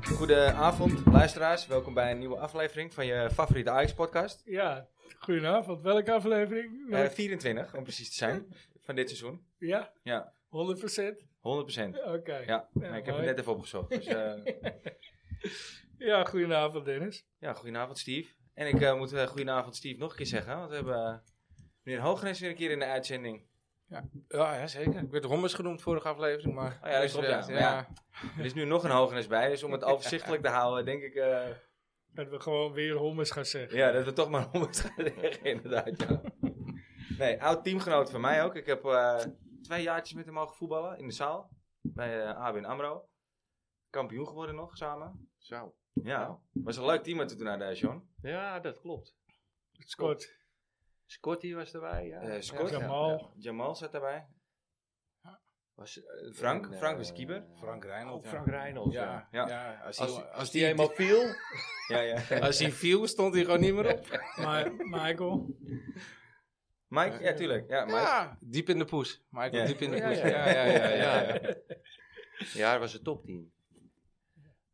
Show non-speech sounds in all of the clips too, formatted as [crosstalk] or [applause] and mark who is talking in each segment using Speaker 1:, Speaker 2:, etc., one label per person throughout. Speaker 1: Goedenavond, luisteraars. Welkom bij een nieuwe aflevering van je favoriete Ajax-podcast.
Speaker 2: Ja, goedenavond. Welke aflevering?
Speaker 1: Eh, 24, om precies te zijn, van dit seizoen.
Speaker 2: ja,
Speaker 1: Ja,
Speaker 2: 100%?
Speaker 1: 100%.
Speaker 2: Oké. Ja.
Speaker 1: Ja, nee, ik heb het
Speaker 2: mooi.
Speaker 1: net even opgezocht. Dus,
Speaker 2: [laughs]
Speaker 1: eh,
Speaker 2: goedenavond Dennis.
Speaker 1: ja, goedenavond Steve. En ik eh, moet eh, goedenavond Steve nog een keer zeggen, want we hebben eh, meneer Hooggenes weer een keer in de uitzending.
Speaker 3: Ja, ja, zeker. Ik werd Rommers genoemd vorige aflevering, maar...
Speaker 1: Oh ja, dat klopt, ja.
Speaker 3: Dus,
Speaker 1: Maar ja. Er is nu nog een Hooggenes bij, dus om
Speaker 2: [laughs]
Speaker 1: het overzichtelijk te houden, denk ik eh,
Speaker 2: Dat we gewoon weer hommers gaan zeggen.
Speaker 1: ja, dat we toch maar [laughs] om het gaan zeggen, inderdaad. Ja. Nee, oud teamgenoot van mij ook. Ik heb eh, twee jaartjes met hem mogen voetballen in de zaal, bij eh ABN AMRO. Kampioen geworden nog, samen.
Speaker 3: Zo.
Speaker 1: Ja, was een leuk team met te doen naar de John.
Speaker 3: Ja, dat klopt.
Speaker 2: Scott,
Speaker 3: Scotty was erbij, ja.
Speaker 1: Eh, Scott.
Speaker 3: Ja, ja.
Speaker 2: Jamal.
Speaker 1: Jamal zat daarbij.
Speaker 3: Was, eh,
Speaker 1: Frank?
Speaker 3: en,
Speaker 1: Frank
Speaker 3: eh,
Speaker 1: was keeper.
Speaker 4: Frank Reinold.
Speaker 3: Oh, Frank Reynolds, ja.
Speaker 4: Ja,
Speaker 1: Ja.
Speaker 4: ja. als,
Speaker 3: Als,
Speaker 4: die,
Speaker 3: als die eenmaal viel,
Speaker 1: Ja, ja.
Speaker 3: als hij viel, stond hij gewoon niet meer op.
Speaker 2: Ma- Michael.
Speaker 1: Mike? Ja, tuurlijk. Ja, Mike.
Speaker 3: Ja, diep in de poes. Michael,
Speaker 1: Ja.
Speaker 3: diep in de
Speaker 1: Ja,
Speaker 3: poes.
Speaker 1: ja,
Speaker 3: Ja,
Speaker 1: ja.
Speaker 3: ja, ja. Ja,
Speaker 4: [laughs]
Speaker 3: ja, het was een topteam.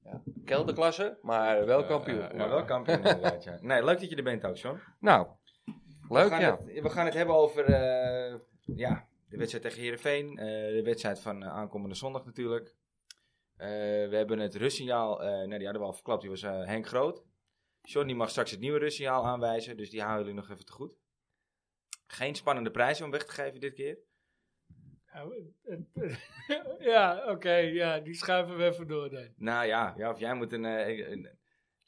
Speaker 3: Ja. Kelderklasse, maar wel kampioen.
Speaker 4: ja, ja.
Speaker 1: Maar wel kampioen inderdaad, ja. Nee, leuk dat je er bent ook, John.
Speaker 3: Nou,
Speaker 1: we
Speaker 3: leuk
Speaker 1: gaan,
Speaker 3: ja.
Speaker 1: het, we gaan het hebben over eh, ja, de wedstrijd tegen Heerenveen. eh, de wedstrijd van eh, aankomende zondag natuurlijk. Eh, we hebben het rustsignaal, eh nee die hadden we al verklapt, die was eh, Henk Groot. John die mag straks het nieuwe rustsignaal aanwijzen, dus die houden jullie nog even te goed. Geen spannende prijzen om weg te geven dit keer.
Speaker 2: Ja, [laughs] ja oké. ja, die schuiven we even door dan.
Speaker 1: Nou ja, ja of jij moet een... eh, een-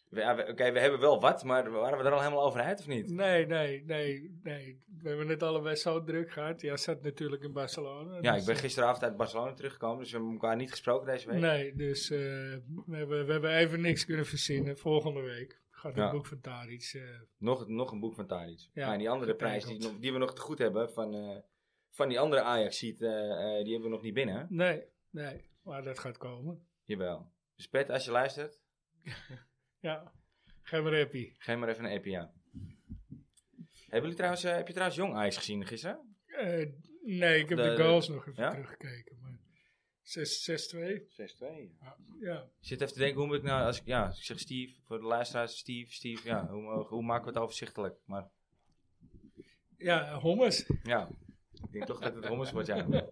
Speaker 1: we- ja, we- Oké, we hebben wel wat, maar waren we er al helemaal over uit of niet?
Speaker 2: Nee, nee, nee, nee. We hebben het allebei zo druk gehad. Jij zat natuurlijk in Barcelona.
Speaker 1: Ja,
Speaker 2: dus,
Speaker 1: ik ben gisteravond uit Barcelona teruggekomen, dus we hebben elkaar niet gesproken deze week.
Speaker 2: Nee, dus eh, we, hebben, we hebben even niks kunnen verzinnen. Volgende week gaat het
Speaker 1: Ja.
Speaker 2: boek van Tadic. eh,
Speaker 1: Nog, nog een boek van Tadic.
Speaker 2: Ja,
Speaker 1: maar die andere prijs die,
Speaker 2: getekend.
Speaker 1: nog- die we nog te goed hebben van, eh, van die andere ajax ziet, die hebben we nog niet binnen. hè?
Speaker 2: nee, nee. Maar dat gaat komen.
Speaker 1: Jawel. Dus Pet, als je luistert,
Speaker 2: Ja. Geen maar happy.
Speaker 1: geef maar even een EPA. Hebben jullie trouwens, eh, heb je trouwens jong Ajax gezien gisteren?
Speaker 2: Eh, nee, ik heb
Speaker 1: De-
Speaker 2: de, goals nog even
Speaker 1: ja?
Speaker 2: teruggekeken. Maar 6-2.
Speaker 3: 6-2.
Speaker 2: Ja.
Speaker 1: Ik zit even te denken, hoe moet ik nou, als ik, ja, als ik zeg Steve, voor de luisteraars, Steve, Steve, ja, hoe, eh, hoe maken we het overzichtelijk? Maar
Speaker 2: ja, Hommers.
Speaker 1: ja, ik denk toch dat het rommels wordt, ja.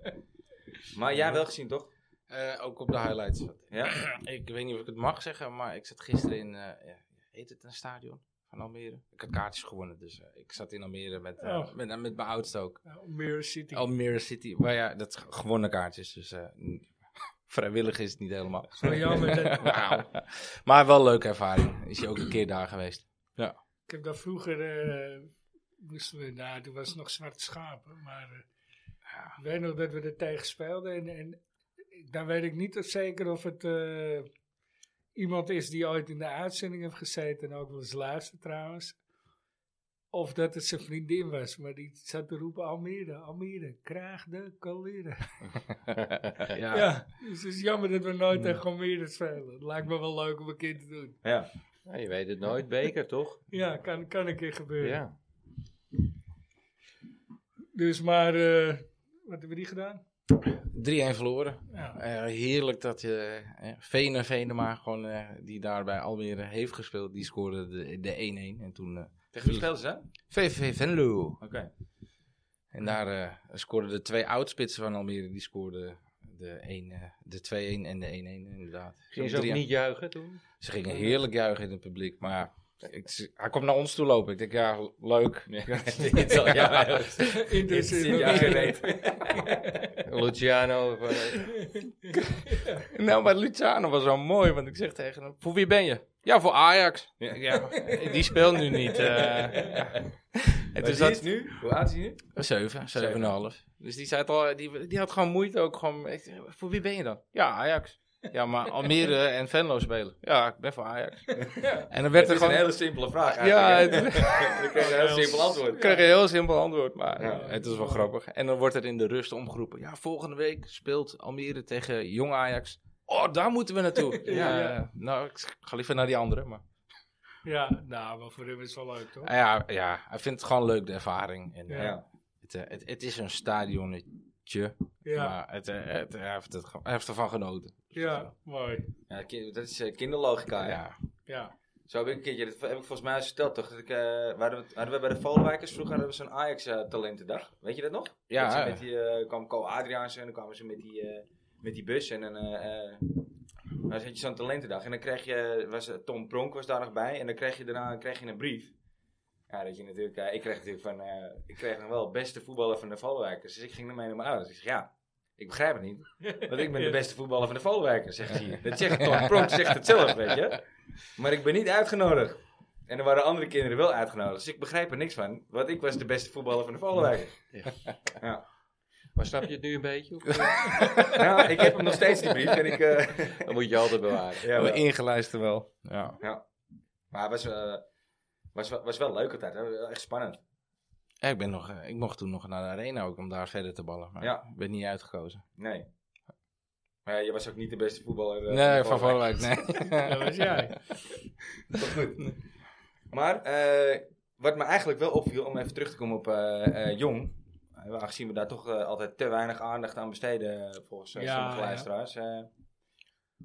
Speaker 1: Maar jij wel gezien, toch?
Speaker 3: Eh, ook op de highlights.
Speaker 1: Ja?
Speaker 3: Ik weet niet of ik het mag zeggen, maar ik zat gisteren in, eh, ja, heet het een stadion van Almere? Ik had kaartjes gewonnen, dus eh, ik zat in Almere met, eh,
Speaker 2: Oh.
Speaker 3: met, met mijn oudste ook.
Speaker 2: Ja, Almere City.
Speaker 1: Oh.
Speaker 3: Almere City, maar ja, dat is gewonnen kaartjes, dus eh, n- [laughs] vrijwillig is het niet
Speaker 1: [laughs]
Speaker 3: helemaal.
Speaker 2: Zo jammer. dat-
Speaker 3: Nou, [laughs] maar wel een leuke ervaring. Is je ook een keer daar geweest?
Speaker 2: ik heb daar vroeger... eh, moesten we, nou, toen was het nog zwarte schapen. Maar eh, ik weet nog dat we er tegen speelden. En, en dan weet ik niet of zeker of het... eh, Iemand is die ooit in de uitzending heeft gezeten en ook wel eens luistert trouwens. Of dat het zijn vriendin was, maar die zat te roepen: Almere, Almere, krijg de kaleren.
Speaker 3: ja.
Speaker 2: Ja, dus het is jammer dat we nooit tegen Almere spelen. Het lijkt me wel leuk om een keer te doen.
Speaker 1: Ja.
Speaker 3: je weet het nooit, beker toch?
Speaker 2: Ja, kan, kan een keer gebeuren.
Speaker 3: Ja.
Speaker 2: Dus maar, eh, wat hebben we die gedaan?
Speaker 3: 3-1 verloren.
Speaker 2: Ja,
Speaker 3: Eh, heerlijk dat je eh, Vene Venema, gewoon, eh, die daar bij Almere heeft gespeeld, die scoorde de- de 1-1. En toen eh,
Speaker 1: Tegen wie speelden ze? Oké.
Speaker 3: VVV Venlo. [laughs] En daar eh, scoorden de twee oudspitsen van Almere, die scoorden de, een, eh, de 2-1 en de 1-1 inderdaad.
Speaker 5: Ging ze ook
Speaker 3: Drie-
Speaker 5: niet juichen toen?
Speaker 3: Ze gingen heerlijk juichen in het publiek, maar... ja, Ik, ze- hij komt naar ons toe lopen. Ik denk, [laughs] ja, leuk.
Speaker 1: Dit zal ja,
Speaker 3: [laughs]
Speaker 1: heel- dit
Speaker 2: Interessant.
Speaker 1: zit jou
Speaker 2: [laughs]
Speaker 1: gereed.
Speaker 5: Luciano. Van, eh,
Speaker 3: Nou, maar Luciano was zo mooi, want ik zeg tegen hem: Voor wie ben je? Ja, voor Ajax. Ja, [laughs] die speelt nu niet. [laughs] eh. En
Speaker 1: Dus
Speaker 3: toen
Speaker 1: dat is
Speaker 3: zat
Speaker 1: nu? Hoe oud is hij nu?
Speaker 3: 7, 7,5. Dus die, zei het al, die, die had gewoon moeite ook. Gewoon, ik zeg, voor wie ben je dan? Ja, Ajax. Ja, maar Almere en Venlo spelen. Ja, ik ben voor [laughs] Ajax. En dan
Speaker 1: Het
Speaker 3: werd er
Speaker 1: is een
Speaker 3: gewoon.
Speaker 1: hele simpele vraag
Speaker 3: Ja, [laughs]
Speaker 1: eigenlijk.
Speaker 3: het,
Speaker 1: Ja, ik kreeg een heel simpel
Speaker 3: Ik
Speaker 1: antwoord.
Speaker 3: kreeg een heel simpel antwoord, maar
Speaker 1: Ja.
Speaker 3: het is wel grappig. En dan wordt er in de rust omgeroepen. Ja, volgende week speelt Almere tegen Jong Ajax. Oh, daar moeten we naartoe.
Speaker 2: Ja,
Speaker 3: ja,
Speaker 2: ja.
Speaker 3: nou, ik ga liever naar die andere. Maar,
Speaker 2: ja, nou, maar voor hem is het wel leuk toch?
Speaker 3: Ah ja, ja, hij vindt het gewoon leuk, de ervaring. En, eh,
Speaker 2: Ja.
Speaker 1: Ja.
Speaker 3: het, eh, het, het is een stadionnetje tje.
Speaker 2: Ja,
Speaker 3: Maar het, eh, het, hij, heeft het, ge- hij heeft ervan genoten.
Speaker 2: ja, mooi.
Speaker 1: Ja, ki- dat is eh, kinderlogica. hè.
Speaker 3: Ja.
Speaker 2: Ja,
Speaker 1: Zo heb ik een keertje, dat heb ik volgens mij eens verteld toch? Dat ik, eh, waar we- hadden we bij de Volwijkers vroeger hadden we zo'n Ajax eh, talentendag. Weet je dat nog?
Speaker 3: Ja,
Speaker 1: Dat ze
Speaker 3: ja.
Speaker 1: met die, eh, kwam Co Adriaans en dan kwamen ze met die, eh, met die bus en dan eh, eh, dan zat je zo'n talentendag. En dan kreeg je, was, eh, Tom Pronk was daar nog bij en dan kreeg je daarna kreeg je een brief. Ja, dat je natuurlijk, eh, ik kreeg natuurlijk van, eh, ik kreeg nog wel beste voetballer van de Volwijkers. Dus ik ging ermee naar mijn ouders. Ik zeg, ja, ik begrijp het niet. Want ik ben de beste voetballer van de Volwijkers, zegt ze hier. Dat zegt Tom Pronk, zegt het zelf, weet je. Maar ik ben niet uitgenodigd. En er waren andere kinderen wel uitgenodigd. Dus ik begrijp er niks van. Want ik was de beste voetballer van de Volwijkers.
Speaker 4: Maar snap je het nu een beetje? Of, eh,
Speaker 1: Nou, ik heb hem nog steeds die brief. En ik, eh,
Speaker 4: dat moet je altijd bewaren.
Speaker 1: ja,
Speaker 3: we
Speaker 1: wel.
Speaker 3: ingeluisterd wel. Ja.
Speaker 1: maar het was, eh, was, wel- was wel leuk altijd. hè. Wel Echt spannend.
Speaker 3: Ja, ik, ben nog, eh, ik mocht toen nog naar de arena ook om daar verder te ballen. Maar
Speaker 1: Ja.
Speaker 3: ik ben niet uitgekozen.
Speaker 1: Nee. Maar ja, je was ook niet de beste voetballer. eh,
Speaker 3: nee,
Speaker 1: van
Speaker 3: van
Speaker 1: Volwijk.
Speaker 3: Volwijk, nee.
Speaker 2: [laughs] dat was jij.
Speaker 1: Maar eh, wat me eigenlijk wel opviel, om even terug te komen op eh, eh, Jong. eh, Aangezien we daar toch eh, altijd te weinig aandacht aan besteden, eh, volgens eh,
Speaker 2: Ja,
Speaker 1: sommige
Speaker 2: ja.
Speaker 1: luisteraars. eh,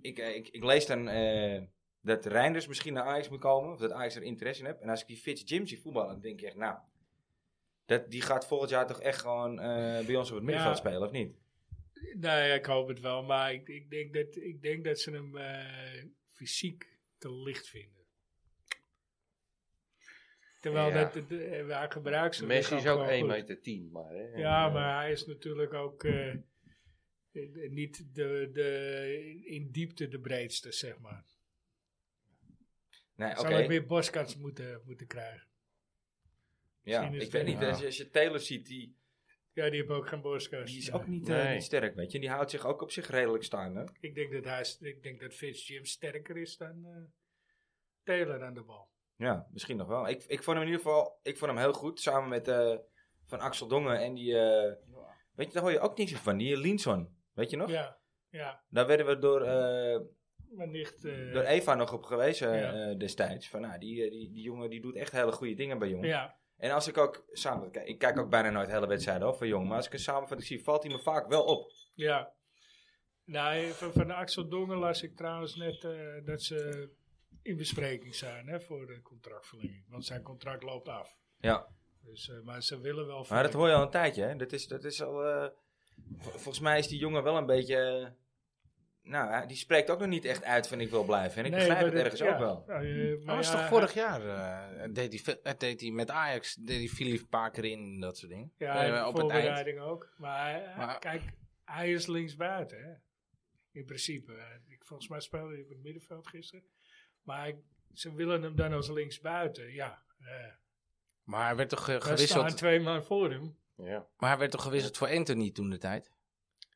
Speaker 1: ik, eh, ik, ik lees dan eh, dat Reinders misschien naar Ajax moet komen, of dat Ajax er interesse in heeft. En als ik die Fitz Jim zie voetballen, dan denk ik echt, nou, dat, die gaat volgend jaar toch echt gewoon eh, bij ons op het middenveld
Speaker 2: Ja.
Speaker 1: spelen, of niet?
Speaker 2: Nou ja, ik hoop het wel, maar ik, ik, denk, dat, ik denk dat ze hem eh, fysiek te licht vinden. Terwijl
Speaker 3: Ja.
Speaker 2: dat, dat, eh, hij gebruikt zijn
Speaker 4: Messi is
Speaker 2: lichaam
Speaker 4: ook
Speaker 2: gewoon
Speaker 4: 1
Speaker 2: goed.
Speaker 4: meter 10, maar... Hè,
Speaker 2: Ja,
Speaker 4: En, eh,
Speaker 2: maar hij is natuurlijk ook eh, eh, niet de, de, in diepte de breedste, zeg maar.
Speaker 1: Nee, oké.
Speaker 2: Zou ik meer boskans moeten, moeten krijgen?
Speaker 1: Ja,
Speaker 2: misschien is
Speaker 1: ik
Speaker 2: het-
Speaker 1: weet niet, eh,
Speaker 3: Ja.
Speaker 1: als je, als je Taylor ziet, die,
Speaker 2: Ja, die hebben ook geen boskans.
Speaker 1: die is
Speaker 2: Nee.
Speaker 1: ook niet, eh,
Speaker 4: Nee.
Speaker 1: niet sterk, weet je. En die houdt zich ook op zich redelijk staan, hè?
Speaker 2: Ik denk dat, hij, is- ik denk dat Fitz Jim sterker is dan eh Taylor aan de bal.
Speaker 1: Ja, misschien nog wel. Ik, ik vond hem in ieder geval ik vond hem heel goed. Samen met eh, Van Axel Dongen en die... eh, Weet je, daar hoor je ook niks van. Die Linson, weet je nog?
Speaker 2: Ja, ja.
Speaker 1: Daar werden we door, eh,
Speaker 2: Maar niet... eh,
Speaker 1: door Eva nog op gewezen
Speaker 2: Ja.
Speaker 1: eh, destijds. Van, nou, die, eh, die, die jongen die doet echt hele goede dingen bij Jong.
Speaker 2: ja,
Speaker 1: En als ik ook samen... kijk, Ik kijk ook bijna nooit hele wedstrijden hoor, van Jong. Maar als ik een samenvatting zie, valt hij me vaak wel op.
Speaker 2: ja. Nou, van, van Axel Dongen las ik trouwens net eh, dat ze in bespreking zijn hè, voor de contractverlenging. Want zijn contract loopt af.
Speaker 1: Ja.
Speaker 2: Dus, eh, maar ze willen wel...
Speaker 1: Maar dat
Speaker 2: verlengen.
Speaker 1: hoor je al een tijdje, hè? Dat is, dat is al... eh, vol- volgens mij is die jongen wel een beetje... eh, nou, hij- die spreekt ook nog niet echt uit van ik wil blijven. En ik
Speaker 2: Nee,
Speaker 1: begrijp
Speaker 2: maar
Speaker 1: het
Speaker 2: dat-
Speaker 1: ergens
Speaker 2: ja.
Speaker 1: ook wel.
Speaker 2: Nou, eh, maar
Speaker 3: Maar was
Speaker 2: ja,
Speaker 3: toch vorig jaar, eh, deed, hij, ve- eh, deed hij met Ajax, deed hij Filip Paker in en dat soort dingen.
Speaker 2: Ja, in
Speaker 3: Eh,
Speaker 2: de
Speaker 3: op het eind.
Speaker 2: voorbereiding ook. Maar, hij-
Speaker 3: Maar-
Speaker 2: kijk, hij is linksbuiten, hè. In principe. Eh, Ik, volgens mij speelde hij op het middenveld gisteren. Maar hij- ze willen hem dan als linksbuiten, ja. eh
Speaker 3: Maar hij werd toch eh,
Speaker 2: er staan
Speaker 3: gewisseld,
Speaker 2: twee man voor hem.
Speaker 4: ja.
Speaker 3: maar hij werd toch gewisseld voor Anthony toen de tijd?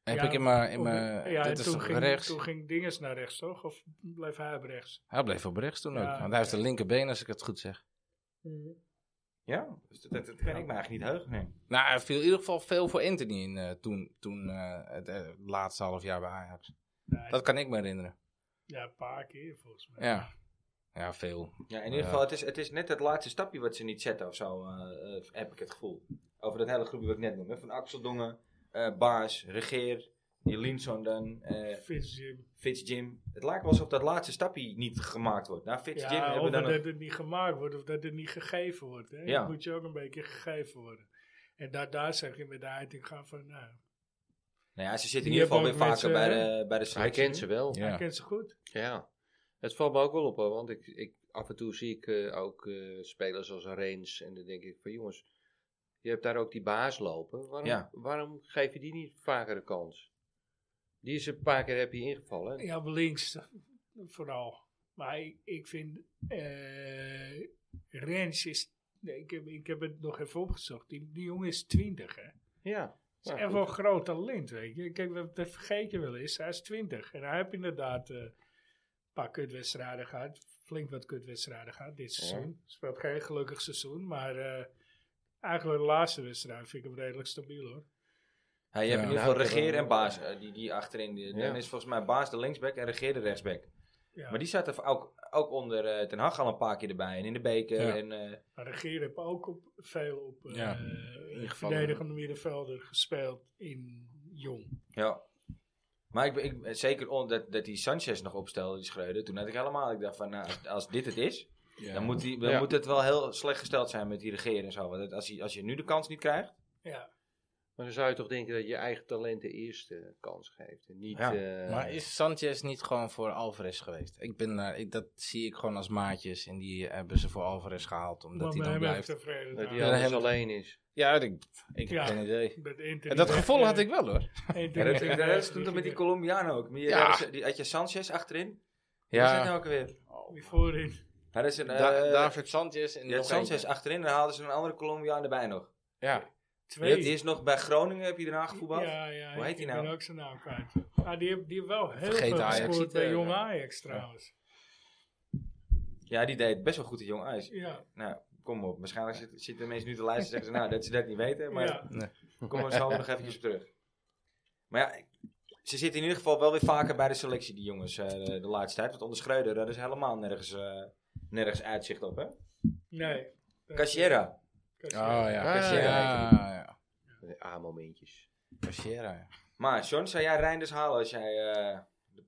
Speaker 3: Heb
Speaker 2: Ja,
Speaker 3: ik in mijn, in
Speaker 2: Of-
Speaker 3: mijn
Speaker 2: ja, en
Speaker 3: dat is
Speaker 2: toen
Speaker 3: toch
Speaker 2: ging,
Speaker 3: rechts?
Speaker 2: toen ging Dinges naar rechts, toch? Of bleef hij op rechts?
Speaker 3: Hij bleef op rechts toen ook,
Speaker 2: Ja.
Speaker 3: want hij heeft een linkerbeen als ik het goed zeg.
Speaker 1: Ja, dus dat, dat, dat kan ik me eigenlijk niet heugen. Nee.
Speaker 3: Nou, hij viel in ieder geval veel voor Anthony in eh, toen, toen eh, het eh, laatste half jaar bij Ajax.
Speaker 2: Nee,
Speaker 3: Dat kan ik me herinneren.
Speaker 2: Ja, een paar keer volgens mij.
Speaker 3: Ja, ja veel.
Speaker 1: Ja, in ieder
Speaker 3: Ja.
Speaker 1: geval, het is, het is net het laatste stapje wat ze niet zetten of zo, eh, eh, heb ik het gevoel. Over dat hele groepje wat ik net noemde. Van Axel Dongen, eh, Baas, Regeer, Jelinson dan, eh
Speaker 2: Vince Jim.
Speaker 1: Fitz Jim. Het lijkt wel alsof dat laatste stapje niet gemaakt wordt. Nou, Fitz Jim
Speaker 2: Ja,
Speaker 1: hebben
Speaker 2: of
Speaker 1: we dan
Speaker 2: dat
Speaker 1: nog...
Speaker 2: het niet gemaakt wordt, of dat het niet gegeven wordt. Hè?
Speaker 1: Ja.
Speaker 2: Dat moet je ook een beetje gegeven worden. En daar, daar zeg je met de uiting gaan van, nou,
Speaker 1: Nou ja, ze zitten in
Speaker 2: Die
Speaker 1: ieder geval weer
Speaker 2: hebben ook
Speaker 1: vaker bij
Speaker 2: met
Speaker 1: de, bij de
Speaker 4: Hij
Speaker 1: selectie.
Speaker 4: kent ze wel.
Speaker 3: Ja.
Speaker 2: hij kent ze goed.
Speaker 4: Ja, het valt me ook wel op hoor, want ik, ik, af en toe zie ik eh, ook eh, spelers als Reens en dan denk ik van jongens, je hebt daar ook die baas lopen, waarom,
Speaker 1: Ja.
Speaker 4: waarom geef je die niet vaker de kans? Die is een paar keer heb je ingevallen.
Speaker 2: Ja, op links vooral. Maar ik, ik vind eh Rens is. nee, ik, heb, ik heb het nog even opgezocht. Die, die jongen is 20, hè?
Speaker 4: Ja,
Speaker 2: Dat
Speaker 4: nou,
Speaker 2: is echt
Speaker 4: goed.
Speaker 2: wel een groot talent, weet je. Kijk, wat- dat vergeet je wel eens. Hij is 20. En hij heeft inderdaad eh, een paar kutwedstrijden gehad. Flink wat kutwedstrijden gehad dit seizoen. Speelt geen gelukkig seizoen, maar eh, eigenlijk de laatste wedstrijd vind ik hem redelijk stabiel, hoor.
Speaker 1: Ja, je hebt
Speaker 3: Ja.
Speaker 1: in ieder geval
Speaker 4: Nou, ik heb
Speaker 1: Regeer
Speaker 4: hem-
Speaker 1: en Baas, eh, die, die achterin. die-
Speaker 4: Ja.
Speaker 1: Dan is volgens mij Baas de linksback en Regeer de rechtsback.
Speaker 2: Ja.
Speaker 1: Maar die zaten ook, ook onder eh, Ten Hag al een paar keer erbij. En in de beker
Speaker 3: Ja.
Speaker 1: en... eh,
Speaker 2: Maar Nou, de Geer heeft ook op, veel op eh
Speaker 3: Ja,
Speaker 2: eh,
Speaker 3: ingevallen.
Speaker 2: verdedigende middenvelder gespeeld in jong.
Speaker 1: Ja. Maar ik, ik, zeker omdat dat die Sanchez nog opstelde, die Schreuder. Toen had ik helemaal, ik dacht van, nou, als- als dit het is, dan, moet, die, dan
Speaker 3: Ja.
Speaker 1: moet het wel heel slecht gesteld zijn met die regeren en zo. Want het- als, je, als je nu de kans niet krijgt,
Speaker 2: Ja.
Speaker 4: Maar dan zou je toch denken dat je eigen talent de eerste eh, kans geeft. En niet...
Speaker 1: Ja,
Speaker 4: eh,
Speaker 3: Maar is Sanchez niet gewoon voor Alvarez geweest? Ik ben daar, ik, dat zie ik gewoon als maatjes. En die hebben ze voor Alvarez gehaald, omdat
Speaker 2: Maar
Speaker 3: hij dan
Speaker 2: mij ben ik
Speaker 3: blijft.
Speaker 2: tevreden.
Speaker 4: Dat
Speaker 2: nou.
Speaker 4: hij alles
Speaker 3: hem-
Speaker 4: alleen is.
Speaker 3: Ja, ik, ik
Speaker 2: Ja.
Speaker 3: heb geen idee.
Speaker 2: Met Inter
Speaker 3: En dat
Speaker 2: die
Speaker 3: gevoel
Speaker 2: weg-
Speaker 3: had ik wel hoor.
Speaker 1: Ja,
Speaker 2: Inter die
Speaker 1: dat,
Speaker 2: weg-
Speaker 1: dat, dat stond er met die Colombiaan ook. Die,
Speaker 3: Ja.
Speaker 1: ja. die had je Sanchez achterin. Ja. Wie zat nou
Speaker 3: Ja,
Speaker 1: ook weer?
Speaker 2: die voorin.
Speaker 1: Hij is een,
Speaker 3: Da-
Speaker 1: eh,
Speaker 3: David Sanchez en
Speaker 1: je had
Speaker 3: nog
Speaker 1: Sanchez
Speaker 3: eentje.
Speaker 1: achterin en dan haalden ze een andere Colombiaan erbij nog.
Speaker 3: Ja,
Speaker 1: Je hebt
Speaker 2: Twee.
Speaker 1: eerst nog bij Groningen heb je daarna gevoetbald.
Speaker 2: Ja, ja.
Speaker 1: Hoe heet die
Speaker 2: ik
Speaker 1: nou?
Speaker 2: ben ook zijn naam kwijt. Maar die heeft die heeft wel heel
Speaker 3: Vergeet
Speaker 2: veel
Speaker 3: Ajax.
Speaker 2: gescoord bij
Speaker 1: Eh,
Speaker 2: Jong
Speaker 1: ja.
Speaker 2: Ajax trouwens.
Speaker 1: Ja, die deed best wel goed in Jong IJs.
Speaker 2: Ja.
Speaker 1: Nou, kom op. Waarschijnlijk zit- zitten de mensen nu te luisteren en zeggen ze, nou, dat ze dat niet weten. Maar
Speaker 2: ja.
Speaker 1: Kom er zo nog eventjes op terug. Maar ja, ze zitten in ieder geval wel weer vaker bij de selectie, die jongens, eh, de, de laatste tijd. Want onder Schreuder, daar is helemaal nergens, eh, nergens uitzicht op, hè?
Speaker 2: Nee.
Speaker 1: Cachera.
Speaker 2: Cassiera.
Speaker 3: oh ja.
Speaker 4: Ah,
Speaker 3: Cachera.
Speaker 4: ja.
Speaker 3: Ja, ja.
Speaker 4: A-momentjes.
Speaker 3: Cachera, ja.
Speaker 1: Maar, John, zou jij Reinders halen als jij, eh, de-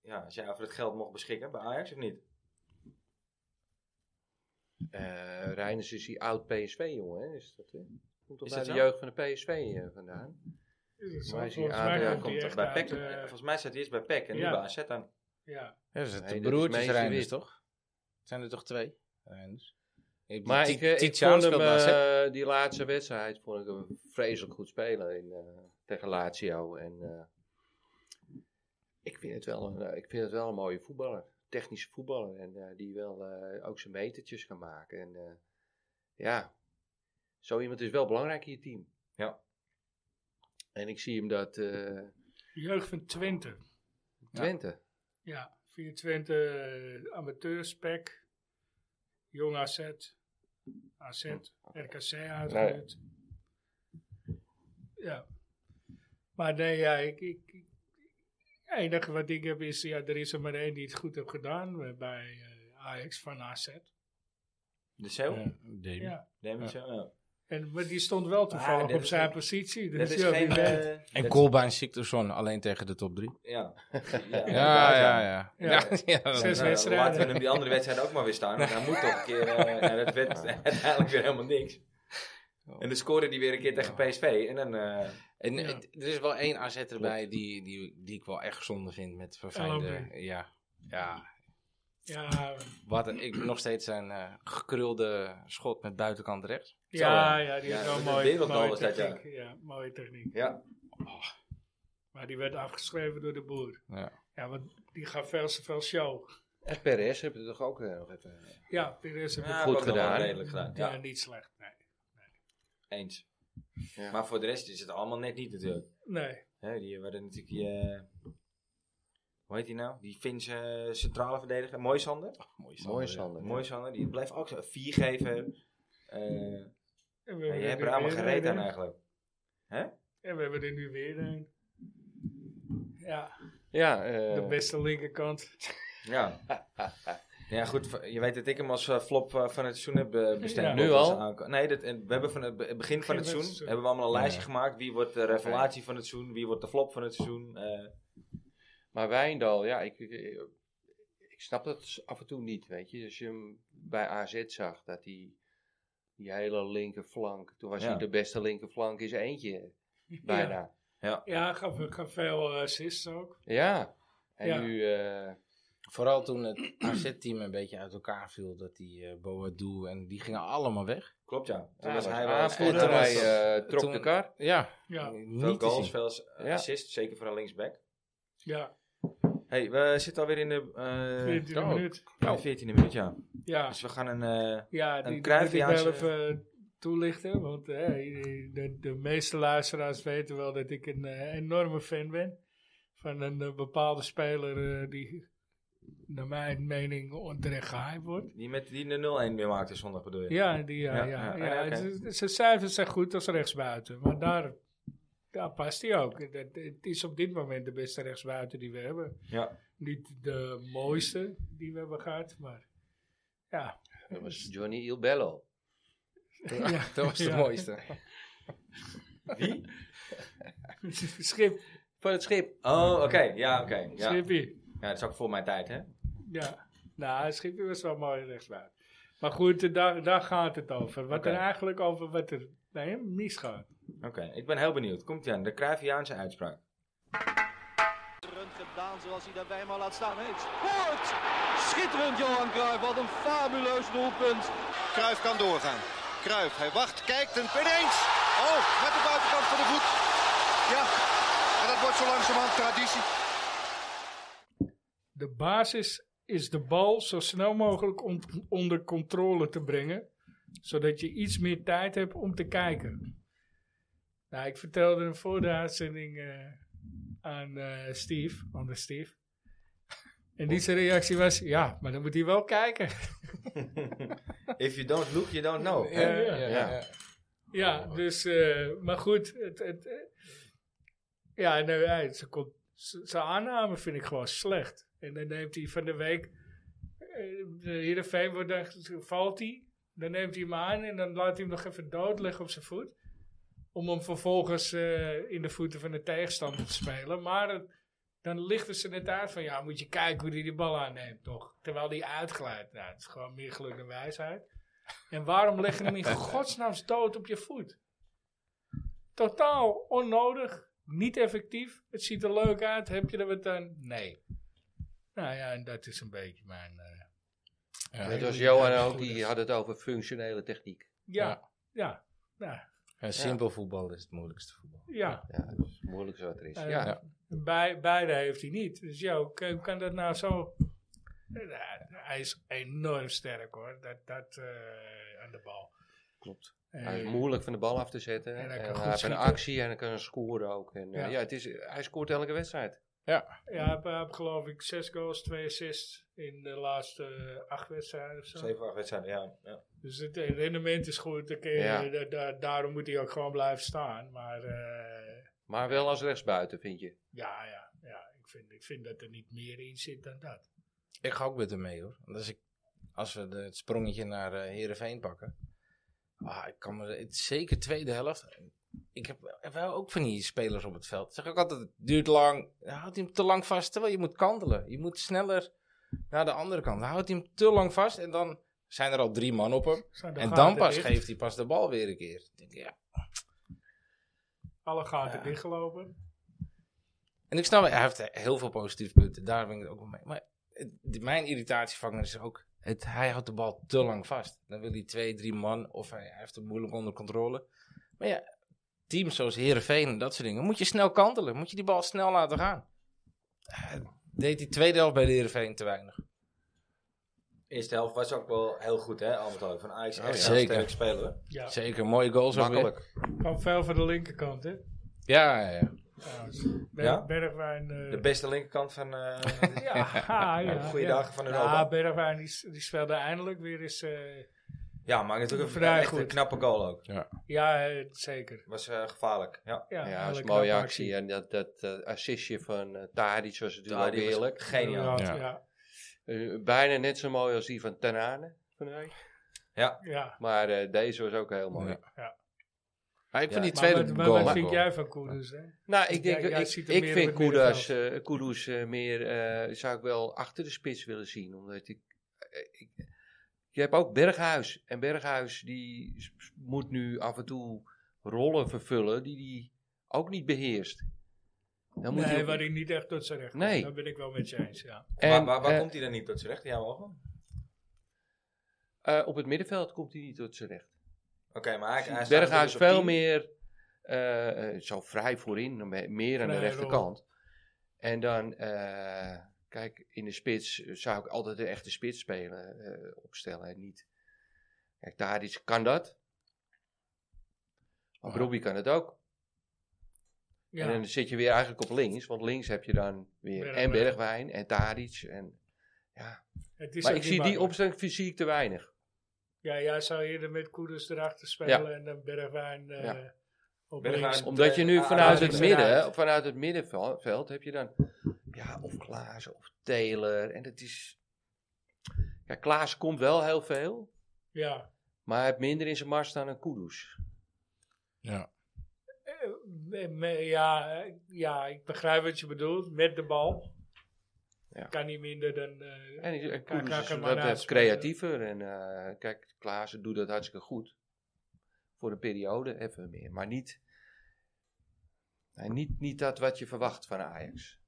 Speaker 1: ja, als jij over het geld mocht beschikken bij Ajax, of niet?
Speaker 4: Eh Reinders is die oud PSV jongen, hè? Is dat, hè? Komt toch
Speaker 1: Is
Speaker 4: bij
Speaker 1: dat
Speaker 4: de
Speaker 1: zo?
Speaker 4: jeugd van de PSV eh, vandaan?
Speaker 2: Is het zo?
Speaker 4: Maar is die
Speaker 2: Volgens mij
Speaker 4: aan- ja,
Speaker 2: komt
Speaker 4: komt
Speaker 2: die
Speaker 4: er
Speaker 2: echt
Speaker 1: bij
Speaker 2: uit,
Speaker 1: PEC,
Speaker 2: eh,
Speaker 1: volgens mij staat hij eerst bij PEC en
Speaker 2: ja.
Speaker 1: nu bij AZ dan.
Speaker 2: Ja.
Speaker 3: Ja, dus het
Speaker 4: Nee,
Speaker 3: de
Speaker 4: dat is
Speaker 3: broertjes
Speaker 4: Meester
Speaker 3: Reinders,
Speaker 4: Wit.
Speaker 3: toch? zijn er toch twee? Reinders. Je hebt die
Speaker 4: Maar
Speaker 3: Ti-
Speaker 4: ik, eh, ik
Speaker 3: Tiziaan
Speaker 4: vond hem,
Speaker 3: speelt bij AZ.
Speaker 4: eh, die laatste wedstrijd vond ik hem vreselijk goed spelen in, eh, tegen Lazio. En, eh, ik, vind het wel een, eh, ik vind het wel een mooie voetballer. Technische voetballer. En eh, die wel eh, ook zijn metertjes kan maken. En eh, ja, zo iemand is wel belangrijk in je team.
Speaker 1: Ja.
Speaker 4: En ik zie hem dat eh,
Speaker 2: Jeugd van Twente.
Speaker 4: Twente.
Speaker 2: Ja. 24 eh, amateurspec. Jong AZ. AZ.
Speaker 1: Oh.
Speaker 2: RKC uitgehuurd. Ja. Maar nee, ja, ik... ik ik- het enige wat ik heb is, ja, er is er maar één die het goed heeft gedaan eh, bij eh, Ajax van AZ.
Speaker 1: De Zeeuw?
Speaker 3: Ja, Davy.
Speaker 2: Ja.
Speaker 1: Neem ik zo, ja.
Speaker 2: En, maar die stond wel toevallig
Speaker 1: Ah, dit
Speaker 2: op
Speaker 1: is
Speaker 2: zijn
Speaker 1: een-
Speaker 2: positie. Dus
Speaker 1: Dat is
Speaker 2: ja, wie
Speaker 1: geen...
Speaker 2: weet.
Speaker 1: eh,
Speaker 3: En
Speaker 1: dat-
Speaker 3: Kolbein Siktorsson alleen tegen de top drie.
Speaker 1: Ja.
Speaker 3: [laughs] Ja, ja, [laughs] ja.
Speaker 2: Ja.
Speaker 3: dan-
Speaker 2: Zes
Speaker 1: Nou,
Speaker 2: wedstrijden.
Speaker 1: Laten we hem die andere wedstrijd ook maar weer staan. Want hij moet toch een keer. eh, nou, dat werd uiteindelijk weer helemaal niks. En dan scoorde die weer een keer tegen PSV. En dan. eh,
Speaker 3: En
Speaker 2: Ja.
Speaker 3: het- er is wel één AZ erbij die, die, die ik wel echt zonde vind met verfijnde...
Speaker 2: LOB.
Speaker 3: Ja, ja.
Speaker 1: eh,
Speaker 2: Ja,
Speaker 3: Wat een- ik nog steeds zijn eh gekrulde schot met buitenkant rechts.
Speaker 2: ja, ja, die
Speaker 1: Ja,
Speaker 2: is
Speaker 1: dat
Speaker 2: wel
Speaker 1: is
Speaker 2: mooi.
Speaker 1: wereldgoal
Speaker 2: mooie
Speaker 1: was dat, ja.
Speaker 2: techniek. Ja, mooie techniek.
Speaker 1: ja.
Speaker 2: Maar die werd afgeschreven door de boer.
Speaker 3: Ja.
Speaker 2: Ja, want die gaf veel te veel show.
Speaker 4: En Perez hebben we toch ook eh, nog even...
Speaker 2: Ja, dit is een
Speaker 1: Ja,
Speaker 2: ja,
Speaker 1: ook
Speaker 4: gedaan.
Speaker 1: nog wel Redelijk gedaan. Ja,
Speaker 2: niet slecht. Nee.
Speaker 1: eens.
Speaker 4: Ja.
Speaker 1: Maar voor de rest is het allemaal net niet natuurlijk.
Speaker 2: nee.
Speaker 1: Hè, die waren natuurlijk. die, eh, hoe heet die nou? Die Finse centrale verdediger. Mooisander.
Speaker 3: Mooi
Speaker 4: Mooi
Speaker 3: ja.
Speaker 4: Sander.
Speaker 1: Mooisander. Die blijft ook zo vier geven. Eh,
Speaker 2: En we
Speaker 1: ja, je
Speaker 2: hebben
Speaker 1: hebt
Speaker 2: nu
Speaker 1: er allemaal
Speaker 2: weer
Speaker 1: gereed
Speaker 2: een.
Speaker 1: aan eigenlijk.
Speaker 2: En we hebben er nu weer een. Ja,
Speaker 4: Ja, eh,
Speaker 2: de beste linkerkant. [laughs]
Speaker 1: Ja. [laughs] Ja, goed. v- Je weet dat ik hem als eh, flop eh, van het seizoen heb eh, bestemd.
Speaker 2: Ja.
Speaker 4: Nu
Speaker 1: Als
Speaker 4: al?
Speaker 1: aanko- Nee, dat, en we hebben van het be- begin, van het
Speaker 2: van het
Speaker 1: seizoen
Speaker 2: seizoen.
Speaker 1: hebben we allemaal een
Speaker 3: Ja.
Speaker 1: lijstje gemaakt. Wie wordt de revelatie van het seizoen? Wie wordt de flop van het seizoen? eh,
Speaker 4: Maar Wijndal, ja, ik, ik, ik snap dat af en toe niet, weet je. Als je hem bij AZ zag, dat hij die hele linkerflank, toen was
Speaker 1: Ja.
Speaker 4: hij de beste linkerflank in zijn eentje, bijna.
Speaker 1: ja.
Speaker 2: Ja, gaf, gaf veel eh, assists ook.
Speaker 4: Ja, en
Speaker 2: Ja.
Speaker 4: nu, eh,
Speaker 3: Vooral toen het [clears throat] AZ-team een beetje uit elkaar viel. Dat die eh Boadu en die gingen allemaal weg.
Speaker 1: Klopt, ja. Toen
Speaker 4: ja,
Speaker 1: was hij wel
Speaker 4: aanvoerder,
Speaker 1: toen was
Speaker 4: hij
Speaker 1: het
Speaker 4: eh, trok
Speaker 3: toen-
Speaker 4: de kar.
Speaker 3: Ja,
Speaker 2: Ja,
Speaker 1: Veel
Speaker 3: niet te
Speaker 1: goals,
Speaker 3: [laughs] zien.
Speaker 1: veel assists,
Speaker 4: Ja.
Speaker 1: zeker voor een linksback.
Speaker 2: ja.
Speaker 1: hey, we zitten alweer in de eh
Speaker 2: 14
Speaker 3: ook.
Speaker 2: minuut.
Speaker 1: ja, 14e minuut, ja.
Speaker 2: Ja,
Speaker 1: Dus we gaan een... eh,
Speaker 2: Ja, die, die moet ik
Speaker 1: Cruyffiaanse-
Speaker 2: wel even eh, toelichten. Want eh, de, de meeste luisteraars weten wel dat ik een eh, enorme fan ben. Van een eh, bepaalde speler eh, die naar mijn mening onterecht gehyped wordt.
Speaker 1: die met die de 0-1 weer maakte zondag, bedoel je?
Speaker 2: Ja, die, ja,
Speaker 1: Ja, ja,
Speaker 2: ja, ja,
Speaker 1: ja, oké.
Speaker 2: Z- z- Zijn cijfers zijn goed als rechtsbuiten. Maar daar, daar past hij ook. Dat, het is op dit moment de beste rechtsbuiten die we hebben.
Speaker 1: Ja.
Speaker 2: Niet de mooiste die we hebben gehad, maar ja. [laughs]
Speaker 4: [laughs] Dat was Johnny Il Bello.
Speaker 3: Dat was de
Speaker 2: Ja.
Speaker 3: mooiste.
Speaker 1: Wie?
Speaker 2: Schip,
Speaker 4: Van het schip.
Speaker 1: Oh, oké. Ja, oké. Ja. ja,
Speaker 2: Schippie.
Speaker 1: dat is ook voor mijn tijd, hè?
Speaker 2: Ja. Nou, Schippie was wel mooi rechtsbuiten. Maar goed, eh, daar, daar gaat het over. Wat er
Speaker 1: Oké.
Speaker 2: eigenlijk over wat er bij hem misgaat.
Speaker 1: Oké, ik ben heel benieuwd. Komt ie aan, de Cruyffiaanse uitspraak.
Speaker 5: Schitterend gedaan zoals hij daarbij maar laat staan heeft. Scoort! Schitterend Johan Cruijff, wat een fabuleus doelpunt.
Speaker 6: Kruif kan doorgaan. Kruif, hij wacht, kijkt en ineens. Oh, met de buitenkant van de voet. Ja, en dat wordt zo langzamerhand traditie.
Speaker 2: De basis is de bal zo snel mogelijk on- onder controle te brengen, zodat je iets meer tijd hebt om te kijken. Nou, ik vertelde hem voor de uitzending eh, aan eh, Steve, aan de Steve. En die zijn reactie was, ja, maar dan moet hij wel kijken.
Speaker 1: If you don't look, you don't know. hè?
Speaker 2: Eh, ja,
Speaker 1: ja.
Speaker 2: Ja, dus, eh, maar goed. Het, het, eh, ja, nou, hij, ze komt, z- zijn aanname vind ik gewoon slecht. En dan neemt hij van de week, eh, de Heerenveen wordt dan, valt hij, dan neemt hij hem aan en dan laat hij hem nog even dood liggen op zijn voet. Om hem vervolgens eh, in de voeten van de tegenstander te spelen. Maar het- dan lichten ze het uit van, ja, moet je kijken hoe hij die bal aanneemt, toch? Terwijl die uitglijdt. Nou, het is gewoon meer geluk dan wijsheid. En waarom leg je
Speaker 4: [laughs]
Speaker 2: hem in godsnaam dood op je voet? Totaal onnodig, niet effectief. Het ziet er leuk uit, heb je er wat aan? Nee. Nou ja, en dat is een beetje mijn... eh,
Speaker 4: Dat was Johan ook, die had het over functionele techniek.
Speaker 2: ja, ja,
Speaker 3: En simpel voetbal is het moeilijkste voetbal.
Speaker 2: ja.
Speaker 4: Ja, dat is het moeilijkste wat er is.
Speaker 2: Eh,
Speaker 4: ja.
Speaker 3: Ja.
Speaker 2: Bij, beide heeft hij niet. Dus ja, hoe kan, hoe kan dat nou zo... Nou, hij is enorm sterk hoor, dat, dat eh, aan de bal.
Speaker 4: Klopt.
Speaker 2: Eh,
Speaker 4: Hij is moeilijk van de bal af te zetten.
Speaker 2: En
Speaker 4: En
Speaker 2: hij
Speaker 4: hij,
Speaker 2: kan goed
Speaker 4: heeft een
Speaker 2: schieten.
Speaker 4: actie en hij kan scoren ook. En, eh,
Speaker 2: Ja.
Speaker 4: ja. het is, hij scoort elke wedstrijd.
Speaker 2: Ja, hij heeft- hij heeft geloof ik zes goals, twee assists in de laatste eh, acht wedstrijden of zo.
Speaker 1: Zeven, acht wedstrijden, ja. ja.
Speaker 2: Dus het eh, rendement is goed. dan kun je-
Speaker 4: Ja.
Speaker 2: da- da- daarom moet hij ook gewoon blijven staan. Maar eh,
Speaker 4: Maar wel als rechtsbuiten, vind je.
Speaker 2: ja, ja, ja ik, vind, ik vind dat er niet meer in zit dan dat.
Speaker 3: Ik ga ook met hem mee hoor. Want als, ik, als we de, het sprongetje naar eh Heerenveen pakken. Ah, ik kan me, het, zeker tweede helft. Ik heb, heb wel ook van die spelers op het veld. Ik Zeg ook altijd, het duurt lang. Dan Houdt hij hem te lang vast, terwijl je moet kantelen. Je moet sneller naar de andere kant. Dan Houdt hij hem te lang vast en dan zijn er al drie man op hem.
Speaker 2: Zijn de
Speaker 3: En dan
Speaker 2: gaten
Speaker 3: pas
Speaker 2: dicht?
Speaker 3: geeft hij pas de bal weer een keer. Ik denk, ja,
Speaker 2: Alle gaten dichtgelopen.
Speaker 3: En ik snap, hij heeft heel veel positieve punten. Daar ben ik het ook wel mee. Maar het- de- mijn irritatievanger is ook... Het, hij houdt de bal te lang vast. Dan wil hij twee, drie man. Of hij, hij heeft het moeilijk onder controle. Maar ja, teams zoals Heerenveen en dat soort dingen... Moet je snel kantelen. Moet je die bal snel laten gaan. Eh, Deed die tweede helft bij de Heerenveen te weinig.
Speaker 1: Eerste helft was ook wel heel goed, hè, Albert Van Ajax
Speaker 3: Oh,
Speaker 1: echt
Speaker 3: ja.
Speaker 1: heel
Speaker 3: Zeker.
Speaker 1: sterk spelen.
Speaker 2: Ja,
Speaker 3: Zeker, mooie goals ook weer.
Speaker 4: Makkelijk.
Speaker 2: kwam veel van de linkerkant, hè?
Speaker 3: Ja, ja, ja.
Speaker 2: Trouwens. Ber-
Speaker 1: Ja?
Speaker 2: Bergwijn. eh,
Speaker 1: De beste linkerkant van...
Speaker 4: [laughs]
Speaker 1: eh,
Speaker 2: ja, [laughs] ja, ja.
Speaker 1: Goeie dagen van Europa.
Speaker 2: Ja, Bergwijn die, s- die speelde eindelijk weer eens. eh,
Speaker 1: ja, maar natuurlijk een,
Speaker 2: Vrij
Speaker 1: echt een
Speaker 2: goed.
Speaker 1: knappe goal ook.
Speaker 2: ja, eh, zeker.
Speaker 1: Was eh, gevaarlijk, ja.
Speaker 2: Ja,
Speaker 4: Ja, dat is
Speaker 2: hele
Speaker 4: een mooie
Speaker 2: knappe
Speaker 4: actie. En dat, dat eh, assistje van eh Tadic was natuurlijk
Speaker 1: Ja,
Speaker 4: ook
Speaker 1: die was
Speaker 4: heerlijk.
Speaker 1: Geniaal.
Speaker 2: Ja,
Speaker 3: Ja.
Speaker 2: ja,
Speaker 4: Eh, bijna net zo mooi als die van Tanane. van de week.
Speaker 2: ja.
Speaker 4: Maar eh, deze was ook heel mooi.
Speaker 3: Ja.
Speaker 2: Ja.
Speaker 3: Maar ik vind
Speaker 1: Ja.
Speaker 3: die
Speaker 2: Maar
Speaker 3: tweede
Speaker 2: wat, maar
Speaker 3: goal...
Speaker 2: wat vind jij van Koeders, hè?
Speaker 4: Nou, ik, denk,
Speaker 2: Jij- jij
Speaker 4: ik,
Speaker 2: ziet
Speaker 4: ik,
Speaker 2: hem meer op het
Speaker 4: vind Kudus, eh, Kudus eh, meer, eh, zou ik wel achter de spits willen zien. Omdat ik, eh, ik- je hebt ook Berghuis. En Berghuis die s- s- moet nu af en toe rollen vervullen die hij ook niet beheerst. Dan moet
Speaker 2: Nee,
Speaker 4: hij-
Speaker 2: waar ik niet echt tot zijn recht komt.
Speaker 4: Nee.
Speaker 2: Daar ben ik wel met je eens, ja.
Speaker 4: en,
Speaker 1: maar waar, waar
Speaker 4: eh,
Speaker 1: komt hij dan niet tot z'n recht in jouw ogen? Oké,
Speaker 4: eh, op het middenveld komt hij niet tot zijn recht.
Speaker 1: maar hij, hij staat
Speaker 4: Berghuis
Speaker 1: natuurlijk dus op
Speaker 4: veel
Speaker 1: tien.
Speaker 4: meer eh, eh, zo vrij voorin, me- meer aan de
Speaker 2: Vrij
Speaker 4: rechterkant. En dan, eh, kijk, in de spits zou ik altijd de echte spits spelen, eh, opstellen en niet. Kijk, Tadic kan dat. Maar
Speaker 1: Ah.
Speaker 3: Ja.
Speaker 4: Brobbey kan het ook.
Speaker 2: ja.
Speaker 4: En dan zit je weer eigenlijk op links, want links heb je dan weer en
Speaker 2: Bergwijn.
Speaker 4: Bergwijn en Tadic. En, ja.
Speaker 2: het is
Speaker 4: Maar
Speaker 2: ook niet
Speaker 4: ik zie die
Speaker 2: makkelijk.
Speaker 4: opstelling fysiek te weinig.
Speaker 2: Ja, jij zou eerder met Koeders erachter spelen en dan Bergwijn eh,
Speaker 4: Ja.
Speaker 2: op
Speaker 1: Bergwijn.
Speaker 2: links.
Speaker 4: Omdat je nu
Speaker 1: Ah,
Speaker 2: ah,
Speaker 4: vanuit het
Speaker 2: ah,
Speaker 4: midden, vanuit het middenveld heb je dan ja, of Klaas of Taylor. En het is. Ja, Klaas komt wel heel veel,
Speaker 2: Ja.
Speaker 4: maar hij heeft minder in zijn mars dan een Kudus.
Speaker 3: Ja.
Speaker 2: Eh, me- me- ja, eh, ja, ik begrijp wat je bedoelt. Met de bal.
Speaker 4: Ja.
Speaker 2: Kan niet minder dan... eh,
Speaker 4: En die- en
Speaker 2: Kaka
Speaker 4: Koens is
Speaker 2: kan
Speaker 4: wat
Speaker 2: maar
Speaker 4: dat betreft
Speaker 2: aanspelen.
Speaker 4: creatiever. En eh, kijk, Klaassen doet dat hartstikke goed. Voor een periode even meer. Maar niet, nee, niet, niet dat wat je verwacht van Ajax.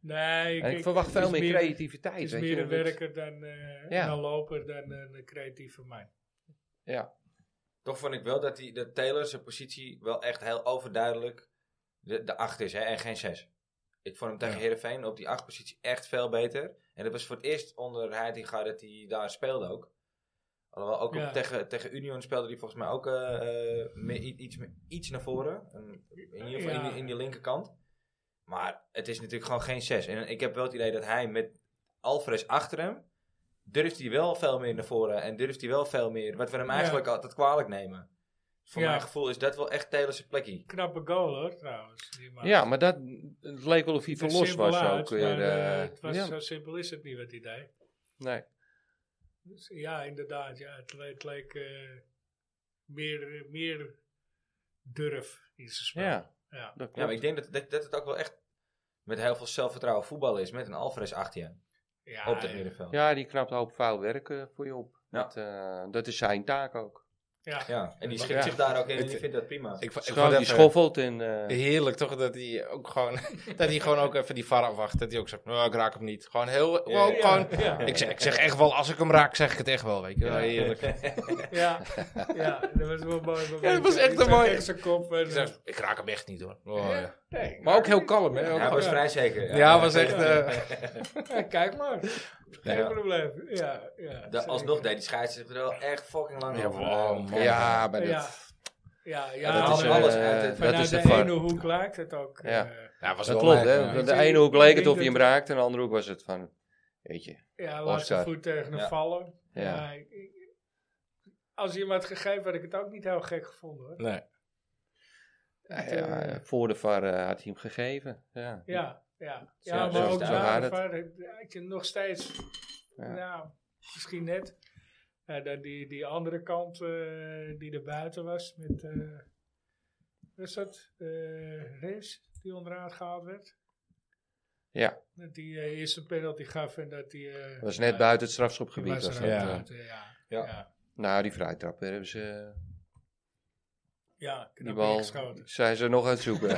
Speaker 2: nee,
Speaker 4: en ik, verwacht
Speaker 2: het is
Speaker 4: veel meer
Speaker 2: Het
Speaker 4: creativiteit.
Speaker 2: is
Speaker 4: weet
Speaker 2: meer
Speaker 4: je,
Speaker 2: een
Speaker 4: dat-
Speaker 2: werker dan eh,
Speaker 4: Ja.
Speaker 2: een loper dan een eh, creatieve man.
Speaker 4: Ja,
Speaker 1: Toch vond ik wel dat, die, dat Taylor zijn positie wel echt heel overduidelijk de, de 8 is hè, en geen 6. Ik vond hem tegen
Speaker 3: Ja.
Speaker 1: Heerenveen op die 8 positie echt veel beter. En dat was voor het eerst onder Heitinga dat hij daar speelde ook. Alhoewel ook op-
Speaker 2: Ja.
Speaker 1: tegen, tegen Union speelde hij volgens mij ook eh, eh, meer, i- iets, meer- iets naar voren. Een- in ieder geval in, die- in die linkerkant. Maar het is natuurlijk gewoon geen 6. En ik heb wel het idee dat hij met Alvarez achter hem. durft hij wel veel meer naar voren. En durft hij wel veel meer. Wat we hem
Speaker 2: Ja.
Speaker 1: eigenlijk altijd kwalijk nemen. Voor
Speaker 2: Ja.
Speaker 1: mijn gevoel is dat wel echt Taylor's plekje.
Speaker 2: Knappe goal hoor, trouwens. die man.
Speaker 4: ja maar dat het leek wel of hij
Speaker 2: Het is
Speaker 4: verlos
Speaker 2: simpel
Speaker 4: was
Speaker 2: uit,
Speaker 4: ook weer.
Speaker 2: maar, eh,
Speaker 4: eh,
Speaker 2: het was
Speaker 4: ja,
Speaker 2: Zo simpel is het niet wat hij deed.
Speaker 4: nee.
Speaker 2: Dus ja, inderdaad. Ja, het, le- het leek eh, meer, meer durf in zijn spel.
Speaker 4: ja,
Speaker 2: Ja.
Speaker 4: dat klopt.
Speaker 1: Ja, maar ik denk dat, dat, dat het ook wel echt met heel veel zelfvertrouwen voetbal is. Met een Alvarez achter je.
Speaker 2: Ja,
Speaker 1: op dat
Speaker 2: Ah, ja.
Speaker 1: middenveld. Ja.
Speaker 4: Ja, die knapt een hoop vuil werken voor je op.
Speaker 1: Ja.
Speaker 4: Dat, eh, dat is zijn taak ook.
Speaker 2: Ja.
Speaker 1: En die
Speaker 4: Ja.
Speaker 1: schikt zich daar ook in. En
Speaker 3: Het-
Speaker 1: die vindt dat prima.
Speaker 3: Ik, vo- ik
Speaker 4: Scho-
Speaker 3: vond
Speaker 4: die
Speaker 3: even
Speaker 4: schoffelt en... eh,
Speaker 3: Heerlijk toch dat hij ook gewoon, [laughs] dat hij gewoon ook even die VAR afwacht. Dat hij ook zegt, nou ik raak hem niet. Gewoon heel, gewoon-
Speaker 1: ja.
Speaker 3: gewoon,
Speaker 2: Ja.
Speaker 3: Ik, zeg, ik zeg echt wel, als ik hem raak zeg ik het echt wel, weet je wel. Heerlijk.
Speaker 2: Ja, ja, dat was wel een mooi. moment.
Speaker 3: Ja, dat was echt
Speaker 2: Ik
Speaker 3: een
Speaker 2: zag
Speaker 3: mooi-
Speaker 2: echt zijn kop. En,
Speaker 3: Ik zeg, ik raak hem echt niet hoor. Oh, ja.
Speaker 2: Nee,
Speaker 3: Maar ook heel kalm hè. Ook-
Speaker 1: Hij was vrij zeker.
Speaker 3: ja, was echt... eh,
Speaker 2: ja, kijk maar. Geen
Speaker 1: Ja.
Speaker 2: probleem. Ja, ja,
Speaker 1: Da- alsnog
Speaker 2: zeker.
Speaker 1: deed die scheidsrechter er wel echt fucking lang
Speaker 3: ja,
Speaker 1: over.
Speaker 3: wow, man.
Speaker 4: ja, maar dat...
Speaker 2: Ja, ja, ja,
Speaker 1: dat
Speaker 4: dat
Speaker 1: is,
Speaker 4: is,
Speaker 2: maar
Speaker 1: eh, alles
Speaker 4: alles
Speaker 1: uit het-
Speaker 4: dat
Speaker 2: vanuit
Speaker 4: is de
Speaker 2: de
Speaker 4: var.
Speaker 2: ene hoek lijkt het ook.
Speaker 4: Ja.
Speaker 2: eh,
Speaker 3: Ja, was
Speaker 4: Dat
Speaker 3: wel
Speaker 4: klopt,
Speaker 3: leuk,
Speaker 4: hè.
Speaker 3: maar-
Speaker 4: De,
Speaker 2: Ik
Speaker 4: ene hoek
Speaker 2: denk
Speaker 4: leek het
Speaker 2: dat
Speaker 4: of hij hem
Speaker 2: het-
Speaker 4: raakte, en de andere hoek was het van... Weet je,
Speaker 2: Ja, laat zijn
Speaker 4: Oscar.
Speaker 2: voet tegen hem
Speaker 1: Ja.
Speaker 2: vallen.
Speaker 4: Ja.
Speaker 2: Ja, ik- ik- als iemand gegeven had ik het ook niet heel gek gevonden hoor.
Speaker 3: Nee.
Speaker 4: Ja,
Speaker 2: eh,
Speaker 4: ja, voor de VAR eh, had hij hem gegeven. Ja.
Speaker 2: Ja, ja.
Speaker 1: Zo-
Speaker 2: ja
Speaker 1: zo
Speaker 2: maar ook
Speaker 1: gaat
Speaker 2: daar
Speaker 4: het.
Speaker 2: had je nog steeds,
Speaker 4: Ja.
Speaker 2: nou, misschien net, eh, dat die, die andere kant eh, die er buiten was met, eh wat is dat, eh Rees, die onderuit gehaald werd.
Speaker 4: Ja.
Speaker 2: Dat die eh, eerst een penalty gaf en dat die... eh,
Speaker 4: Dat was net
Speaker 2: ja,
Speaker 4: buiten het
Speaker 2: die
Speaker 4: strafschopgebied.
Speaker 2: was
Speaker 4: Was
Speaker 2: er
Speaker 4: dat. eh.
Speaker 2: ook
Speaker 3: ja.
Speaker 2: buiten, ja.
Speaker 1: Ja.
Speaker 2: ja.
Speaker 4: Nou, die vrijtrap daar hebben ze eh,
Speaker 2: Ja,
Speaker 4: die
Speaker 2: knap
Speaker 4: bal.
Speaker 2: ingeschoten.
Speaker 4: Zijn ze nog aan het zoeken.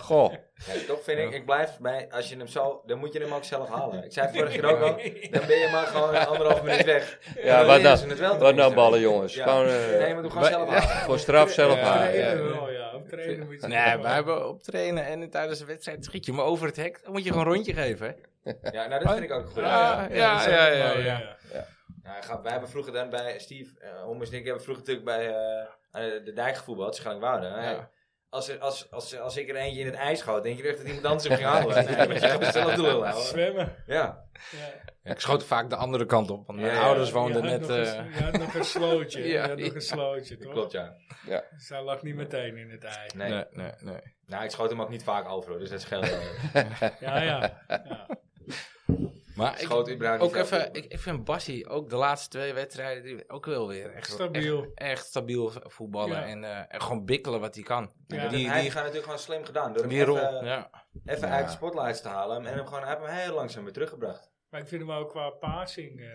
Speaker 4: [laughs] Goh.
Speaker 1: Ja, toch vind ik, ik blijf bij, als je hem zo, dan moet je hem ook zelf halen. Ik zei
Speaker 4: [laughs]
Speaker 1: het vorige keer ook al, dan ben je maar gewoon anderhalf minuut weg.
Speaker 4: Ja,
Speaker 1: dan
Speaker 4: wat
Speaker 1: leren
Speaker 4: nou-
Speaker 1: ze het wel
Speaker 4: Wat nou
Speaker 1: tenminste.
Speaker 4: ballen, jongens.
Speaker 1: Ja.
Speaker 4: Gewoon, eh,
Speaker 1: Nee, maar doe gewoon zelf halen.
Speaker 4: [laughs] voor straf zelf
Speaker 3: Ja,
Speaker 4: halen.
Speaker 3: ja.
Speaker 4: Ja.
Speaker 2: Trainen wel, ja. Op trainen moet je
Speaker 3: Nee, wij hebben op trainen en tijdens de wedstrijd schiet je hem over het hek. Dan moet je gewoon een rondje geven. Hè?
Speaker 1: Ja, nou dat vind ik ook goed.
Speaker 3: Ja, ja,
Speaker 2: dat is
Speaker 3: ja,
Speaker 2: ook
Speaker 3: ja,
Speaker 2: mooi,
Speaker 3: ja.
Speaker 1: Nou, ga- wij hebben vroeger dan bij Steve, eh Hommers en ik hebben vroeger natuurlijk bij eh, eh, de dijk gevoetbald, Schellingwoude. Hey,
Speaker 3: Ja.
Speaker 1: Als, er- als, als, als ik er eentje in het ijs schoot, denk je echt dat iemand anders hem
Speaker 4: [laughs]
Speaker 1: ging halen? Nee, maar ze gaan zelf de lul houden.
Speaker 2: Zwemmen.
Speaker 1: Ja,
Speaker 2: Ja.
Speaker 3: Ja, ik schoot vaak de andere kant op, want mijn
Speaker 1: Ja, ja.
Speaker 3: ouders woonden
Speaker 2: Je had
Speaker 3: net...
Speaker 2: nog
Speaker 3: eh,
Speaker 2: een- Je had nog een slootje.
Speaker 3: [laughs] Ja,
Speaker 2: Je had nog
Speaker 3: ja.
Speaker 2: een slootje, toch?
Speaker 1: klopt ja.
Speaker 2: Zij lag niet meteen in het ei.
Speaker 1: Nee.
Speaker 3: Nee, nee, nee.
Speaker 1: Nou, ik schoot hem ook niet vaak over, hoor, dus dat scheelt.
Speaker 3: [laughs]
Speaker 1: wel.
Speaker 2: Ja, ja. ja.
Speaker 3: Maar ik,
Speaker 1: Schoot überhaupt niet
Speaker 3: ook
Speaker 1: veel
Speaker 3: even,
Speaker 1: over.
Speaker 3: ik, ik vind Bassi ook de laatste twee wedstrijden die- ook wel weer echt
Speaker 2: Stabiel.
Speaker 3: Echt, echt stabiel voetballen
Speaker 2: Ja.
Speaker 3: en, eh, en gewoon bikkelen wat hij kan.
Speaker 2: Ja.
Speaker 1: Die,
Speaker 3: die,
Speaker 1: hij eh,
Speaker 3: die,
Speaker 1: heeft natuurlijk gewoon slim gedaan. Door hem
Speaker 3: die rol.
Speaker 1: even,
Speaker 3: ja.
Speaker 1: even
Speaker 4: Ja.
Speaker 1: uit de spotlights te halen. En hem gewoon, hij heeft hem heel langzaam weer teruggebracht.
Speaker 2: Maar ik vind hem ook qua passing... eh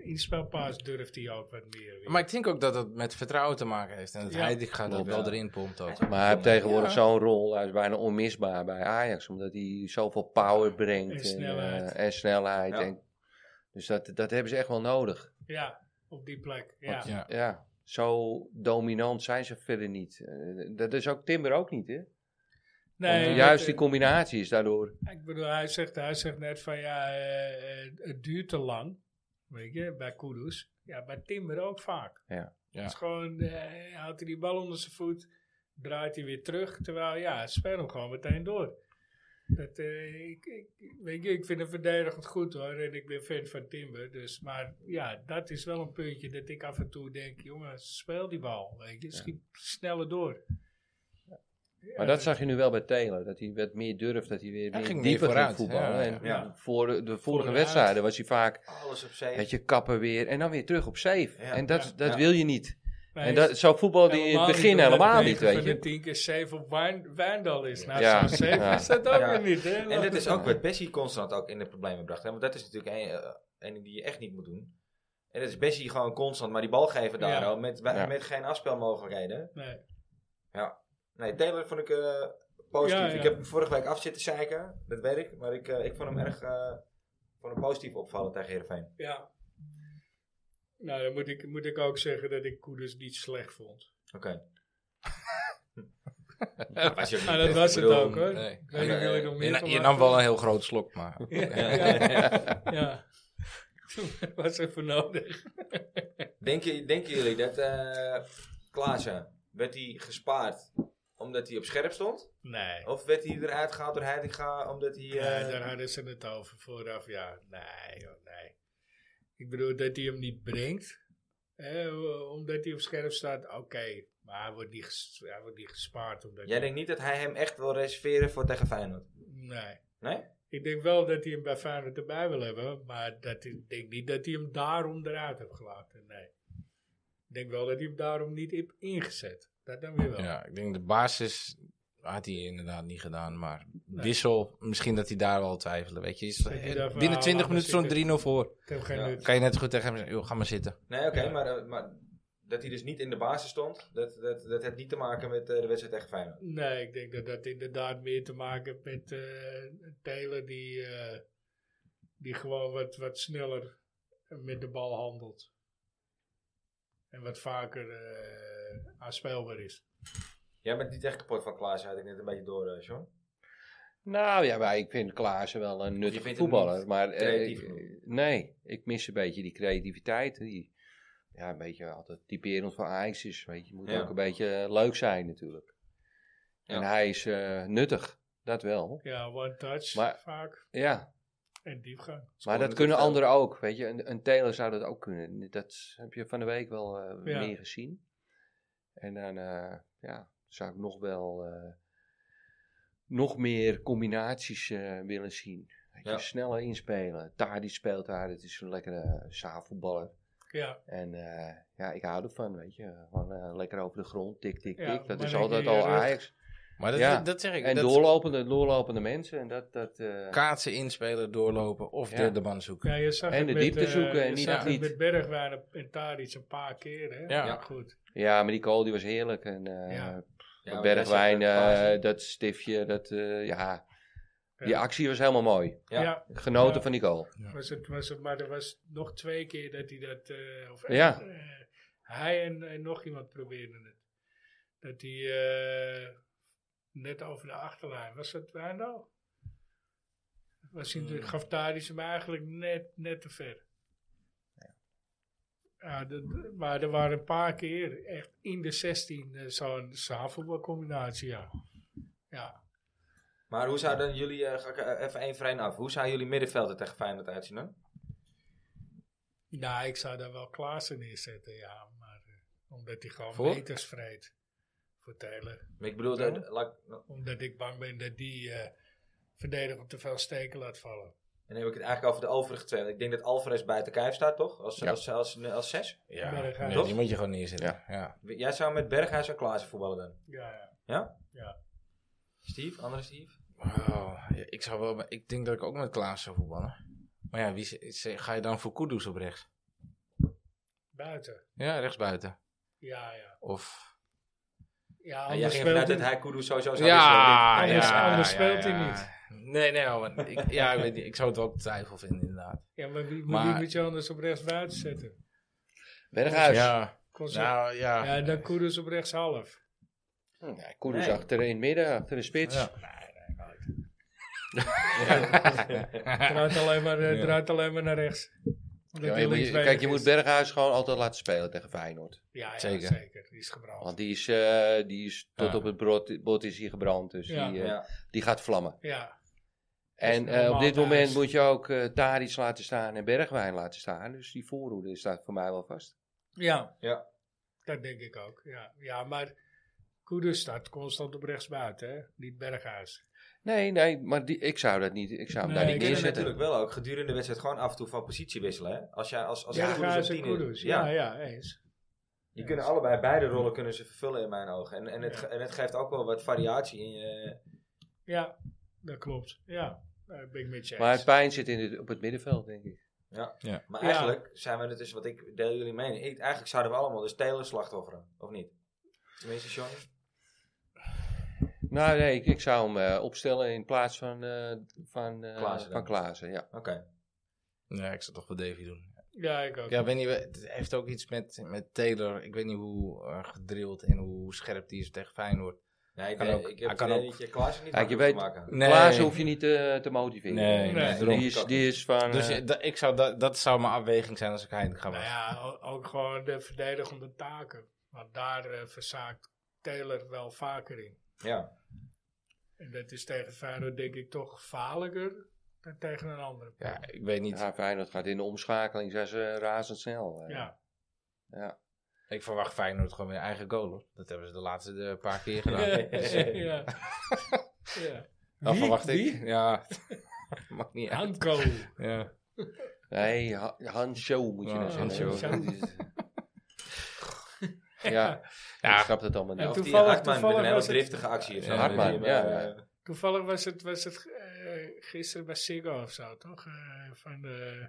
Speaker 2: inspelpaas durft hij ook wat meer. weer.
Speaker 3: Maar ik denk ook dat dat met vertrouwen te maken heeft. En dat
Speaker 2: Ja.
Speaker 3: hij die gaat dat
Speaker 4: Klopt,
Speaker 3: wel
Speaker 1: ja.
Speaker 3: erin pompt ook.
Speaker 4: Maar hij heeft tegenwoordig
Speaker 3: Ja.
Speaker 4: zo'n rol. Hij is bijna onmisbaar bij Ajax. Omdat hij zoveel power brengt.
Speaker 2: En
Speaker 4: eh,
Speaker 2: snelheid.
Speaker 4: en snelheid.
Speaker 1: Ja.
Speaker 4: En, dus dat, dat hebben ze echt wel nodig.
Speaker 2: Ja, op die plek. Ja.
Speaker 3: Want ja.
Speaker 4: Ja, zo dominant zijn ze verder niet. Eh, dat is ook Timber ook niet, hè?
Speaker 2: Nee,
Speaker 4: Juist
Speaker 2: met- eh,
Speaker 4: die combinatie is daardoor...
Speaker 2: Ik bedoel, hij zegt, hij zegt net van ja, eh, eh, het duurt te lang. Weet je, bij Kudus. Ja, bij Timber ook vaak.
Speaker 4: Ja.
Speaker 3: Ja.
Speaker 2: Het is gewoon, eh, houdt hij die bal onder zijn voet, draait hij weer terug. Terwijl, ja, speel hem gewoon meteen door. Dat, eh, ik, ik, weet je, ik vind hem verdedigend goed hoor. En ik ben fan van Timber. Dus, maar ja, dat is wel een puntje dat ik af en toe denk, jongen, speel die bal. Weet je, schiet sneller door.
Speaker 4: Maar dat zag je nu wel bij Taylor. Dat hij wat meer durft. Dat hij weer,
Speaker 3: Hij
Speaker 4: weer
Speaker 3: ging meer
Speaker 4: dieper
Speaker 3: vooruit,
Speaker 4: ging voetballen.
Speaker 3: ja, ja.
Speaker 4: En
Speaker 1: Ja.
Speaker 4: Voor de, de vorige
Speaker 2: Vooruit.
Speaker 4: wedstrijden was hij vaak...
Speaker 1: Alles op zee.
Speaker 4: Weet je, kappen weer en dan weer terug op safe.
Speaker 1: Ja,
Speaker 4: en dat,
Speaker 2: ja,
Speaker 4: dat
Speaker 1: ja.
Speaker 4: wil je niet.
Speaker 2: Maar
Speaker 4: En
Speaker 2: hij
Speaker 4: dat,
Speaker 2: is
Speaker 4: zo voetbal die in het begin
Speaker 2: omdat
Speaker 4: helemaal
Speaker 2: negen
Speaker 4: niet, weet
Speaker 2: van de
Speaker 4: je.
Speaker 2: tien keer zeven op Wijn- Wijndal is. Nou,
Speaker 4: Ja,
Speaker 2: zo'n zeven
Speaker 4: ja.
Speaker 2: is dat ook
Speaker 1: Ja.
Speaker 2: weer niet. Hè?
Speaker 1: En dat is ook wat Bessie constant ook in de problemen bracht. Hè? Want dat is natuurlijk een, eh, een die je echt niet moet doen. En dat is Bessie gewoon constant, maar die bal geven daar
Speaker 2: Ja.
Speaker 1: al met,
Speaker 4: Ja.
Speaker 1: met geen afspelmogelijkheden.
Speaker 2: Nee.
Speaker 1: Nee, Taylor vond ik eh, positief.
Speaker 2: Ja, ja.
Speaker 1: Ik heb hem vorige week af zitten zeiken, dat weet ik. Maar ik, eh, ik vond hem erg eh, vond hem positief opvallen tegen Heerenveen.
Speaker 2: Ja. Nou, dan moet ik, moet ik ook zeggen dat ik Koeders niet slecht vond.
Speaker 1: Oké.
Speaker 2: [laughs]
Speaker 1: Ja, was je ook niet
Speaker 2: Maar Nou,
Speaker 1: best.
Speaker 2: dat
Speaker 1: Ik
Speaker 2: was het
Speaker 1: bedoel,
Speaker 2: ook hoor.
Speaker 3: nee.
Speaker 2: Ik weet niet of jullie nog meer
Speaker 3: Je,
Speaker 2: van
Speaker 3: je
Speaker 2: maken.
Speaker 3: nam wel een heel groot
Speaker 2: [laughs]
Speaker 3: slok, maar...
Speaker 2: Ja.
Speaker 3: [laughs]
Speaker 2: ja. ja. [laughs] was er voor nodig.
Speaker 1: Denken, denken jullie dat eh Klaassen, werd hij gespaard omdat hij op scherp stond?
Speaker 2: Nee.
Speaker 1: Of werd hij eruit gehaald door Heitinga omdat hij...
Speaker 2: Ja,
Speaker 1: eh,
Speaker 2: daar hadden ze het over vooraf. Ja, nee, joh, nee. Ik bedoel, dat hij hem niet brengt. Hè, omdat hij op scherp staat, oké. Maar hij wordt niet, ges- hij wordt niet gespaard. Omdat
Speaker 1: Jij denkt niet dat hij hem echt wil reserveren voor tegen Feyenoord?
Speaker 2: Nee.
Speaker 1: Nee?
Speaker 2: Ik denk wel dat hij hem bij Feyenoord erbij wil hebben, maar dat, ik denk niet dat hij hem daarom eruit heeft gelaten. Nee. Ik denk wel dat hij hem daarom niet heeft ingezet. Dat dan weer wel.
Speaker 3: Ja, ik denk de basis had hij inderdaad niet gedaan. Maar
Speaker 2: Nee.
Speaker 3: wissel, misschien dat hij daar wel twijfelde. Weet je, Is-
Speaker 2: hij
Speaker 3: eh,
Speaker 2: daarvan
Speaker 3: binnen
Speaker 2: aan
Speaker 3: 20
Speaker 2: laat
Speaker 3: minuten zo'n 3-0
Speaker 2: zitten.
Speaker 3: voor.
Speaker 2: Het heeft geen
Speaker 1: Ja.
Speaker 2: nut.
Speaker 3: Kan je net zo goed tegen hem zeggen, joh, ga maar zitten.
Speaker 1: Nee, oké,
Speaker 2: Ja.
Speaker 1: maar, eh, maar dat hij dus niet in de basis stond, dat, dat, dat heeft niet te maken met eh, de wedstrijd tegen Feyenoord.
Speaker 2: Nee, ik denk dat dat inderdaad meer te maken heeft met eh Taylor die, eh, die gewoon wat, wat sneller met de bal handelt. En wat vaker eh aanspelbaar is.
Speaker 1: Jij bent niet echt kapot van Klaas, had ik net een beetje door, eh, John.
Speaker 4: Nou ja, maar ik vind Klaassen wel een
Speaker 1: Je
Speaker 4: nuttige
Speaker 1: vindt hem
Speaker 4: voetballer.
Speaker 1: niet
Speaker 4: Maar eh,
Speaker 1: creatief
Speaker 4: ik-
Speaker 1: genoeg?
Speaker 4: nee, ik mis een beetje die creativiteit. Die, ja, een beetje altijd typerend voor Ajax is. Weet je, je moet
Speaker 1: Ja.
Speaker 4: ook een beetje eh, leuk zijn natuurlijk. En
Speaker 1: Ja.
Speaker 4: hij is eh, nuttig, dat wel.
Speaker 2: Ja, one touch
Speaker 4: Maar-
Speaker 2: vaak.
Speaker 4: Ja,
Speaker 2: En diepgang.
Speaker 4: Maar dat kunnen anderen ook, weet je. Een, een teler zou dat ook kunnen. Dat heb je van de week wel eh,
Speaker 2: Ja.
Speaker 4: meer gezien. En dan eh, ja, zou ik nog wel eh, nog meer combinaties eh, willen zien. Weet je,
Speaker 1: Ja.
Speaker 4: Sneller inspelen. Tadi speelt daar, het is een lekkere zaalvoetballer.
Speaker 2: Ja.
Speaker 4: En eh, ja, ik hou ervan, weet je. Gewoon eh, lekker over de grond, tik, tik,
Speaker 2: Ja,
Speaker 4: tik. Dat
Speaker 2: maar
Speaker 4: is
Speaker 2: dan
Speaker 4: altijd
Speaker 2: kun je
Speaker 4: al
Speaker 2: rug-
Speaker 4: Ajax.
Speaker 3: Maar dat,
Speaker 4: Ja.
Speaker 3: dat, dat zeg ik.
Speaker 4: En
Speaker 3: dat
Speaker 4: doorlopende, doorlopende mensen. En dat, dat, eh,
Speaker 3: Kaatsen, inspelen, doorlopen of
Speaker 4: Ja.
Speaker 3: de, de band zoeken.
Speaker 2: Ja, je zag
Speaker 4: En
Speaker 2: het
Speaker 4: de
Speaker 2: met,
Speaker 4: diepte
Speaker 2: eh,
Speaker 4: zoeken en
Speaker 2: je
Speaker 4: niet
Speaker 2: zag
Speaker 4: dat
Speaker 2: het
Speaker 4: niet.
Speaker 2: met Bergwijn en Tadic een paar keer, hè?
Speaker 3: Ja.
Speaker 2: goed.
Speaker 4: ja, maar die goal die was heerlijk. En
Speaker 2: Ja.
Speaker 4: eh,
Speaker 1: Ja, want jij zegt,
Speaker 4: Bergwijn,
Speaker 1: eh,
Speaker 4: eh,
Speaker 1: Klaassen.
Speaker 4: dat stiftje, dat, eh, ja.
Speaker 2: Ja.
Speaker 4: Die actie was helemaal mooi.
Speaker 2: Ja,
Speaker 1: Ja.
Speaker 4: Genoten
Speaker 2: Ja.
Speaker 4: van die goal.
Speaker 2: Was het, was het, maar er was nog twee keer dat hij dat... eh, of,
Speaker 4: Ja.
Speaker 2: eh, hij en, en nog iemand probeerden het. Dat hij eh, net over de achterlijn... Was dat waar nou? Was hij,
Speaker 1: Hmm.
Speaker 2: Gaf Tadic hem eigenlijk net, net te ver. Ja, dat- maar er waren een paar keer echt in de 16 eh, zo'n zaalvoetbalcombinatie, ja. Ja.
Speaker 1: Maar hoe zou dan jullie, eh, ga ik eh, even één vrein af, hoe zou jullie middenvelden tegen Feyenoord uitzien dan?
Speaker 2: Nou, ik zou daar wel Klaassen neerzetten, ja. Maar, eh, omdat hij gewoon
Speaker 3: Voor?
Speaker 2: meters vreet voor Taylor.
Speaker 1: Maar Ik bedoel,
Speaker 2: Ja.
Speaker 1: dat, laat ik-
Speaker 2: Omdat ik bang ben dat die eh verdediger te veel steken laat vallen.
Speaker 1: dan heb ik het eigenlijk over de overige twee. want Ik denk dat Alvarez buiten kijf staat, toch? Als,
Speaker 4: Ja.
Speaker 1: als, als, als, zes?
Speaker 3: Ja,
Speaker 2: Ja, dat gaat.
Speaker 3: nee, die moet je gewoon neerzetten.
Speaker 4: Ja.
Speaker 3: Ja.
Speaker 1: Jij zou met Berghuis en Klaassen voetballen dan?
Speaker 2: Ja, ja.
Speaker 1: Steve, andere Steve?
Speaker 3: Wauw. Ja, ik, zou wel, ik denk dat ik ook met Klaas zou voetballen. Maar ja, wie, z- z- ga je dan voor Kudus op rechts?
Speaker 2: Buiten.
Speaker 3: Ja, rechtsbuiten.
Speaker 2: Ja, ja.
Speaker 3: Of...
Speaker 2: Ja,
Speaker 1: Ja, jij
Speaker 2: anders
Speaker 1: ging
Speaker 2: speelt
Speaker 1: vanuit dat
Speaker 2: hij...
Speaker 1: hij Kudus sowieso zou wisselen.
Speaker 3: Ja,
Speaker 2: Anders-
Speaker 3: ja,
Speaker 2: anders
Speaker 3: ja,
Speaker 2: speelt hij
Speaker 3: ja.
Speaker 2: niet.
Speaker 3: Nee, nee, oh, want ik, ja, ik, weet niet, ik zou het wel twijfel vinden, inderdaad.
Speaker 2: Ja, maar wie, maar...
Speaker 3: Maar-
Speaker 2: wie moet je anders op rechts buiten zetten?
Speaker 4: Berghuis. Ja.
Speaker 3: Ja,
Speaker 2: Concert.
Speaker 3: nou ja.
Speaker 2: ja, dan Koeders op rechts half.
Speaker 4: Hm, Ja, Koeders
Speaker 1: Nee.
Speaker 4: achter in het midden, achter de spits.
Speaker 3: Ja.
Speaker 2: Draait alleen maar, eh,
Speaker 3: Ja.
Speaker 2: draait alleen maar naar rechts. Omdat
Speaker 4: Ja,
Speaker 2: hij
Speaker 4: je moet-
Speaker 2: linksbenig
Speaker 4: kijk, je
Speaker 2: is.
Speaker 4: moet Berghuis gewoon altijd laten spelen tegen Feyenoord.
Speaker 2: Ja, ja, zeker.
Speaker 3: Zeker.
Speaker 2: Die is gebrand.
Speaker 4: Want die is, eh, die is tot
Speaker 3: Ja.
Speaker 4: op het brood, bot is hier gebrand. Dus
Speaker 2: Ja.
Speaker 4: die, eh,
Speaker 1: Ja.
Speaker 4: die gaat vlammen.
Speaker 2: Ja, is
Speaker 4: En eh, op
Speaker 2: normaal
Speaker 4: dit moment
Speaker 2: thuis.
Speaker 4: moet je ook eh Tadic laten staan en Bergwijn laten staan. Dus die voorhoede staat voor mij wel vast.
Speaker 2: ja.
Speaker 1: Ja.
Speaker 2: Dat denk ik ook, ja. Ja, maar Koeders staat constant op rechtsbuiten, hè? Niet Berghuis.
Speaker 4: Nee, nee, maar die, ik zou dat niet, ik zou hem
Speaker 2: Nee,
Speaker 4: daar
Speaker 1: Je
Speaker 4: niet
Speaker 2: ik
Speaker 1: kunt hem
Speaker 4: neerzetten.
Speaker 1: natuurlijk wel ook gedurende de wedstrijd gewoon af en toe van positie wisselen. Hè? Als jij als, als
Speaker 2: Berghuis
Speaker 1: Kudus op
Speaker 2: en
Speaker 1: tien is.
Speaker 2: Koeders,
Speaker 1: Ja.
Speaker 2: ja, ja, eens.
Speaker 1: Die kunnen allebei, beide rollen kunnen ze vervullen in mijn ogen. En, en, het,
Speaker 2: Ja.
Speaker 1: ge- en het geeft ook wel wat variatie in je...
Speaker 2: Ja, dat klopt. Ja, daar ben ik met je
Speaker 4: Maar
Speaker 2: eens.
Speaker 4: het pijn zit in het, op het middenveld, denk ik.
Speaker 1: Maar
Speaker 2: Ja.
Speaker 1: eigenlijk zijn we het dus, wat ik deel jullie mening. Ik, eigenlijk zouden we allemaal dus Taylor slachtofferen, of niet? Tenminste, John.
Speaker 4: Nou nee, ik, ik zou hem eh, opstellen in plaats van, eh, van, eh,
Speaker 1: Klaassen dan.
Speaker 4: van Klaassen. Ja.
Speaker 1: Oké.
Speaker 3: Nee, ik zou toch wel Davy doen.
Speaker 2: Ja, ik ook.
Speaker 3: Ja, ik weet niet, het heeft ook iets met, met Taylor. Ik weet niet hoe eh, gedrild en hoe scherp die is tegen Feyenoord.
Speaker 1: Nee, ik,
Speaker 3: Kan
Speaker 1: weet-
Speaker 3: ook.
Speaker 1: ik heb
Speaker 3: Hij
Speaker 1: het
Speaker 3: kan
Speaker 1: idee
Speaker 3: ook.
Speaker 1: dat je Klaassen niet
Speaker 4: Kijk, je
Speaker 1: makkelijk
Speaker 4: weet-
Speaker 1: te maken.
Speaker 3: Nee.
Speaker 4: Klaassen hoef je niet eh, te motiveren.
Speaker 3: Nee,
Speaker 2: nee,
Speaker 3: daarom.
Speaker 4: die, is, die is van...
Speaker 3: Dus
Speaker 4: eh,
Speaker 3: je- dat- ik zou, dat, dat zou mijn afweging zijn als ik Hein ga
Speaker 2: Nou
Speaker 3: maken.
Speaker 2: ja, o- ook gewoon de verdedigende taken. Want daar eh, verzaakt Taylor wel vaker in.
Speaker 1: Ja.
Speaker 2: En dat is tegen Feyenoord denk ik toch gevaarlijker dan tegen een andere.
Speaker 3: Ja, ik weet niet.
Speaker 4: ja, Feyenoord gaat in de omschakeling, zijn ze razendsnel. eh.
Speaker 2: Ja,
Speaker 3: Ik verwacht Feyenoord gewoon weer eigen goal. Hoor. Dat hebben ze de laatste eh, paar keer
Speaker 2: [laughs] ja.
Speaker 3: gedaan. Dus, eh,
Speaker 2: ja. ja.
Speaker 3: dat
Speaker 2: Wie?
Speaker 3: verwacht ik.
Speaker 2: Wie?
Speaker 3: Ja, [laughs] mag niet uit.
Speaker 2: Hanko.
Speaker 3: Ja.
Speaker 4: Nee, Ha- Hansjo moet je
Speaker 3: Ja,
Speaker 4: nou zeggen.
Speaker 3: Hansjo.
Speaker 2: [laughs]
Speaker 4: Ja,
Speaker 3: Ja.
Speaker 4: ik snap het allemaal
Speaker 2: En
Speaker 4: niet.
Speaker 1: Of die
Speaker 2: toevallig-
Speaker 1: Hartman met een
Speaker 2: toevallig
Speaker 1: hele
Speaker 2: was het-
Speaker 1: driftige actie of zo.
Speaker 3: Ja,
Speaker 4: Hartman,
Speaker 1: Die, eh,
Speaker 4: ja, ja.
Speaker 2: Toevallig was het, was het eh, gisteren bij Siggo of zo, toch? Eh, van de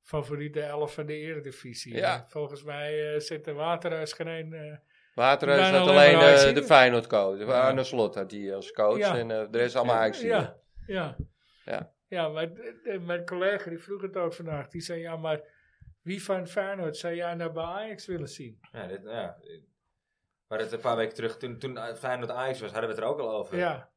Speaker 2: favoriete elf van de Eredivisie.
Speaker 4: Ja.
Speaker 2: En Volgens mij eh zit de Waterhuis geen... eh,
Speaker 4: Waterhuis
Speaker 2: Bijna
Speaker 4: had
Speaker 2: alleen
Speaker 4: alleen
Speaker 2: nou, maar
Speaker 4: eh,
Speaker 2: Ajax,
Speaker 4: de
Speaker 2: hè?
Speaker 4: Feyenoord coach. Arne Slot had die als coach
Speaker 2: Ja.
Speaker 4: en eh, de rest allemaal Ajax.
Speaker 2: Ja, ja.
Speaker 4: Ja.
Speaker 2: Ja, maar de- de- mijn collega die vroeg het ook vandaag. Die zei, ja, maar wie van Feyenoord zou jij naar bij Ajax willen zien?
Speaker 1: ja, dit, ja. Maar dat een paar weken terug, toen, toen Feyenoord Ajax was, hadden we het er ook al over.
Speaker 2: Ja,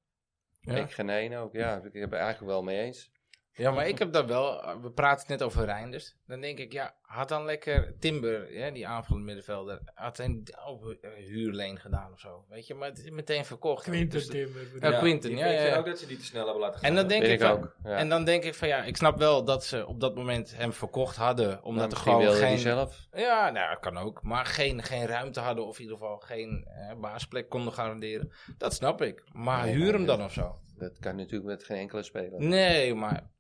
Speaker 3: Ja.
Speaker 4: Ik geneen ook, ja. Ik heb het eigenlijk wel mee eens.
Speaker 3: ja, maar ik heb dat wel. eh, We praten net over Reinders. Dan denk ik, ja, had dan lekker Timber, ja, die aanvallende middenvelder, had een op hu- eh, huurleen gedaan of zo. Weet je, maar het is meteen verkocht.
Speaker 2: Quinten
Speaker 3: Dus dat-
Speaker 2: Timber. bedoel
Speaker 3: Ja,
Speaker 2: ik.
Speaker 3: Quinten,
Speaker 1: ik
Speaker 3: ja,
Speaker 1: vind- Ik
Speaker 3: ja,
Speaker 1: vind
Speaker 3: ja.
Speaker 1: ook dat ze die te snel hebben laten gaan.
Speaker 3: En dan denk
Speaker 4: Vind ik
Speaker 3: ik van-
Speaker 4: ook. Ja.
Speaker 3: En dan denk ik van ja, ik snap wel dat ze op dat moment hem verkocht hadden. Omdat er gewoon
Speaker 4: wilde
Speaker 3: geen.
Speaker 4: die zelf.
Speaker 3: Ja, nou, dat kan ook. Maar geen, geen ruimte hadden of in ieder geval geen eh, baasplek konden garanderen. Dat snap ik. Maar
Speaker 4: Nee,
Speaker 3: huur
Speaker 4: nee,
Speaker 3: hem
Speaker 4: nee.
Speaker 3: dan of zo.
Speaker 4: Dat kan natuurlijk met geen enkele speler.
Speaker 3: Nee, maar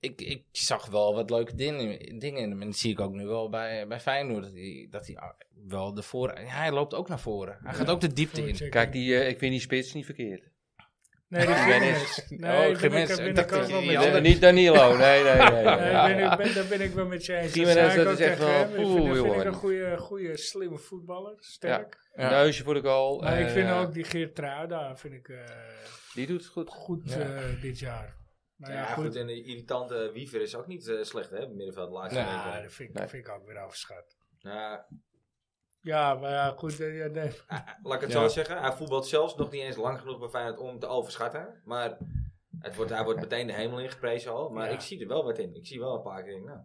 Speaker 3: ik, ik zag wel wat leuke dingen, dingen in hem. En dat zie ik ook nu wel bij, bij Feyenoord. Dat hij, dat hij ah, wel de voor... ja, hij loopt ook naar voren. Hij gaat ook de diepte in.
Speaker 2: Voorchecken.
Speaker 4: Kijk, die, eh, ik vind die spits niet verkeerd.
Speaker 2: Nee, die Jiménez.
Speaker 3: Oh,
Speaker 2: Nee, daar ben
Speaker 3: Jiménez.
Speaker 2: ik- daar ben
Speaker 3: Ik dacht
Speaker 2: ik ook wel
Speaker 3: dat je
Speaker 2: met
Speaker 3: die
Speaker 2: je
Speaker 3: andere-
Speaker 2: eens.
Speaker 4: Niet Danilo, nee, nee, nee.
Speaker 2: Nee,
Speaker 4: Ja.
Speaker 2: ben ik, ben, daar ben ik wel met je eens. Dat
Speaker 4: Jiménez,
Speaker 2: zei ik
Speaker 4: dat
Speaker 2: ook
Speaker 4: is echt
Speaker 2: tegen
Speaker 4: wel-
Speaker 2: hem. Ik vind-
Speaker 4: Oeh,
Speaker 2: dat vind ik
Speaker 4: jongen.
Speaker 2: een goede, goede, slimme voetballer. Sterk.
Speaker 3: Ja.
Speaker 4: Neusje voor de goal.
Speaker 2: Maar ik
Speaker 4: eh,
Speaker 2: vind ook die Geert vind ik eh,
Speaker 4: Die doet het goed.
Speaker 2: goed
Speaker 3: Ja.
Speaker 2: eh, dit jaar. Maar
Speaker 1: Ja, goed. en die irritante Wiever is ook niet eh, slecht, hè? Middenveld, de laatste
Speaker 3: Ja.
Speaker 2: Ja,
Speaker 1: weken.
Speaker 2: dat vind, ik-
Speaker 4: Nee.
Speaker 2: vind ik ook weer afschat.
Speaker 1: Nou,
Speaker 2: Ja, maar ja, goed. eh, ja, nee.
Speaker 1: Laat ik het
Speaker 3: Ja.
Speaker 1: zo zeggen. Hij voetbalt zelfs nog niet eens lang genoeg bij Feyenoord om te overschatten. Maar het wordt, hij wordt meteen de hemel ingeprezen al. Maar
Speaker 2: Ja.
Speaker 1: ik zie er wel wat in. Ik zie wel een paar keer in. Nou,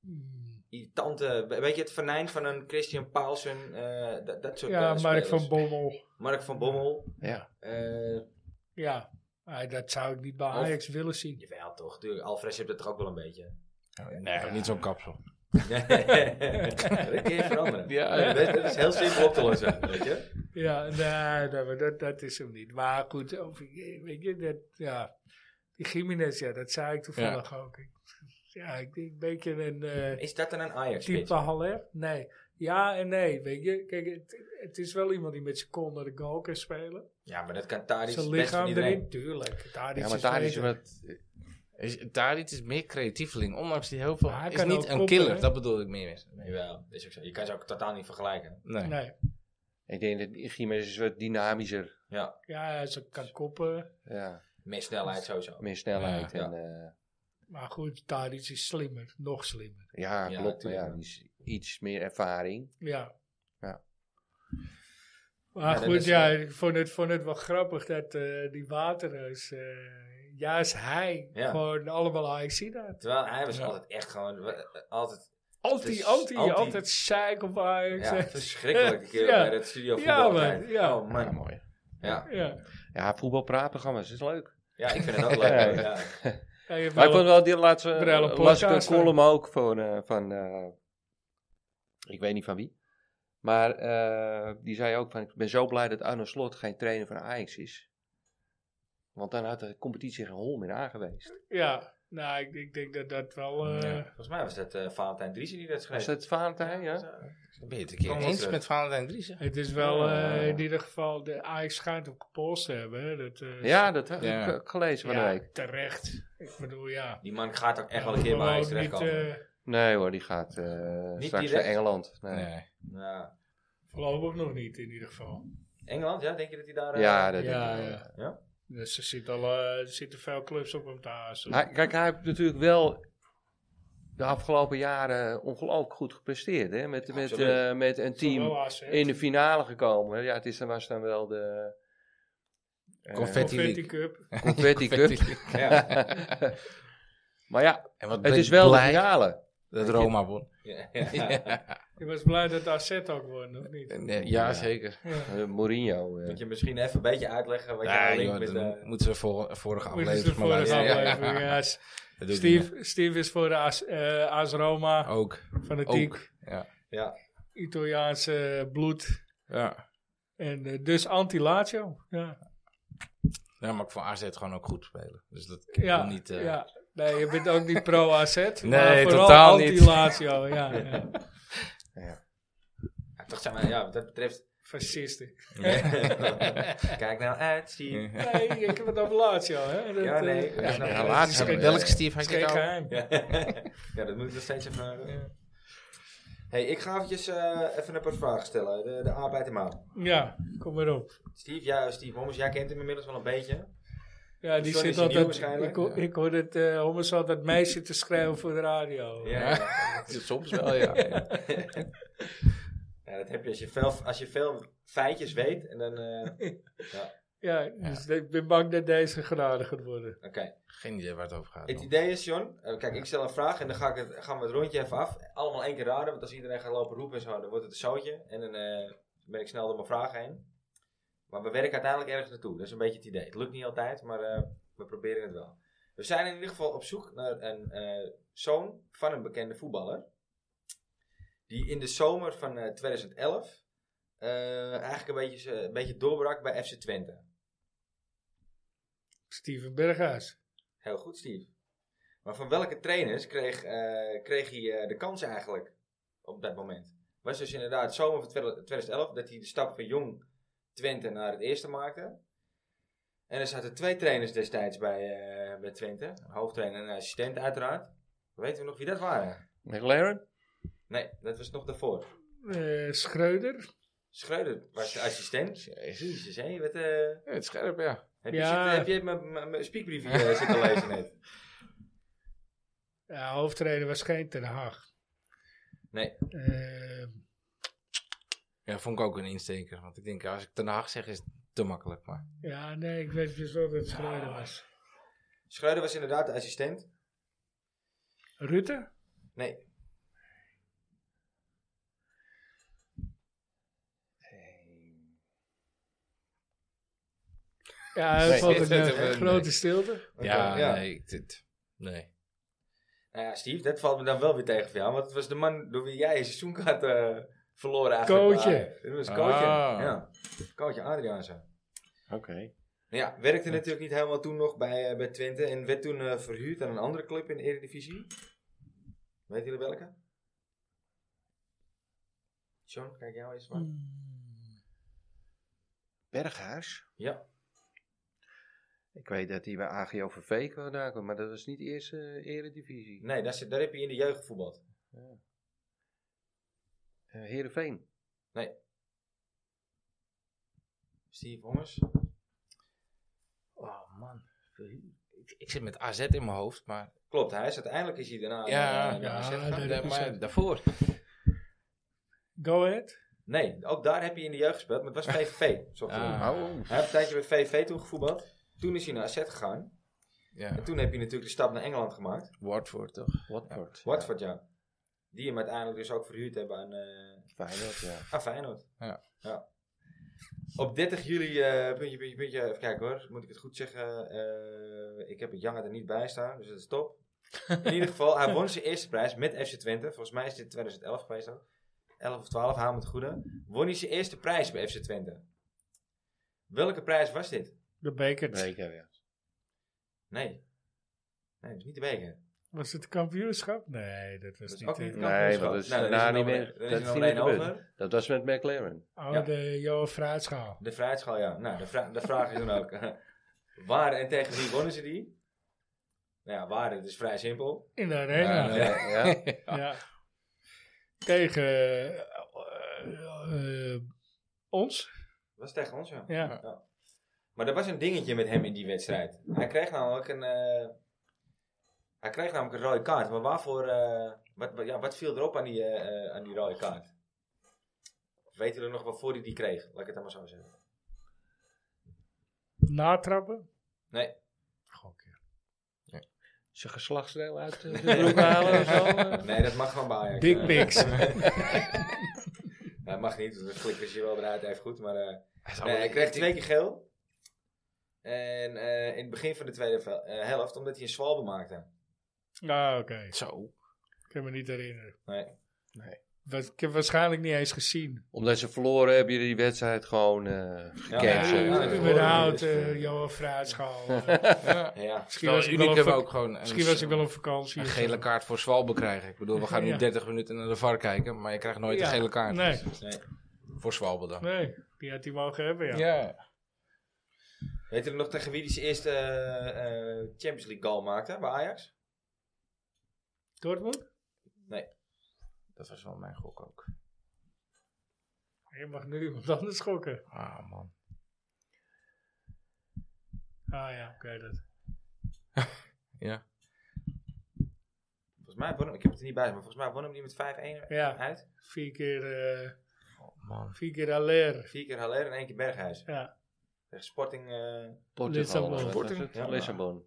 Speaker 2: Mm.
Speaker 1: irritante, weet je, het venijn van een Christian Paulsen. eh, dat, dat soort
Speaker 2: Ja,
Speaker 1: eh,
Speaker 2: Mark
Speaker 1: spelers.
Speaker 2: van Bommel.
Speaker 1: Mark van Bommel.
Speaker 4: Ja.
Speaker 1: eh,
Speaker 2: Ja, maar dat zou ik niet bij
Speaker 1: Of-
Speaker 2: Ajax willen zien.
Speaker 1: jawel toch. Tuurlijk, Alvarez heeft dat toch ook wel een
Speaker 2: [laughs]
Speaker 1: beetje. [laughs]
Speaker 3: Nee, niet zo'n kapsel.
Speaker 1: Nee. dat kun je veranderen.
Speaker 3: Ja,
Speaker 1: Nee, Dat, dat is heel simpel op te lossen. Weet je?
Speaker 2: Ja, nee, nee, maar dat, dat is hem niet. Maar goed, of, ik- weet je, dat, ja. Die Jiménez, ja, dat zei ik toevallig ook. Ik- Ja, ik denk een beetje een eh,
Speaker 1: Is dat dan een ajax
Speaker 2: type Haller. Nee. Ja en nee, weet je. Kijk, het, het is wel iemand die met zijn kont naar de goal kan spelen.
Speaker 1: Ja, maar dat kan Tadic
Speaker 2: Zijn
Speaker 1: best van
Speaker 2: lichaam
Speaker 1: iedereen.
Speaker 2: erin, tuurlijk. Daar
Speaker 4: Ja, maar daar is wat...
Speaker 3: Is, Tadic is meer creatieveling, ondanks die heel veel...
Speaker 2: Maar hij
Speaker 3: is
Speaker 2: kan
Speaker 3: niet
Speaker 2: ook
Speaker 3: een
Speaker 2: koppen,
Speaker 3: killer,
Speaker 2: hè?
Speaker 3: dat bedoel ik meer.
Speaker 1: Jawel, is ook zo. Je kan ze ook totaal niet vergelijken.
Speaker 3: Nee.
Speaker 2: Nee.
Speaker 4: Ik denk dat Gimenez is wat dynamischer.
Speaker 1: Ja.
Speaker 2: Ja, ze kan koppen.
Speaker 4: Ja.
Speaker 1: Meer snelheid sowieso.
Speaker 4: Meer snelheid.
Speaker 1: Ja.
Speaker 4: en, eh,
Speaker 2: Maar goed, Tadic is slimmer. Nog slimmer.
Speaker 4: ja,
Speaker 1: Ja,
Speaker 4: klopt. Maar ja,
Speaker 1: tuurlijk.
Speaker 4: die is iets meer ervaring.
Speaker 2: Ja.
Speaker 4: Ja.
Speaker 2: Maar
Speaker 1: Ja, dat
Speaker 2: goed,
Speaker 1: is-
Speaker 2: ja, ik vond het, vond het wel grappig dat eh, die Waterhuis, eh, juist hij,
Speaker 1: Ja.
Speaker 2: gewoon allemaal Ajaxie had.
Speaker 1: Terwijl hij was
Speaker 3: Ja.
Speaker 1: altijd echt gewoon... we- Altijd,
Speaker 2: Anti,
Speaker 1: is
Speaker 2: anti,
Speaker 1: anti-
Speaker 2: altijd zeik op Ajax. [laughs]
Speaker 1: ja, verschrikkelijk die keer
Speaker 2: Ja.
Speaker 1: bij dat studio
Speaker 2: Ja,
Speaker 1: voetbal.
Speaker 2: man,
Speaker 1: tijd.
Speaker 2: ja.
Speaker 1: Oh
Speaker 4: Ja,
Speaker 1: man.
Speaker 4: mooi.
Speaker 1: Ja.
Speaker 2: Ja.
Speaker 4: Ja, voetbalpraatprogramma's is leuk.
Speaker 1: ja, ik vind het ook leuk. Ja.
Speaker 2: Ja, je hebt
Speaker 4: Maar ik
Speaker 2: wel-
Speaker 4: vond wel die laatste
Speaker 2: Brelle
Speaker 4: las ik een
Speaker 2: podcast van-
Speaker 4: column ook van, eh, van eh, ik weet niet van wie. Maar eh, die zei ook van, ik ben zo blij dat Arno Slot geen trainer van Ajax is. Want dan had de competitie geen hol meer aan geweest.
Speaker 2: ja, Nou, ik, ik denk dat dat wel... eh,
Speaker 3: Ja.
Speaker 1: Volgens mij was dat eh Valentijn Driesen die dat schreef.
Speaker 4: Was het Valentijn, ja?
Speaker 3: Dan ben je het een keer
Speaker 1: Kom
Speaker 3: eens
Speaker 1: terug.
Speaker 3: met Valentijn Driessen.
Speaker 2: Het is
Speaker 1: Oh.
Speaker 2: wel eh,
Speaker 3: Eh.
Speaker 2: in ieder geval... De Ajax schijnt ook pols te hebben. hè, Dat, eh,
Speaker 4: Ja, dat heb
Speaker 3: Ja.
Speaker 4: ik eh, gelezen van de
Speaker 2: ja,
Speaker 4: week.
Speaker 2: terecht. Ik bedoel, ja.
Speaker 1: Die man gaat ook echt wel een keer bij
Speaker 2: Gewoon
Speaker 1: Ajax
Speaker 2: niet,
Speaker 1: terechtkomen.
Speaker 2: eh,
Speaker 4: Nee hoor, die gaat eh,
Speaker 1: Niet
Speaker 4: straks naar
Speaker 1: direct?
Speaker 4: Engeland. Nee.
Speaker 3: Nee.
Speaker 1: Ja.
Speaker 2: voorlopig nog niet, in ieder geval.
Speaker 1: Engeland, ja? Denk je dat hij daar... eh,
Speaker 4: Ja, dat
Speaker 2: Ja,
Speaker 4: denk ik wel.
Speaker 2: ja.
Speaker 1: Ja?
Speaker 2: Dus er zitten al, eh, er zitten veel clubs op hem te haasten.
Speaker 4: Hij- kijk, hij heeft natuurlijk wel de afgelopen jaren ongelooflijk goed gepresteerd. Hè? Met, met,
Speaker 1: Absoluut.
Speaker 4: eh, met een team
Speaker 2: Wel asset.
Speaker 4: in de finale gekomen. Ja, het is, dan was dan wel [laughs] de... eh,
Speaker 3: Confetti
Speaker 2: Confetti
Speaker 3: League.
Speaker 2: Cup.
Speaker 4: confetti Cup.
Speaker 1: Ja.
Speaker 4: [laughs] maar ja,
Speaker 3: En wat
Speaker 4: het
Speaker 3: ben
Speaker 4: is
Speaker 3: ik
Speaker 4: wel de
Speaker 3: blij
Speaker 4: finale.
Speaker 3: dat Roma
Speaker 1: [laughs]
Speaker 3: won.
Speaker 1: Ja, ja.
Speaker 3: [laughs]
Speaker 2: Je was blij dat Asset ook won, of niet?
Speaker 3: Nee, ja, zeker.
Speaker 4: Eh, Mourinho. eh.
Speaker 1: Moet je misschien even een beetje uitleggen wat
Speaker 3: Ja,
Speaker 1: jouw link
Speaker 3: joh,
Speaker 1: met...
Speaker 3: dan
Speaker 1: eh,
Speaker 3: moeten we voor, vorige
Speaker 2: Moet je de
Speaker 3: aflevering maar
Speaker 2: vorige
Speaker 3: luisteren. Ja, [laughs]
Speaker 2: aflevering. ja.
Speaker 3: dat doe ik niet
Speaker 2: Steve, Steve is voor de AS, eh, AS Roma,
Speaker 3: meer. Ook.
Speaker 2: fanatiek,
Speaker 3: Ook. Ja.
Speaker 1: ja.
Speaker 2: Italiaanse bloed.
Speaker 3: Ja.
Speaker 2: En eh, dus anti-Lazio. Ja,
Speaker 3: ja, maar ik vond AZ gewoon ook goed spelen. Dus dat ik
Speaker 2: ja,
Speaker 3: wil niet... eh,
Speaker 2: ja. Nee, je bent ook niet
Speaker 3: [laughs]
Speaker 2: pro-AZ. maar
Speaker 3: Nee,
Speaker 2: vooral
Speaker 3: totaal niet.
Speaker 2: anti-Lazio, ja,
Speaker 3: [laughs]
Speaker 2: ja.
Speaker 1: Ja, Toch zijn wij, ja, wat dat betreft... [laughs]
Speaker 2: Fascisten.
Speaker 1: Kijk nou uit, zie je.
Speaker 2: Nee, ik heb het over Lazio, hè. Dat,
Speaker 1: Ja, nee.
Speaker 2: eh,
Speaker 1: ik snap het.
Speaker 4: laatst
Speaker 3: Ja,
Speaker 4: hebben
Speaker 3: Welke
Speaker 4: we-
Speaker 3: Steve had
Speaker 2: is
Speaker 3: je nou?
Speaker 2: geen
Speaker 3: het over?
Speaker 2: geheim.
Speaker 1: Ja. ja, dat moet ik nog steeds even... eh, hey, ik ga eventjes eh, even een paar vragen stellen. De, de A bij de maal.
Speaker 2: Ja, kom maar op.
Speaker 1: Steve, ja, eh, Steve Hommers, jij kent hem inmiddels wel een beetje.
Speaker 2: Ja, die
Speaker 1: Sorry, is
Speaker 2: zit
Speaker 1: hij nieuw
Speaker 2: altijd...
Speaker 1: waarschijnlijk?
Speaker 2: Ik, hoor- ik hoor het, eh Hommers altijd meisje te schreeuwen voor de radio.
Speaker 1: Ja, ja.
Speaker 3: Soms wel, ja.
Speaker 1: Ja, dat heb je als je veel, als je veel feitjes weet. En dan, eh,
Speaker 2: Ja, dus ik ben bang dat deze genade gaat worden.
Speaker 1: oké.
Speaker 3: Geen idee waar het over gaat.
Speaker 1: Het
Speaker 3: man.
Speaker 1: idee is, John, eh, kijk, ik stel een vraag en dan ga ik het, gaan we het rondje even af. Allemaal één keer raden, want als iedereen gaat lopen roepen en zo, dan wordt het een zootje. En dan eh, ben ik snel door mijn vragen heen. Maar we werken uiteindelijk ergens naartoe. Dat is een beetje het idee. Het lukt niet altijd, maar eh, we proberen het wel. We zijn in ieder geval op zoek naar een eh, zoon van een bekende voetballer. Die in de zomer van eh, 2011 eh, eigenlijk een beetje, z- een beetje doorbrak bij FC Twente.
Speaker 2: Steven Berghuis.
Speaker 1: Heel goed, Steve. Maar van welke trainers kreeg, eh, kreeg hij eh, de kans eigenlijk op dat moment? Was dus inderdaad zomer van 2011 dat hij de stap van jong Twente naar het eerste maakte. En er zaten twee trainers destijds bij, eh, bij Twente. Een hoofdtrainer en een assistent uiteraard. Weten we nog wie dat waren?
Speaker 4: McLaren?
Speaker 1: Nee, dat was nog daarvoor.
Speaker 2: Eh, Schreuder.
Speaker 1: Schreuder was de assistent.
Speaker 3: Jezus.
Speaker 1: Jezus, hé, wat... eh,
Speaker 3: Ja, het is scherp, ja.
Speaker 1: heb, je
Speaker 2: Ja.
Speaker 1: zitten- heb je mijn- mijn mijn speakbriefje eh, zitten lezen net?
Speaker 2: Ja, hoofdtrainer was geen Ten Haag.
Speaker 1: Nee.
Speaker 2: Eh,
Speaker 3: Ja, vond ik ook een insteker. Want ik denk, als ik Ten Haag zeg, is het te makkelijk. Maar
Speaker 2: ja, nee, ik weet dus wel dat het Schreuder was.
Speaker 1: Schreuder was inderdaad de assistent.
Speaker 2: Rutte?
Speaker 1: Nee,
Speaker 2: Ja, er
Speaker 4: Nee.
Speaker 2: valt een
Speaker 3: Nee.
Speaker 2: eh, grote stilte.
Speaker 1: Oké,
Speaker 3: ja, nee. ik- dit- nee.
Speaker 1: Nou ja, Steve, dat valt me dan wel weer tegen voor jou. Want het was de man door wie jij je seizoenkaart eh verloren eigenlijk.
Speaker 2: Kootje.
Speaker 1: Dat was Kootje.
Speaker 3: Ah.
Speaker 1: Ja. Kootje Adriaanse.
Speaker 4: Oké.
Speaker 1: Nou ja, werkte natuurlijk niet helemaal toen nog bij, eh, bij Twente. En werd toen eh, verhuurd aan een andere club in de Eredivisie. Weet jullie welke? John, kijk jou eens maar.
Speaker 4: Berghuis?
Speaker 1: Ja.
Speaker 4: Ik weet dat hij bij AGOVV vandaan kwam, maar dat was niet de eerste eh, eredivisie.
Speaker 1: Nee, daar, zit- daar heb je in de jeugd gevoetbald.
Speaker 4: Eh, Heerenveen.
Speaker 1: Steve Hommers.
Speaker 3: Oh, man. Ik, ik zit met AZ in mijn hoofd, maar...
Speaker 1: Klopt, hij is uiteindelijk is hij daarna
Speaker 3: Ja,
Speaker 1: eh, naar AZ
Speaker 2: ja,
Speaker 1: gegaan.
Speaker 2: dat-
Speaker 3: Nee, maar daarvoor.
Speaker 2: Go ahead.
Speaker 1: Nee, ook daar heb je in de jeugd gespeeld. Maar het
Speaker 3: [laughs]
Speaker 1: was VVV. zo genoemd.
Speaker 4: Oh.
Speaker 3: Ah,
Speaker 1: Hij heeft een tijdje bij VVV toen gevoetbald. Toen is hij naar AZ gegaan.
Speaker 3: ja.
Speaker 1: En toen heb je natuurlijk de stap naar Engeland gemaakt.
Speaker 3: Watford, toch?
Speaker 4: Watford.
Speaker 1: Watford, ja. Die hem uiteindelijk dus ook verhuurd hebben aan, eh
Speaker 4: Feyenoord, [laughs] ja.
Speaker 1: aan Feyenoord.
Speaker 3: Ja.
Speaker 1: Ja. Op 30 juli, eh puntje, puntje, puntje, even kijken hoor, moet ik het goed zeggen. Eh, ik heb het Jange er niet bij staan, dus dat is top. In ieder geval, hij won zijn eerste prijs met FC Twente. Volgens mij is dit 2011 geweest ook. 11 of 12, haal me het goede. Won hij zijn eerste prijs bij FC Twente. Welke prijs was dit?
Speaker 2: De beker.
Speaker 4: Beker, ja.
Speaker 1: Nee. Nee, het is niet de beker.
Speaker 2: Was het kampioenschap? Nee, dat was
Speaker 1: Dat is
Speaker 2: niet.
Speaker 1: ook niet
Speaker 2: eh,
Speaker 1: het
Speaker 4: Nee,
Speaker 1: kampioenschap.
Speaker 4: want dat is
Speaker 1: Nou, dan
Speaker 4: daarna
Speaker 1: er nog
Speaker 4: niet
Speaker 1: een-
Speaker 4: meer.
Speaker 1: dan is
Speaker 4: Dat
Speaker 1: er
Speaker 4: is
Speaker 1: nog
Speaker 4: niet
Speaker 1: een
Speaker 4: meer gebeurd.
Speaker 1: over.
Speaker 4: Dat was met McLaren.
Speaker 2: Oh,
Speaker 1: Ja.
Speaker 2: de Johan Vraatschaal.
Speaker 1: De fruitschaal, ja. Nou, de, vra- de vraag is dan ook. [laughs] eh, waar en tegen wie wonnen ze die? Nou ja, waar, dat is vrij simpel.
Speaker 2: In de arena.
Speaker 3: Ja,
Speaker 2: Ja.
Speaker 3: ja.
Speaker 4: Ja, [laughs]
Speaker 2: Tegen eh, eh, eh, ons.
Speaker 1: Dat was tegen ons, ja.
Speaker 2: Ja.
Speaker 1: Maar er was een dingetje met hem in die wedstrijd. Hij kreeg namelijk een, eh, hij kreeg namelijk een rode kaart. Maar waarvoor, eh, wat, wat- ja, wat viel erop aan die, eh, eh, aan die rode kaart? Of weten we nog waarvoor hij die kreeg? Laat ik het dan maar zo zeggen.
Speaker 2: Natrappen.
Speaker 1: Nee,
Speaker 4: zijn geslachtsdeel uit
Speaker 3: [laughs]
Speaker 4: eh, de broek halen of zo. eh.
Speaker 1: nee dat mag gewoon bij Ajax.
Speaker 2: Dick
Speaker 1: Eh,
Speaker 2: pics.
Speaker 1: Dat Nou, mag niet, want dan flikkers je wel eruit even goed. Maar eh,
Speaker 3: Hij is
Speaker 1: Nee,
Speaker 3: allemaal-
Speaker 1: hij kreeg twee keer geel. En eh, in het begin van de tweede vel- eh, helft, omdat hij een zwalbe maakte.
Speaker 2: Ah, oké.
Speaker 3: Zo.
Speaker 2: Ik kan me niet herinneren.
Speaker 1: Nee.
Speaker 2: Wa- Ik heb waarschijnlijk niet eens gezien.
Speaker 4: Omdat ze verloren hebben jullie die wedstrijd gewoon eh
Speaker 1: Ja,
Speaker 4: gecanceld.
Speaker 1: ja, dus,
Speaker 2: Ja,
Speaker 1: dat is
Speaker 2: überhaupt,
Speaker 4: hoor, dus,
Speaker 2: eh,
Speaker 4: eh.
Speaker 2: Johan Vraatschaal. eh.
Speaker 3: Ja.
Speaker 1: Ja.
Speaker 2: misschien,
Speaker 3: Terwijl
Speaker 2: was ik wel
Speaker 3: Uniek
Speaker 2: op,
Speaker 3: hebben
Speaker 2: vak-
Speaker 3: ook gewoon een,
Speaker 2: misschien was ik wel op vakantie.
Speaker 3: een
Speaker 2: of zo.
Speaker 3: gele kaart voor Zwalbe krijgen. Ik bedoel, we gaan nu
Speaker 2: Ja.
Speaker 3: 30 minuten naar de VAR kijken, maar je krijgt nooit
Speaker 2: Ja.
Speaker 3: een gele kaart.
Speaker 2: Nee.
Speaker 3: Dus
Speaker 1: Nee.
Speaker 3: Voor Zwalbe dan.
Speaker 2: Nee, die had hij mogen hebben, ja.
Speaker 3: Ja.
Speaker 1: Weet jullie nog tegen wie hij zijn eerste eh, eh, Champions League goal maakte bij Ajax?
Speaker 2: Dortmund?
Speaker 3: Dat was wel mijn gok ook.
Speaker 2: Je mag nu iemand anders schokken.
Speaker 3: Ah man.
Speaker 2: Ah ja, oké. dat.
Speaker 3: Ja.
Speaker 1: Volgens mij won hem, ik heb het er niet bij, maar volgens mij won hem die met 5-1
Speaker 2: Ja.
Speaker 1: uit.
Speaker 2: Vier keer, eh
Speaker 3: Oh, Man.
Speaker 2: vier keer Allaire.
Speaker 1: Vier keer Haller en één keer Berghuis.
Speaker 2: Ja.
Speaker 1: Tegen Sporting. eh,
Speaker 4: Portugal. of wat was
Speaker 3: Sporting.
Speaker 4: het?
Speaker 1: Ja.
Speaker 4: Lissabon.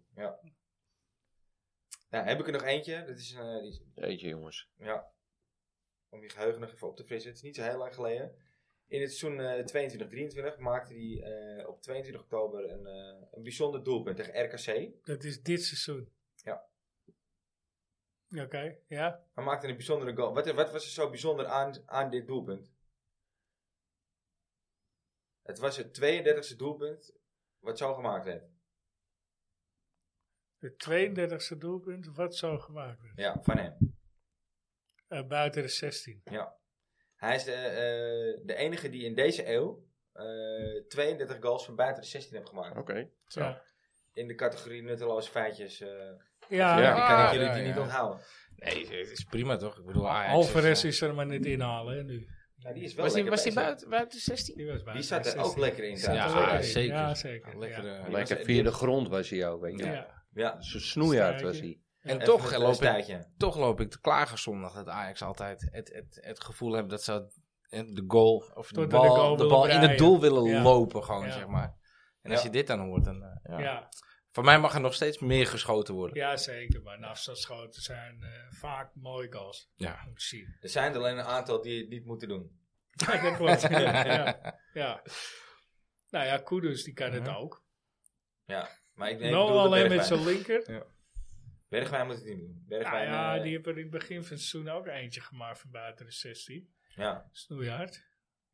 Speaker 1: Nou, heb ik er nog eentje. Dat is, eh, die is-
Speaker 4: Eentje jongens.
Speaker 1: ja. Om je geheugen nog even op te frissen. Het is niet zo heel lang geleden. In het seizoen eh 22-23 maakte hij eh, op 22 oktober een, eh, een bijzonder doelpunt tegen RKC.
Speaker 2: Dat is dit seizoen.
Speaker 1: Ja.
Speaker 2: Oké, ja.
Speaker 1: Hij maakte een bijzondere goal. Wat, wat was er zo bijzonder aan, aan dit doelpunt? Het was het 32e doelpunt wat zo gemaakt werd.
Speaker 2: Het 32e doelpunt, wat zou gemaakt worden?
Speaker 1: Ja, van hem.
Speaker 2: Eh, buiten de 16.
Speaker 1: Hij is de, eh, de enige die in deze eeuw eh, 32 goals van buiten de 16 heeft gemaakt.
Speaker 4: Oké.
Speaker 3: Zo.
Speaker 2: Ja.
Speaker 1: In de categorie nutteloze feitjes. eh,
Speaker 2: Ja,
Speaker 4: Ja.
Speaker 1: die kan ik
Speaker 3: Ah,
Speaker 1: jullie
Speaker 3: ja,
Speaker 1: die
Speaker 3: ja.
Speaker 1: niet onthouden.
Speaker 3: Nee, het is prima toch? Ik bedoel, Ajax is,
Speaker 2: Alvarez
Speaker 3: eh,
Speaker 2: is er maar niet inhalen hè, nu.
Speaker 1: Ja, die is wel
Speaker 3: Was die,
Speaker 1: lekker
Speaker 3: was die
Speaker 1: bezig.
Speaker 3: buiten, buiten 16?
Speaker 2: Die, was
Speaker 1: Die
Speaker 2: buiten
Speaker 1: zat
Speaker 2: de
Speaker 1: er ook
Speaker 2: 16.
Speaker 1: lekker in.
Speaker 2: Zat er
Speaker 1: trouwens.
Speaker 3: Ja,
Speaker 2: lekker in.
Speaker 3: zeker.
Speaker 2: Ja, zeker.
Speaker 3: Lekker,
Speaker 2: ja.
Speaker 3: eh,
Speaker 4: Lekker
Speaker 1: was-
Speaker 4: via de grond was hij ook, weet je.
Speaker 2: Ja.
Speaker 4: wel.
Speaker 1: Ja,
Speaker 4: Zo'n snoeihard was hij.
Speaker 3: En
Speaker 1: even
Speaker 3: toch
Speaker 1: een
Speaker 3: loop, ik,
Speaker 1: stuitje.
Speaker 3: toch loop ik te klagen zondag dat Ajax altijd het, het, het gevoel heeft dat ze het- de goal of de
Speaker 2: Tot
Speaker 3: bal,
Speaker 2: aan de goal
Speaker 3: de
Speaker 2: willen
Speaker 3: bal in het
Speaker 2: draaien.
Speaker 3: doel willen
Speaker 2: Ja.
Speaker 3: lopen gewoon,
Speaker 2: Ja.
Speaker 3: zeg maar. En als
Speaker 1: Ja.
Speaker 3: je dit dan hoort, dan... eh, ja.
Speaker 2: ja.
Speaker 3: Voor mij mag er nog steeds meer geschoten worden.
Speaker 2: Ja, zeker. Maar de afstandsschoten zijn eh, vaak mooi goals.
Speaker 3: Ja.
Speaker 2: Moet je zien. [laughs]
Speaker 1: Er zijn er alleen een aantal die het niet moeten doen.
Speaker 2: Ja, dat klopt. ja, ja, ja. Nou ja, Kudus die kan het
Speaker 3: Mhm.
Speaker 2: ook.
Speaker 1: Ja, maar ik
Speaker 2: Nee,
Speaker 3: Nou,
Speaker 1: neem bedoel de
Speaker 2: alleen met
Speaker 1: Bergwijn.
Speaker 2: zijn linker.
Speaker 1: Bergwijn moet het niet doen.
Speaker 2: Nou
Speaker 1: Bergwijn,
Speaker 2: ja,
Speaker 1: eh,
Speaker 2: die heeft er in het begin van het seizoen ook eentje gemaakt van buiten de 16.
Speaker 1: ja.
Speaker 2: Snoeihard.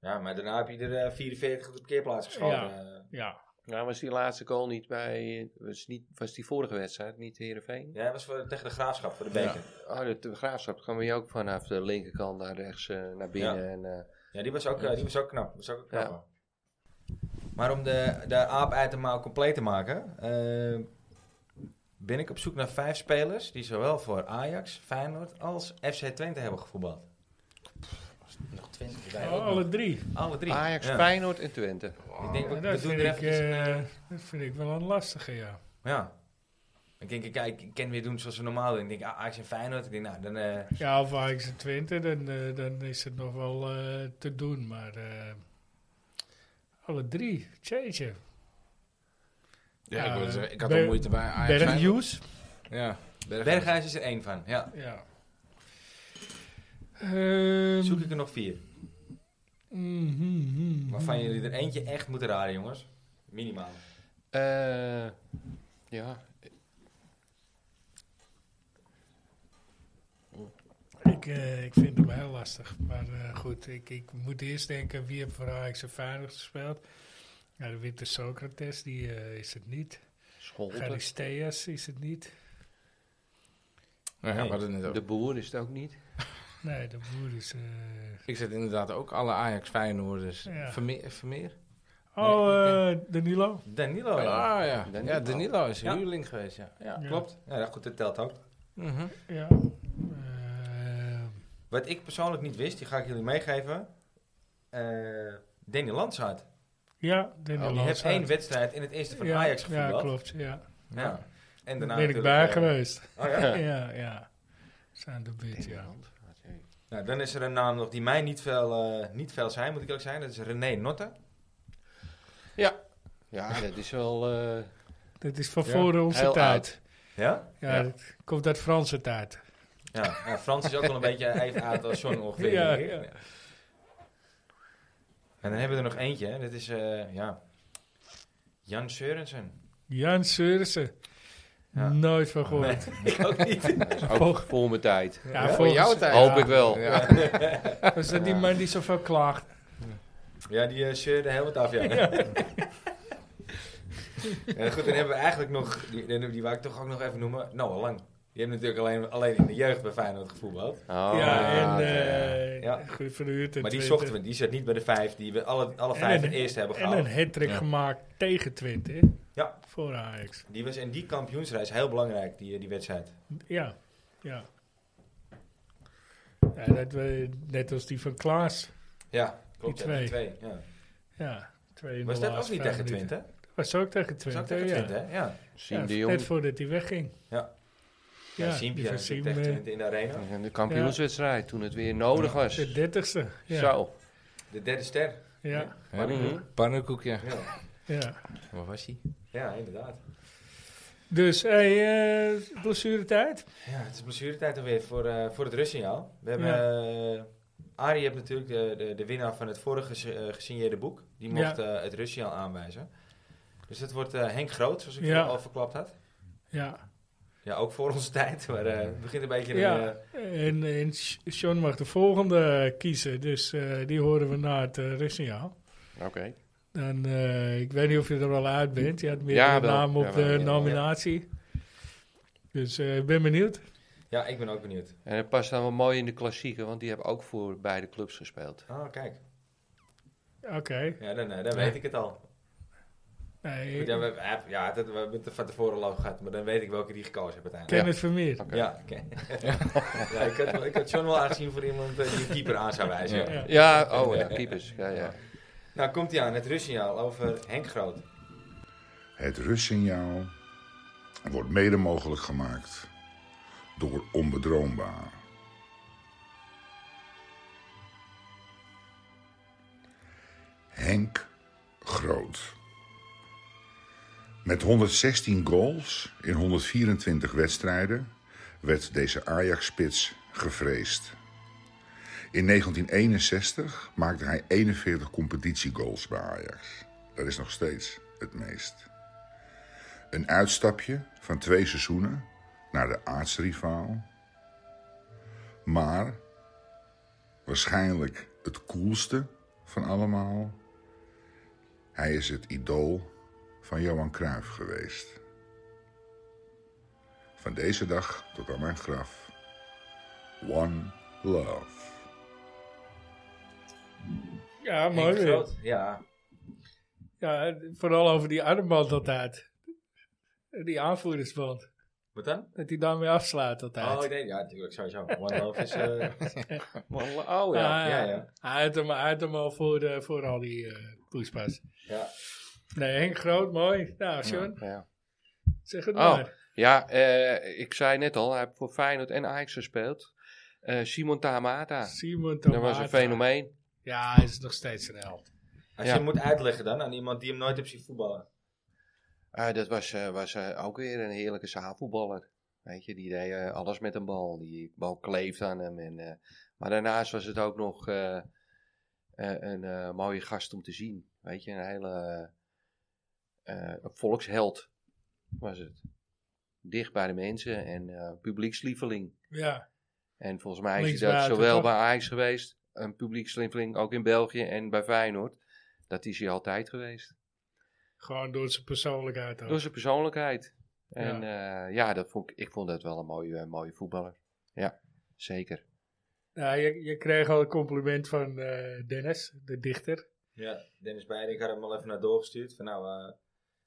Speaker 1: ja, maar daarna heb je er eh, 44 op de parkeerplaats geschoten. eh.
Speaker 2: Ja.
Speaker 4: Nou, was die laatste goal niet bij. Was, niet, was die vorige wedstrijd, niet Herenveen?
Speaker 1: Ja, dat was voor, tegen de graafschap voor de beker. Ja,
Speaker 4: Oh, de, de graafschap kwam je ook vanaf de linkerkant naar rechts eh, naar binnen. En, eh,
Speaker 1: die, was ook, eh, die was ook knap. Was ook knap.
Speaker 4: Ja.
Speaker 1: hoor. Maar om de, de aap uit de mouw compleet te maken, eh, ben ik op zoek naar vijf spelers die zowel voor Ajax, Feyenoord als FC Twente hebben gevoetbald.
Speaker 3: Nog 20
Speaker 2: Oh, alle drie.
Speaker 1: Alle drie.
Speaker 4: Ajax,
Speaker 1: ja.
Speaker 4: Feyenoord en Twente.
Speaker 1: Ik denk, we, we
Speaker 2: Ja, dat,
Speaker 1: doen
Speaker 2: vind
Speaker 1: er
Speaker 2: ik,
Speaker 1: even...
Speaker 2: eh, dat vind ik wel een lastige, ja.
Speaker 1: Ja. Ik denk, ik, kijk, ik kan weer doen zoals we normaal doen. Ik denk, ah, Ajax en Feyenoord. Ik denk, nou, dan... eh,
Speaker 2: Ja, of Ajax en Twente, dan, eh, dan is het nog wel eh, te doen. Maar eh, alle drie, tjeetje.
Speaker 3: Ja,
Speaker 2: Ja,
Speaker 3: ik, wou het
Speaker 2: eh,
Speaker 3: zeggen, ik had
Speaker 2: Ber-
Speaker 3: al moeite bij Ajax.
Speaker 2: Berg
Speaker 3: Feyenoord.
Speaker 2: Hughes.
Speaker 3: Ja, Berghuis.
Speaker 1: Berghuis is er één van, ja.
Speaker 2: Ja. Ehm,
Speaker 1: Zoek ik er nog vier.
Speaker 2: mhm, mhm.
Speaker 1: Waarvan jullie er eentje echt moeten raden, jongens. Minimaal.
Speaker 4: Eh, ja,
Speaker 2: Ik, eh, ik vind hem heel lastig. Maar eh, goed, ik, ik moet eerst denken wie heeft voor Ajax en Feyenoord gespeeld. Nou, de Winter Socrates, die eh, is het niet.
Speaker 4: Scholten.
Speaker 2: Charisteas is het niet.
Speaker 3: Ja, we hadden het net
Speaker 4: De
Speaker 3: over.
Speaker 4: boer is het ook niet.
Speaker 2: Nee, de boer is... eh,
Speaker 3: Ik zet inderdaad ook alle Ajax Feyenoorders.
Speaker 2: Ja.
Speaker 3: Vermeer, Vermeer?
Speaker 2: Oh,
Speaker 3: Nee,
Speaker 2: eh Danilo.
Speaker 1: Danilo. ja.
Speaker 3: Ah ja,
Speaker 4: Danilo.
Speaker 3: ja Danilo is
Speaker 1: Ja.
Speaker 3: huurling geweest. Ja. Ja.
Speaker 2: Ja.
Speaker 1: Klopt. Ja, goed, dat telt ook.
Speaker 3: Mhm.
Speaker 2: Ja. Eh,
Speaker 1: Wat ik persoonlijk niet wist, die ga ik jullie meegeven. Eh Danny Landsaat.
Speaker 2: ja, Danilo.
Speaker 1: Oh, die heeft
Speaker 2: Hazard.
Speaker 1: één wedstrijd in het eerste van Ajax
Speaker 2: Ja,
Speaker 1: gevoerd.
Speaker 2: ja, klopt. Ja.
Speaker 1: Ja. En daarna
Speaker 2: Daar ben
Speaker 1: natuurlijk,
Speaker 2: ik bij
Speaker 1: eh, [laughs]
Speaker 2: geweest.
Speaker 1: Oh ja?
Speaker 2: Ja, ja. Zijn de bit, ja.
Speaker 1: Nou, dan is er een naam nog die mij niet veel, eh, niet veel zijn, moet ik eerlijk zijn. Dat is René Notte.
Speaker 4: Ja, dat is wel... eh,
Speaker 2: Dat is van
Speaker 3: Ja,
Speaker 2: voor onze
Speaker 4: heel
Speaker 2: tijd.
Speaker 1: Ja?
Speaker 2: Ja,
Speaker 3: Ja.
Speaker 2: dat komt uit Franse tijd.
Speaker 1: Ja, ja, Frans is ook wel een beetje even uit als John ongeveer.
Speaker 2: Ja, ja.
Speaker 1: En dan hebben we er nog eentje, hè. dat is eh, ja. Jan Seurensen.
Speaker 2: Jan Seurissen.
Speaker 1: Ja.
Speaker 2: Nooit van gehoord.
Speaker 1: [laughs] ik ook niet.
Speaker 4: dat is
Speaker 2: [laughs]
Speaker 4: ook voor mijn tijd.
Speaker 2: Ja,
Speaker 3: Voor
Speaker 2: volgens-
Speaker 3: jouw tijd.
Speaker 4: Hoop ik wel.
Speaker 3: Ja.
Speaker 2: Was dat die man die zoveel klaagt?
Speaker 1: Ja, die eh, scheurde heel wat af, ja. [laughs] Ja, goed, dan hebben we eigenlijk nog, die, die, die wou ik toch ook nog even noemen, Noah Lang. Die heeft natuurlijk alleen, alleen in de jeugd bij Feyenoord gevoetbald.
Speaker 4: Oh,
Speaker 2: ja, en
Speaker 4: ja.
Speaker 2: eh
Speaker 1: Ja.
Speaker 2: goed verhuurd. en
Speaker 1: Maar die
Speaker 2: Twente.
Speaker 1: zochten we, die zat niet bij de vijf, die we alle, alle
Speaker 2: En
Speaker 1: vijf
Speaker 2: een-
Speaker 1: het eerste hebben
Speaker 2: En
Speaker 1: gehaald.
Speaker 2: een hat-trick
Speaker 3: Ja.
Speaker 2: gemaakt tegen Twente. hè?
Speaker 1: Ja.
Speaker 2: Voor Ajax.
Speaker 1: Die was in die kampioensreis heel belangrijk, die, eh, die wedstrijd.
Speaker 2: Ja, ja. ja dat we, net als die van Klaas.
Speaker 1: Ja, klopt.
Speaker 2: Die
Speaker 1: ja, die
Speaker 2: twee.
Speaker 1: twee, ja.
Speaker 2: Ja, twee in
Speaker 1: Was
Speaker 2: de
Speaker 1: dat ook
Speaker 2: laatste
Speaker 1: niet
Speaker 2: vijf
Speaker 1: tegen
Speaker 2: minuten.
Speaker 1: Twinten?
Speaker 2: Was ook tegen
Speaker 1: Was
Speaker 2: Twente.
Speaker 1: ook tegen
Speaker 2: ja.
Speaker 1: Twinte, hè? ja.
Speaker 4: Siem de
Speaker 2: ja,
Speaker 4: Jong.
Speaker 2: net voordat hij wegging.
Speaker 1: Ja. Ja,
Speaker 2: Ja,
Speaker 1: ja
Speaker 2: die
Speaker 1: Simpje
Speaker 2: van
Speaker 1: natuurlijk
Speaker 2: Siem,
Speaker 1: tegen
Speaker 2: eh,
Speaker 1: Twente in de arena.
Speaker 4: En De kampioenswedstrijd, toen het weer nodig was.
Speaker 2: De dertigste. Ja.
Speaker 4: Zo.
Speaker 1: De derde ster.
Speaker 2: Ja,
Speaker 3: Ja. Pannenkoekje.
Speaker 1: Ja,
Speaker 2: ja.
Speaker 3: Mhm. Waar was hij?
Speaker 1: ja inderdaad.
Speaker 2: Dus, hey, eh blessuretijd.
Speaker 1: Ja, het is blessuretijd alweer voor, eh, voor het rustsignaal. We hebben... eh, Arie heeft natuurlijk de, de, de winnaar van het vorige gese- eh, gesigneerde boek. Die mocht eh, het rustsignaal aanwijzen. Dus dat wordt eh, Henk Groot, zoals ik
Speaker 2: Ja.
Speaker 1: al verklapt had.
Speaker 2: Ja.
Speaker 1: Ja, ook voor onze tijd. Maar eh, het begint een beetje...
Speaker 2: Ja.
Speaker 1: Een, eh,
Speaker 2: En, en Sh- Sean mag de volgende eh, kiezen. Dus eh, die horen we na het uh,
Speaker 4: Oké.
Speaker 2: Dan, eh, ik weet niet of je er al uit bent. Je had meer
Speaker 4: Ja,
Speaker 2: de
Speaker 4: wel.
Speaker 2: naam op
Speaker 4: Ja,
Speaker 2: de
Speaker 4: wel, ja, wel,
Speaker 2: nominatie. Dus eh, ik ben benieuwd.
Speaker 1: ja, ik ben ook benieuwd.
Speaker 4: En het past dan wel mooi in de klassieken, want die hebben ook voor beide clubs gespeeld.
Speaker 1: Oh, kijk.
Speaker 2: Oké.
Speaker 1: Ja, dan, eh, dan weet ik het al.
Speaker 2: Nee,
Speaker 1: Goed, ja, we, eh, ja, dat, we hebben het van tevoren al over gehad, maar dan weet ik welke die gekozen heb uiteindelijk.
Speaker 2: Ken het Vermeer.
Speaker 4: Oké.
Speaker 1: Ja, oké. [laughs] ja, ik, had, wel- ik had John wel aangezien voor iemand eh, die een keeper aan zou wijzen.
Speaker 3: Ja.
Speaker 2: Ja.
Speaker 4: Ja, oh ja, keepers. Ja, ja.
Speaker 1: Nou, komt hij aan, het rustsignaal over Henk Groot.
Speaker 7: Het rustsignaal wordt mede mogelijk gemaakt door onbedroombaar. Henk Groot. Met 116 goals in 124 wedstrijden werd deze Ajax-spits gevreesd. In 1961 maakte hij 41 competitiegoals bij Ajax. Dat is nog steeds het meest. Een uitstapje van twee seizoenen naar de aartsrivaal. Maar waarschijnlijk het coolste van allemaal. Hij is het idool van Johan Cruijff geweest. Van deze dag tot aan mijn graf. One love.
Speaker 2: Ja,
Speaker 1: Henk
Speaker 2: mooi. weer.
Speaker 1: Groot, ja.
Speaker 2: Ja, vooral over die armband altijd. Die aanvoerdersband.
Speaker 1: Wat dan?
Speaker 2: Dat hij daarmee afslaat altijd.
Speaker 1: Oh, ik denk, ja, natuurlijk, sowieso. One Love is... [laughs] eh,
Speaker 4: Oh ja.
Speaker 2: Ah,
Speaker 1: ja, ja.
Speaker 2: Hij had hem, hij had hem al voor, de, voor al die eh poespas.
Speaker 1: ja.
Speaker 2: Nee, Henk Groot, mooi. Nou, Sean,
Speaker 4: ja.
Speaker 2: zeg het
Speaker 4: Oh,
Speaker 2: maar.
Speaker 4: Ja, eh, ik zei net al, hij heeft voor Feyenoord en Ajax gespeeld. Eh, Simon Tamata,
Speaker 2: Simon
Speaker 4: dat
Speaker 2: Tomata.
Speaker 4: was een fenomeen.
Speaker 2: Ja, hij is nog steeds een held.
Speaker 1: Als
Speaker 4: Ja.
Speaker 1: je hem moet uitleggen dan aan iemand die hem nooit hebt zien voetballen.
Speaker 4: Ah, dat was, eh, was eh, ook weer een heerlijke zaalvoetballer. Weet je, die deed eh, alles met een bal. Die bal kleeft aan hem. En, eh, maar daarnaast was het ook nog eh, eh, een eh, mooie gast om te zien. Weet je, een hele eh, eh, volksheld was het. Dicht bij de mensen en eh, publiekslieveling.
Speaker 2: Ja,
Speaker 4: En volgens mij is hij dat
Speaker 2: Linksbuiten,
Speaker 4: zowel
Speaker 2: toch?
Speaker 4: bij Ajax geweest, een publiekslieveling ook in België en bij Feyenoord. Dat is hij altijd geweest.
Speaker 2: gewoon door zijn persoonlijkheid ook.
Speaker 4: Door zijn persoonlijkheid. En ja, ja dat vond ik, ik vond dat wel een mooie, een mooie voetballer. Ja, zeker.
Speaker 2: Nou, je, je kreeg al een compliment van eh, Dennis, de dichter.
Speaker 1: Ja, Dennis Beide, ik had hem al even naar doorgestuurd. Van nou, eh,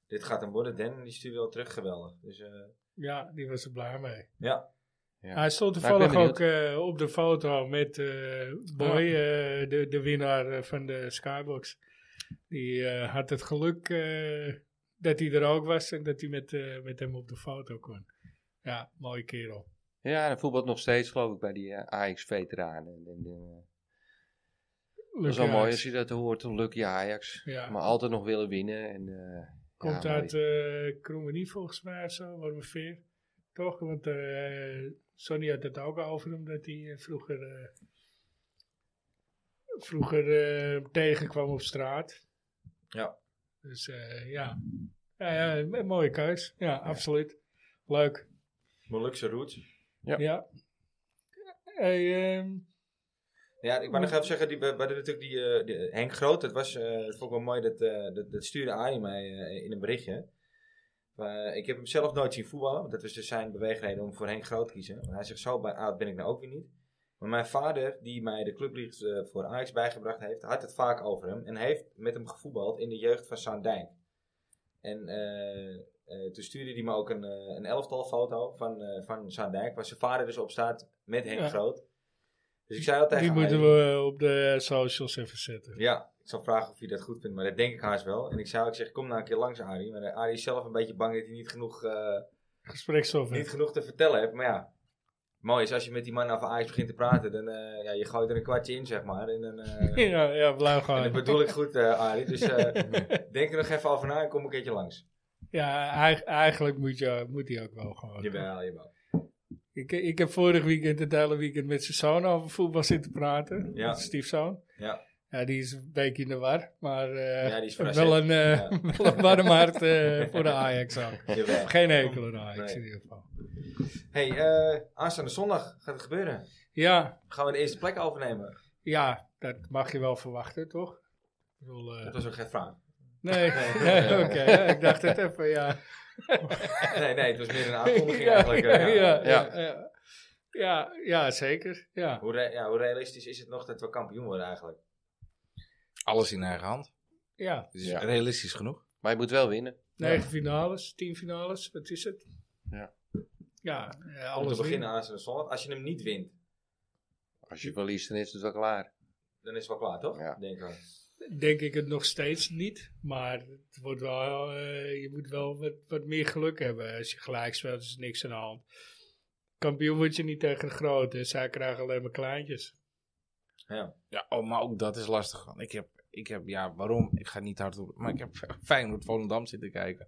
Speaker 1: dit gaat hem worden. Den, die stuurde wel terug, geweldig. Dus eh,
Speaker 2: Ja, die was er blij mee.
Speaker 1: ja,
Speaker 4: Ja.
Speaker 2: Hij stond
Speaker 4: Maar ik ben Ah.
Speaker 2: toevallig ook eh, op de foto met eh, Boy, eh, de, de winnaar eh, van de Skybox. Die eh, had het geluk eh, dat hij er ook was en dat hij met, eh, met hem op de foto kon. Ja, mooie kerel.
Speaker 4: Ja, hij voetbalt nog steeds, geloof ik, bij die Ajax-veteranen. En, en, eh, dat is
Speaker 2: Lucky
Speaker 4: wel mooi
Speaker 2: Ajax.
Speaker 4: als je dat hoort, een lucky Ajax.
Speaker 2: Ja.
Speaker 4: Maar altijd nog willen winnen. En, eh,
Speaker 2: Komt
Speaker 4: ja,
Speaker 2: uit
Speaker 4: mooi.
Speaker 2: eh Kroemenie volgens mij of zo, ongeveer. Toch? Want eh, Sonny had het ook over hem dat hij eh, vroeger, eh, vroeger eh, tegenkwam op straat.
Speaker 1: Ja.
Speaker 2: Dus eh, ja. Ja, ja, een mooie keus. Ja, absoluut. Leuk.
Speaker 1: Molukse roots.
Speaker 4: Ja.
Speaker 2: Ja. Hey, ehm,
Speaker 1: Ja, ik wou nog even zeggen, die, we hadden natuurlijk die, eh, die Henk Groot. Dat was, eh, dat vond ik wel mooi, dat, eh, dat, dat stuurde Arie mij eh, in een berichtje. Maar eh, ik heb hem zelf nooit zien voetballen. want Dat was dus zijn beweegreden om voor Henk Groot te kiezen. Maar hij zegt, zo bij oud ben ik nou ook weer niet. Maar mijn vader, die mij de clublicht eh, voor Ajax bijgebracht heeft, had het vaak over hem. En heeft met hem gevoetbald in de jeugd van Sandijn. En eh, eh, toen stuurde hij me ook een, eh, een elftal foto van, eh van Sandijk. Waar zijn vader dus op staat met Henk
Speaker 2: Ja.
Speaker 1: Groot. Dus ik zei al tegen
Speaker 2: die
Speaker 1: Arie-
Speaker 2: moeten we op de socials even zetten.
Speaker 1: ja, ik zal vragen of hij dat goed vindt, maar dat denk ik haast wel. En ik zou ik zeggen, kom nou een keer langs Arie. Maar eh, Arie is zelf een beetje bang dat hij niet genoeg, eh, niet
Speaker 2: Gesprekssoftware.
Speaker 1: genoeg te vertellen heeft. Maar ja, mooi is als je met die man over Ajax begint te praten, dan eh, ja, je gooit er een kwartje in, zeg maar. En dan, eh,
Speaker 2: [laughs] Ja, ja, blauw
Speaker 1: en
Speaker 2: gaan.
Speaker 1: dat bedoel ik goed, eh, Arie. Dus eh,
Speaker 2: [laughs]
Speaker 1: denk er nog even over na en kom een keertje langs.
Speaker 2: Ja, eig- eigenlijk moet, je, moet hij ook wel gewoon.
Speaker 1: Jawel, jawel.
Speaker 2: Ik, ik heb vorig weekend het hele weekend met zijn zoon over voetbal zitten praten.
Speaker 1: Ja.
Speaker 2: Ja. stiefzoon.
Speaker 1: Ja.
Speaker 2: Ja, die is een beetje in de war. Maar eh,
Speaker 1: Ja, die is verrast,
Speaker 2: wel,
Speaker 1: hè?
Speaker 2: een, eh, [laughs] wel een warm hart eh, voor de Ajax ook.
Speaker 1: Jawel.
Speaker 2: [laughs] Geen hekel aan Ajax
Speaker 1: Nee.
Speaker 2: in ieder geval.
Speaker 1: hey, eh, aanstaande zondag gaat het gebeuren.
Speaker 2: Ja,
Speaker 1: Gaan we de eerste plek overnemen?
Speaker 2: ja, dat mag je wel verwachten, toch? Ik bedoel, eh,
Speaker 1: Dat was ook geen vraag.
Speaker 2: nee, nee,
Speaker 1: eh,
Speaker 2: [laughs] oké. ja, ik dacht het even, ja.
Speaker 1: Nee, nee, het was meer een aankondiging
Speaker 2: [laughs] ja,
Speaker 1: eigenlijk.
Speaker 2: ja,
Speaker 1: eh, ja.
Speaker 2: ja, ja, ja. Ja, ja, zeker. Ja.
Speaker 1: Hoe, re- ja, hoe realistisch is het nog dat we kampioen worden eigenlijk?
Speaker 3: Alles in eigen hand.
Speaker 2: ja,
Speaker 3: Dus
Speaker 4: Ja.
Speaker 3: realistisch genoeg.
Speaker 4: Maar je moet wel winnen.
Speaker 2: negen finales, tien finales, wat is het?
Speaker 4: Ja.
Speaker 2: Ja, eh,
Speaker 1: Om te
Speaker 2: alles
Speaker 1: beginnen
Speaker 2: beginnen.
Speaker 1: aan zijn zondag. Als je hem niet wint,
Speaker 4: Als je verliest, dan is het wel klaar.
Speaker 1: dan is het wel klaar, toch?
Speaker 4: Ja.
Speaker 1: Denk ik. wel.
Speaker 2: Denk ik het nog steeds niet, maar het wordt wel, eh, je moet wel wat, wat meer geluk hebben. Als je gelijk speelt, is er niks aan de hand. Kampioen word je niet tegen de grote, zij krijgen alleen maar kleintjes.
Speaker 3: Ja, oh, maar ook dat is lastig. want Ik heb, ik heb, ja, waarom? Ik ga niet hard op. Maar ik heb [laughs] Feyenoord Volendam zitten kijken.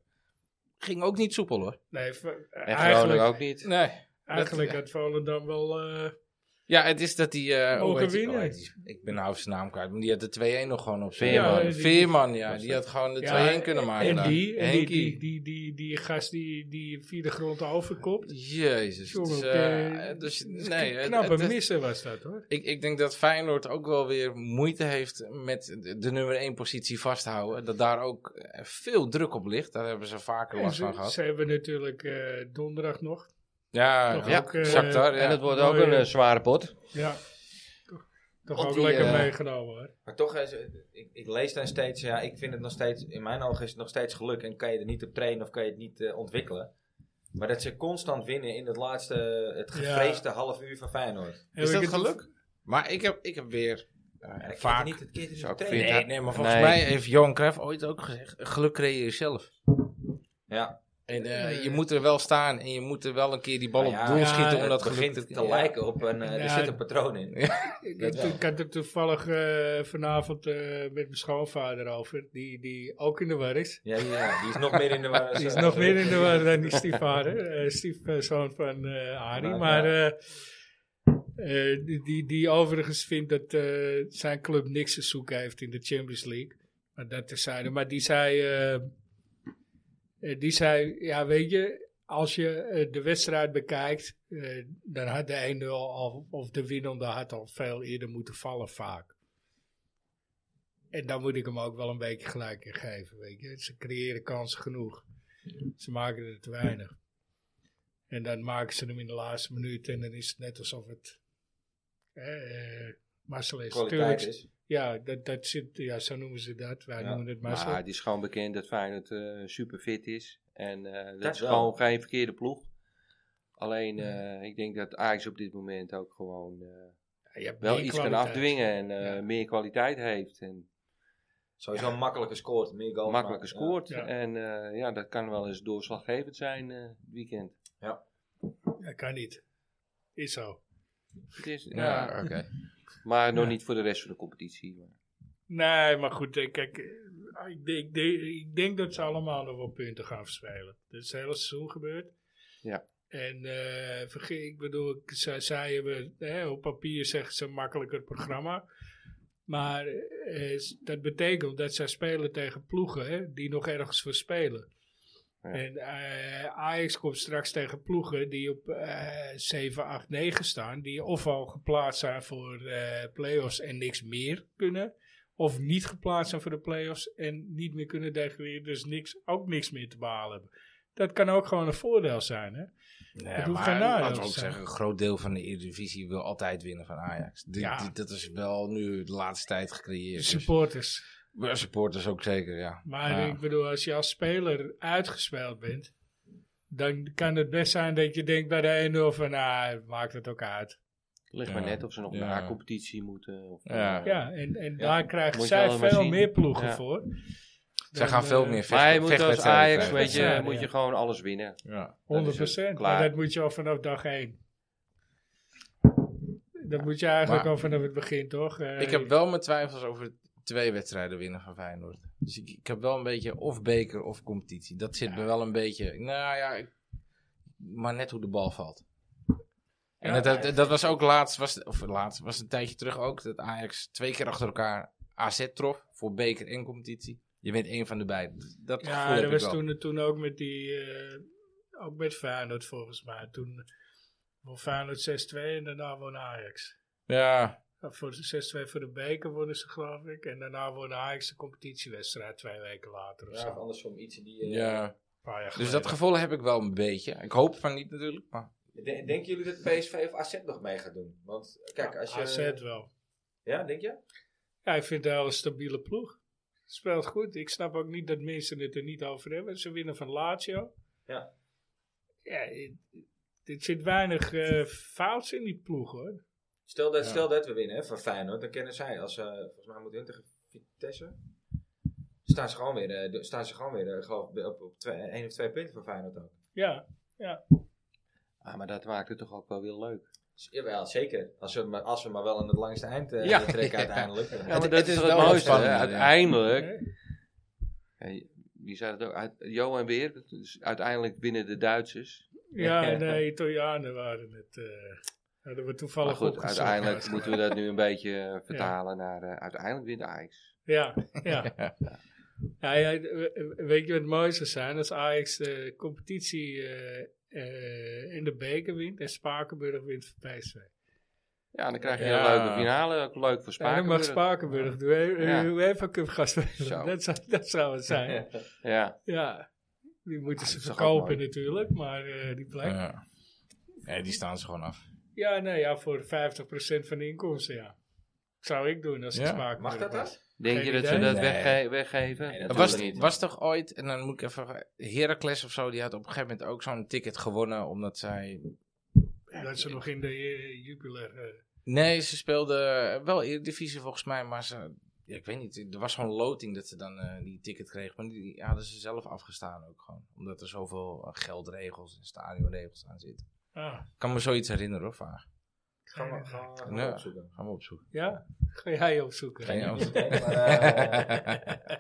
Speaker 3: Ging ook niet soepel hoor.
Speaker 2: Nee, v- eh,
Speaker 4: En
Speaker 2: eigenlijk,
Speaker 4: Groningen ook niet.
Speaker 3: Nee.
Speaker 2: eigenlijk
Speaker 3: Dat-
Speaker 2: had Volendam wel, eh,
Speaker 3: Ja, het is dat die. eh, hoe
Speaker 2: Mogen
Speaker 3: heet die-
Speaker 2: winnen.
Speaker 3: hoe heet die? ik ben nou even zijn naam kwijt. Maar die had de 2-1 nog gewoon op. zijn-
Speaker 4: Veerman.
Speaker 3: Ja, die- Veerman, ja. Die had gewoon de
Speaker 2: Ja,
Speaker 3: 2-1 kunnen maken.
Speaker 2: en
Speaker 3: daar.
Speaker 2: die, en die,
Speaker 3: Ah, nou, Henkie.
Speaker 2: die, die, die, die gast die, die via de grond overkomt.
Speaker 3: Jezus. Dus het is,
Speaker 2: Jongen,
Speaker 3: eh,
Speaker 2: oké.
Speaker 3: dus,
Speaker 2: Dus
Speaker 3: nee, het-
Speaker 2: knappe
Speaker 3: het- het-
Speaker 2: missen was dat hoor.
Speaker 3: ik, ik denk dat Feyenoord ook wel weer moeite heeft met de, de nummer 1 positie vasthouden. Dat daar ook eh, veel druk op ligt. Daar hebben ze vaker
Speaker 2: En
Speaker 3: last van
Speaker 2: Ze,
Speaker 3: gehad.
Speaker 2: ze hebben natuurlijk eh, donderdag nog.
Speaker 3: Ja,
Speaker 2: Toch
Speaker 3: ja.
Speaker 2: ook, eh,
Speaker 3: Shakhtar, ja.
Speaker 4: En het wordt ook een
Speaker 2: Mooie-
Speaker 4: eh, zware pot.
Speaker 2: Ja. Toch- Toch
Speaker 1: Want
Speaker 2: ook
Speaker 1: die,
Speaker 2: lekker
Speaker 1: eh,
Speaker 2: meegenomen hoor.
Speaker 1: Maar toch, is, het- ik, ik lees dan steeds, ja, ik vind het nog steeds, in mijn ogen is het nog steeds geluk en kan je er niet op trainen of kan je het niet eh, ontwikkelen. Maar dat ze constant winnen in het laatste, het
Speaker 2: Ja.
Speaker 1: gevreesde half uur van Feyenoord.
Speaker 2: Heb
Speaker 3: Is
Speaker 2: ik
Speaker 3: dat
Speaker 2: het-
Speaker 3: geluk? Maar ik heb, ik heb weer eh,
Speaker 1: Ja, dat keert er
Speaker 3: vaak...
Speaker 1: niet, dat keert er niet
Speaker 4: Zou
Speaker 1: op
Speaker 4: ik
Speaker 1: trainen.
Speaker 4: vinden.
Speaker 3: Nee, nee, maar volgens
Speaker 4: Nee.
Speaker 3: mij heeft Johan Cruijff ooit ook gezegd... Geluk creëer je zelf.
Speaker 1: Ja,
Speaker 3: En eh, je moet er wel staan en je moet er wel een keer die bal
Speaker 1: Nou
Speaker 3: op
Speaker 1: ja,
Speaker 3: doel
Speaker 2: ja,
Speaker 3: schieten om
Speaker 1: het
Speaker 3: dat geluk
Speaker 1: begint
Speaker 3: te
Speaker 1: te lijken op een, eh, er
Speaker 2: Ja,
Speaker 1: zit een patroon in. Ja,
Speaker 2: Ik,
Speaker 1: Dat
Speaker 2: ik-
Speaker 1: wel.
Speaker 2: ik had het toevallig eh, vanavond eh, met mijn schoonvader over. Die, die ook in de war is.
Speaker 1: ja, ja, die is nog meer in de eh, war.
Speaker 2: [laughs] Die is nog meer in de war dan die stiefvader. eh stiefzoon van eh Arie.
Speaker 1: Nou,
Speaker 2: maar
Speaker 1: ja.
Speaker 2: eh, eh, die, die, die overigens vindt dat eh, zijn club niks te zoeken heeft in de Champions League. Maar dat terzijde. Maar die zei... eh, eh, die zei, ja weet je... Als je eh, de wedstrijd bekijkt, eh, dan had de 1-0 al, of de winnende had al veel eerder moeten vallen vaak. En daar moet ik hem ook wel een beetje gelijk in geven. Weet je. Ze creëren kansen genoeg. Ze maken er te weinig. En dan maken ze hem in de laatste minuut en dan is het net alsof het eh, eh, mazzel is.
Speaker 1: kwaliteit
Speaker 2: Tuurlijk,
Speaker 1: is.
Speaker 2: ja, dat, dat zit, ja, zo noemen ze dat. Wij
Speaker 1: Ja,
Speaker 2: noemen het mazzel.
Speaker 4: Maar het is gewoon bekend dat Feyenoord eh super fit is. En eh, dat,
Speaker 1: Dat
Speaker 4: is
Speaker 1: wel.
Speaker 4: gewoon geen verkeerde ploeg. Alleen, eh, ik denk dat Ajax op dit moment ook gewoon eh,
Speaker 2: Ja, je hebt
Speaker 4: wel
Speaker 2: meer
Speaker 4: iets kan
Speaker 2: kwaliteit.
Speaker 4: afdwingen. En eh,
Speaker 2: Ja.
Speaker 4: meer kwaliteit heeft. En
Speaker 1: Sowieso makkelijker scoort, meer goals.
Speaker 4: makkelijker
Speaker 1: maken, ja.
Speaker 4: scoort.
Speaker 2: Ja.
Speaker 4: En eh, ja, dat kan wel eens doorslaggevend zijn eh, het weekend.
Speaker 2: Dat kan niet. Is zo.
Speaker 4: Het is, ja.
Speaker 3: Ja, oké.
Speaker 4: Maar nog niet voor de rest van de competitie. Maar.
Speaker 2: Nee, maar goed, eh, kijk, eh, ik, denk- ik denk- ik denk dat ze allemaal nog wel punten gaan verspelen. Dat is het hele seizoen gebeurd.
Speaker 4: Ja.
Speaker 2: En eh vergeet, ik bedoel, ik- zij, zij hebben, hè, op papier zeggen ze een makkelijker programma. Maar eh, s- dat betekent dat zij spelen tegen ploegen hè, die nog ergens voor spelen.
Speaker 4: Ja.
Speaker 2: En eh, Ajax komt straks tegen ploegen die op eh 7, 8, 9 staan. Die ofwel geplaatst zijn voor eh play-offs en niks meer kunnen. Of niet geplaatst zijn voor de play-offs en niet meer kunnen degraderen. Dus niks, ook niks meer te behalen hebben. Dat kan ook gewoon een voordeel zijn. Hè?
Speaker 3: Nee,
Speaker 2: Het hoeft
Speaker 3: maar
Speaker 2: geen nadeel
Speaker 3: laten
Speaker 2: te
Speaker 3: we ook
Speaker 2: zijn.
Speaker 3: zeggen, een groot deel van de Eredivisie wil altijd winnen van Ajax. Dit-
Speaker 2: Ja.
Speaker 3: dit- dat is wel nu de laatste tijd
Speaker 2: De
Speaker 3: gecreëerd. Dus,
Speaker 2: supporters.
Speaker 3: maar supporters ook zeker, ja.
Speaker 2: Maar
Speaker 3: Ja.
Speaker 2: ik bedoel, als je als speler uitgespeeld bent, dan kan het best zijn dat je denkt bij de 1-0 van, nou, maakt het ook uit.
Speaker 4: Het ligt
Speaker 3: Ja.
Speaker 4: maar net of ze nog
Speaker 3: Ja.
Speaker 4: naar competitie moeten. Of,
Speaker 3: Ja.
Speaker 4: eh,
Speaker 2: Ja, en, en
Speaker 4: Ja,
Speaker 2: daar krijgen
Speaker 4: moet je wel
Speaker 2: zij
Speaker 4: maar
Speaker 2: veel
Speaker 4: zien.
Speaker 2: meer ploegen
Speaker 4: Ja.
Speaker 2: voor.
Speaker 3: Zij
Speaker 2: Dan,
Speaker 3: gaan veel
Speaker 2: eh,
Speaker 3: meer
Speaker 4: Maar
Speaker 3: vecht- eh.
Speaker 4: je moet als
Speaker 3: vechtwedstrijden
Speaker 4: Ajax,
Speaker 3: krijgen.
Speaker 4: weet je,
Speaker 2: Ja,
Speaker 4: moet
Speaker 2: ja.
Speaker 4: je gewoon alles winnen.
Speaker 3: Ja.
Speaker 2: 100
Speaker 4: Dat is het.
Speaker 2: maar
Speaker 4: Klaar.
Speaker 2: dat moet je al vanaf dag 1. Dat moet je eigenlijk
Speaker 3: Maar-
Speaker 2: al vanaf het begin, toch? Eh,
Speaker 3: Ik heb wel mijn twijfels over twee wedstrijden winnen van Feyenoord. Dus ik, ik heb wel een beetje of beker of competitie. Dat zit me wel een beetje... Nou ja, ik- maar net hoe de bal valt. En
Speaker 2: Ja,
Speaker 3: dat, dat, dat was ook laatst, was, of laatst, was een tijdje terug ook, dat Ajax twee keer achter elkaar AZ trof voor beker en competitie. Je wint één van de beiden. Dat
Speaker 2: Ja,
Speaker 3: gevoel heb
Speaker 2: dat
Speaker 3: ik
Speaker 2: was
Speaker 3: wel.
Speaker 2: toen, toen ook met die, eh, ook met Feyenoord volgens mij. Toen won Feyenoord 6-2 en daarna won Ajax.
Speaker 3: Ja,
Speaker 2: Ja, Voor de 6-2 voor de beker wonnen ze, geloof ik. En daarna won Ajax de competitiewedstrijd twee weken later of
Speaker 1: Ja,
Speaker 2: zo.
Speaker 1: of andersom iets in die... eh,
Speaker 3: ja.
Speaker 2: Een paar jaar
Speaker 3: Dus
Speaker 2: geleden.
Speaker 3: dat gevoel heb ik wel een beetje. Ik hoop van niet natuurlijk, maar...
Speaker 1: De- denken jullie dat PSV of AZ nog mee gaat doen? Want kijk, als je...
Speaker 2: AZ wel.
Speaker 1: Ja, denk je?
Speaker 2: Ja, ik vind het wel een stabiele ploeg. Speelt goed. Ik snap ook niet dat mensen het er niet over hebben. Ze winnen van Lazio.
Speaker 1: Ja.
Speaker 2: Ja, het- er zit weinig eh, fouts in die ploeg, hoor.
Speaker 1: Stel dat, stel dat we winnen hè, van Feyenoord, dan kennen zij. Als, eh volgens mij moeten hun tegen Vitesse. Staan ze gewoon weer, eh, do- staan ze gewoon weer eh, geloof, ik, op, op twee, één of twee punten van Feyenoord ook.
Speaker 2: Ja,
Speaker 4: Ah, maar dat maakt het toch ook wel weer leuk.
Speaker 1: Z- Jawel, Dus, zeker. Als we, maar, als we maar wel aan het langste eind eh,
Speaker 4: [laughs] Ja.
Speaker 1: trekken uiteindelijk.
Speaker 4: Ja, maar
Speaker 3: Het-
Speaker 4: dat
Speaker 3: het
Speaker 4: is
Speaker 3: is
Speaker 4: toch het
Speaker 3: wel
Speaker 4: mooiste.
Speaker 3: spannend,
Speaker 4: hè?
Speaker 3: ja.
Speaker 4: Uiteindelijk,
Speaker 2: hè?
Speaker 4: ja, wie zei dat ook, uit, Johan Weer, dat is uiteindelijk winnen de Duitsers.
Speaker 2: ja
Speaker 4: [laughs]
Speaker 2: en de Italianen waren het. eh hadden we
Speaker 4: Maar
Speaker 2: toevallig
Speaker 4: goed,
Speaker 2: opgezocht.
Speaker 4: uiteindelijk moeten we dat nu een beetje eh, vertalen naar eh, uiteindelijk wint
Speaker 2: [laughs]
Speaker 4: Ajax.
Speaker 2: Ja,
Speaker 4: [laughs]
Speaker 2: ja. ja, ja, we- weet je wat het mooi zou zijn? Als Ajax de competitie eh, eh, in de beker wint en Spakenburg wint voor PSV.
Speaker 4: Ja, dan krijg je
Speaker 3: Ja.
Speaker 4: een leuke finale, ook leuk voor
Speaker 2: Ja, dan mag
Speaker 4: Spakenburg.
Speaker 2: Spakenburg de U-
Speaker 4: Ja.
Speaker 2: UEFA Cup gaan
Speaker 4: Zo.
Speaker 2: spelen. Dat zou, dat zou het zijn.
Speaker 4: Ja,
Speaker 2: ja. Die moeten ze
Speaker 4: is toch ook
Speaker 2: verkopen
Speaker 4: mooi.
Speaker 2: natuurlijk, maar eh, die plek. Ja,
Speaker 3: Ja. Nee, die staan ze gewoon af.
Speaker 2: nee, ja, voor 50% van de inkomsten, ja. Zou ik doen als ik
Speaker 3: Ja.
Speaker 2: Spakenburg
Speaker 1: Mag dat
Speaker 2: was.
Speaker 1: dan?
Speaker 4: denk
Speaker 2: Geen
Speaker 4: je dat ze
Speaker 2: idee.
Speaker 4: dat
Speaker 3: Nee.
Speaker 4: wegge- weggeven?
Speaker 1: Nee,
Speaker 3: Er
Speaker 1: dat
Speaker 3: was,
Speaker 1: Natuurlijk niet.
Speaker 3: was toch ooit, en dan moet ik even. Heracles of zo, die had op een gegeven moment ook zo'n ticket gewonnen. Omdat zij.
Speaker 2: Dat ze nog in de eh, jubilair... eh,
Speaker 3: Nee, ze speelde eh, wel Eredivisie volgens mij, maar ze. Ja, ik weet niet, er was zo'n loting dat ze dan eh, die ticket kreeg. Maar die hadden ze zelf afgestaan ook gewoon. Omdat er zoveel eh, geldregels en stadionregels aan zitten.
Speaker 2: ah,
Speaker 3: Ik kan me zoiets herinneren hoor, vaag.
Speaker 1: Gaan we, gaan we, gaan we
Speaker 3: Nee.
Speaker 1: opzoeken.
Speaker 3: Gaan we opzoeken.
Speaker 2: ja? Ga jij opzoeken.
Speaker 3: Geen idee. [laughs]
Speaker 1: Maar, eh,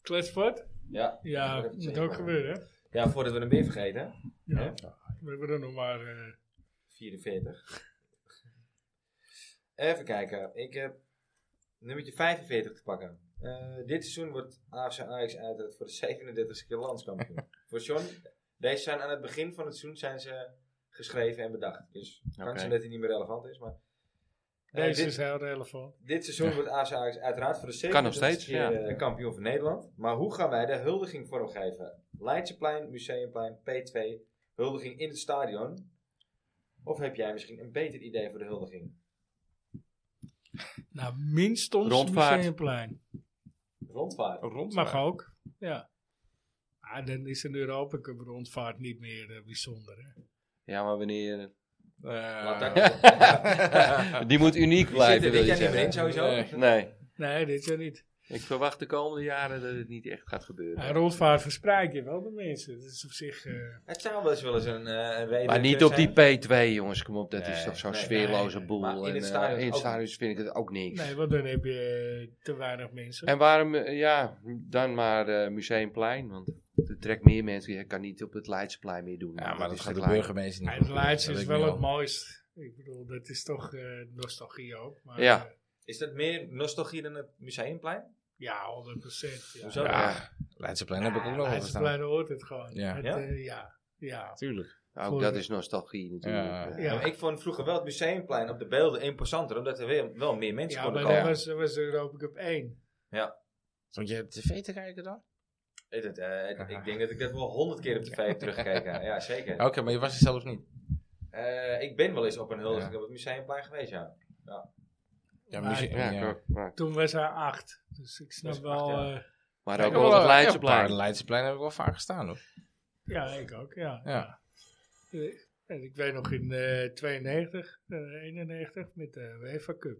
Speaker 2: Kletspot?
Speaker 1: ja.
Speaker 2: Ja,
Speaker 1: Dat
Speaker 2: dat
Speaker 1: moet
Speaker 2: moet
Speaker 1: zeker
Speaker 2: ook
Speaker 1: wel.
Speaker 2: gebeuren. hè?
Speaker 1: ja, voordat we hem weer vergeten.
Speaker 2: Ja.
Speaker 1: Ja.
Speaker 2: We hebben er nog maar... eh,
Speaker 1: 44. Even kijken. Ik heb nummertje 45 te pakken. Eh, dit seizoen wordt AFC Ajax uiteraard voor de 37e keer landskampioen. voor John, deze zijn aan het begin van het seizoen zijn ze geschreven en bedacht. Dus het kan
Speaker 4: Oké.
Speaker 1: zijn dat hij niet meer relevant is. Maar, Eh,
Speaker 2: deze
Speaker 1: dit,
Speaker 2: is heel relevant.
Speaker 1: dit seizoen wordt AFC Ajax uiteraard voor de
Speaker 4: Kan nog
Speaker 1: 37e
Speaker 4: steeds,
Speaker 1: keer
Speaker 4: ja.
Speaker 1: eh, kampioen van Nederland. Maar hoe gaan wij de huldiging vormgeving? Leidseplein, Museumplein, P2, huldiging in het stadion? Of heb jij misschien een beter idee voor de huldiging?
Speaker 2: Nou, minstens
Speaker 4: Rondvaart.
Speaker 2: Museumplein.
Speaker 1: Rondvaart.
Speaker 3: Rond
Speaker 2: Mag ook, ja. Ah, dan is een Europa Cup rondvaart niet meer eh, bijzonder. Hè?
Speaker 4: Ja, maar wanneer...
Speaker 3: Eh,
Speaker 4: eh,
Speaker 1: Laat
Speaker 3: [laughs]
Speaker 1: daar-
Speaker 4: [laughs] Die moet uniek
Speaker 1: Die
Speaker 4: blijven,
Speaker 1: zit
Speaker 4: wil
Speaker 1: dit
Speaker 4: je
Speaker 1: jaar niet meer in
Speaker 4: zeggen.
Speaker 1: sowieso.
Speaker 3: Nee.
Speaker 4: Nee,
Speaker 2: Nee, dit jaar niet.
Speaker 4: ik verwacht de komende jaren dat het niet echt gaat
Speaker 2: Ja,
Speaker 4: gebeuren.
Speaker 2: rondvaart verspreid je wel de mensen. Dat is op zich... eh,
Speaker 1: Het zou wel eens wel eens een, eh een
Speaker 4: Maar
Speaker 1: weduwe
Speaker 4: niet op die
Speaker 1: zijn.
Speaker 4: P2, jongens. Kom op, dat
Speaker 3: Nee,
Speaker 4: is toch zo'n
Speaker 1: nee,
Speaker 4: sfeerloze
Speaker 2: nee,
Speaker 4: boel.
Speaker 1: maar in
Speaker 4: en,
Speaker 1: het
Speaker 4: eh,
Speaker 1: stadion
Speaker 4: in het
Speaker 1: ook
Speaker 4: stadion vind ik het ook niks.
Speaker 2: nee, want dan heb je eh, te weinig mensen.
Speaker 4: En waarom, eh, ja, dan maar eh, Museumplein. Want het trekt meer mensen. Je kan niet op het Leidseplein meer doen.
Speaker 3: Ja, maar
Speaker 4: is
Speaker 3: dat gaat
Speaker 4: te
Speaker 3: de
Speaker 4: klein.
Speaker 3: burgemeester niet.
Speaker 2: Ja, het
Speaker 3: goed.
Speaker 2: Leids
Speaker 3: Dat
Speaker 2: is
Speaker 3: ik
Speaker 2: wel
Speaker 3: nu
Speaker 2: het
Speaker 3: al.
Speaker 2: mooist. Ik bedoel, dat is toch eh, nostalgie ook. Maar,
Speaker 4: Ja.
Speaker 2: eh,
Speaker 1: Is dat meer nostalgie dan het museumplein?
Speaker 2: ja, 100 procent. Ja.
Speaker 1: Hoezo?
Speaker 3: Ja, Leidseplein heb ik ook nog wel
Speaker 2: Leidseplein
Speaker 3: gestaan.
Speaker 2: hoort het gewoon.
Speaker 3: Ja.
Speaker 2: Het,
Speaker 1: Ja?
Speaker 2: eh, ja. ja.
Speaker 3: Tuurlijk.
Speaker 4: Ook dat is nostalgie natuurlijk.
Speaker 3: Ja.
Speaker 4: Eh,
Speaker 2: Ja.
Speaker 1: Maar Ik vond vroeger wel het museumplein op de beelden imposanter, omdat er weer, wel meer mensen
Speaker 2: Ja,
Speaker 1: konden
Speaker 2: maar
Speaker 1: komen.
Speaker 2: dat
Speaker 4: komen.
Speaker 2: was, dat was de Europa Cup 1.
Speaker 3: Vond je tv te kijken dan?
Speaker 1: Ik weet het, eh, ik denk dat ik dat wel honderd keer op tv heb teruggekeken. Ja, zeker.
Speaker 2: Oh.
Speaker 3: Oké, maar je was er zelfs niet.
Speaker 1: Eh, ik ben wel eens op een huldiging op het museumplein geweest, ja.
Speaker 3: Ja,
Speaker 2: Maar-
Speaker 3: muzie-
Speaker 4: ja,
Speaker 3: ja.
Speaker 4: klopt, Maar,
Speaker 2: Toen was hij 8. Dus ik snap
Speaker 1: Was hij
Speaker 2: wel...
Speaker 1: acht,
Speaker 2: eh,
Speaker 4: maar ook
Speaker 3: Ja, ik heb
Speaker 4: wel
Speaker 3: wel-
Speaker 4: het
Speaker 3: ja, een
Speaker 4: Leidseplein.
Speaker 3: paar Leidseplein heb ik wel vaak gestaan hoor.
Speaker 2: ja, ik ook, ja.
Speaker 3: Ja.
Speaker 2: Eh, En ik weet nog in eh 92, eh, 91 met de UEFA Cup.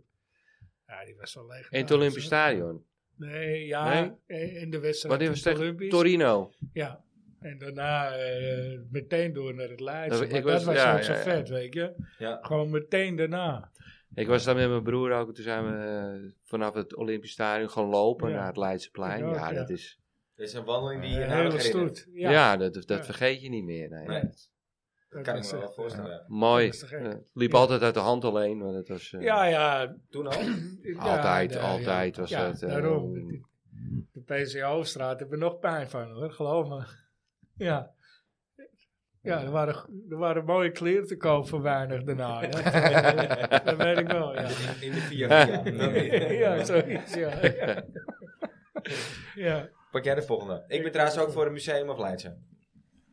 Speaker 2: Ja, die was wel leeg. Nou,
Speaker 4: In het Olympisch Stadion.
Speaker 2: Nee, ja. eh, In de wedstrijd
Speaker 4: Wanneer was
Speaker 2: tegen
Speaker 4: het
Speaker 2: Olympisch.
Speaker 4: Torino.
Speaker 2: Ja, en daarna eh, meteen door naar het Leidse.
Speaker 4: Dat-
Speaker 2: Maar
Speaker 4: ik
Speaker 2: dat
Speaker 4: was-
Speaker 2: was
Speaker 4: ja,
Speaker 2: ook zo
Speaker 4: ja, ja.
Speaker 2: vet, weet je.
Speaker 1: Ja.
Speaker 2: Gewoon meteen daarna.
Speaker 4: Ik was daar met mijn broer ook. Toen zijn we eh, vanaf het Olympisch Stadion gaan lopen
Speaker 2: Ja.
Speaker 4: naar het Leidseplein.
Speaker 2: Ik ook,
Speaker 4: ja,
Speaker 2: ja.
Speaker 4: dat is...
Speaker 1: Dit is een wandeling die eh, nou, je
Speaker 2: Een
Speaker 1: nauwelijks
Speaker 2: hele
Speaker 1: herinnert.
Speaker 2: Eh, stoet.
Speaker 4: Ja,
Speaker 2: Ja,
Speaker 4: dat, dat
Speaker 2: Ja.
Speaker 4: vergeet je niet meer. Nee.
Speaker 1: Nee, dat
Speaker 2: dat eh,
Speaker 1: kan ik
Speaker 2: was
Speaker 1: me wel
Speaker 2: echt,
Speaker 1: voorstellen. ja.
Speaker 4: Mooi.
Speaker 2: Dat is te gek.
Speaker 4: Eh, het liep
Speaker 2: Ja.
Speaker 4: altijd uit de hand alleen. Maar dat was, eh,
Speaker 2: Ja, ja.
Speaker 1: Toen al?
Speaker 2: ja,
Speaker 4: Altijd,
Speaker 2: ja,
Speaker 4: altijd was
Speaker 2: ja,
Speaker 4: dat, eh,
Speaker 2: daarom. De- De PC Hoofdstraat hebben nog pijn van, hoor. Geloof me. [laughs] Ja. Ja, er waren, er waren mooie kleren te koop voor weinig
Speaker 1: [laughs]
Speaker 2: daarna. hè. dat weet ik wel, ja. [laughs]
Speaker 1: In de vier jaar.
Speaker 2: ja,
Speaker 1: [laughs]
Speaker 2: zoiets, ja. Ja. ja.
Speaker 1: Pak jij de volgende. Ik ben trouwens ook voor een museum of Leidse.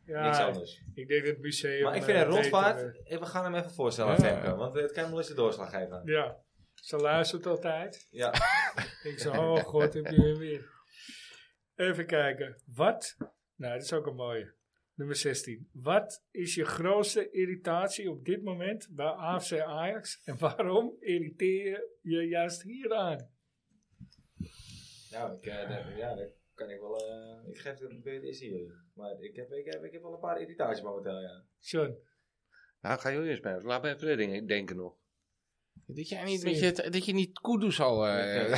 Speaker 1: Niks
Speaker 2: ja.
Speaker 1: anders.
Speaker 2: Ik denk dat het museum...
Speaker 1: Maar ik vind
Speaker 2: eh,
Speaker 1: een rondvaart...
Speaker 2: beter,
Speaker 1: eh, We gaan hem even voorstellen aan
Speaker 3: Ja.
Speaker 1: Femke, want het kan hem wel eens de doorslag
Speaker 2: eh,
Speaker 1: geven.
Speaker 2: Ja, ze luistert altijd.
Speaker 1: Ja.
Speaker 2: Ik
Speaker 3: [laughs]
Speaker 2: zeg, oh god, heb je hem weer. Even kijken. Wat? Nou, dat is ook een mooie. Nummer 16. Wat is je grootste irritatie op dit moment bij AFC Ajax? En waarom irriteer je juist hieraan?
Speaker 1: Nou, ik, eh, daar- ja, daar kan ik wel... eh, ik geef het weer eens hier. Maar ik heb, ik, heb, ik heb wel een paar irritaties momenteel, ja.
Speaker 2: John,
Speaker 4: Nou, ga jullie eens bij. Laat me even dingen denken nog.
Speaker 3: Dat jij niet, met je, dat je niet Kudus al... eh,
Speaker 1: Ja,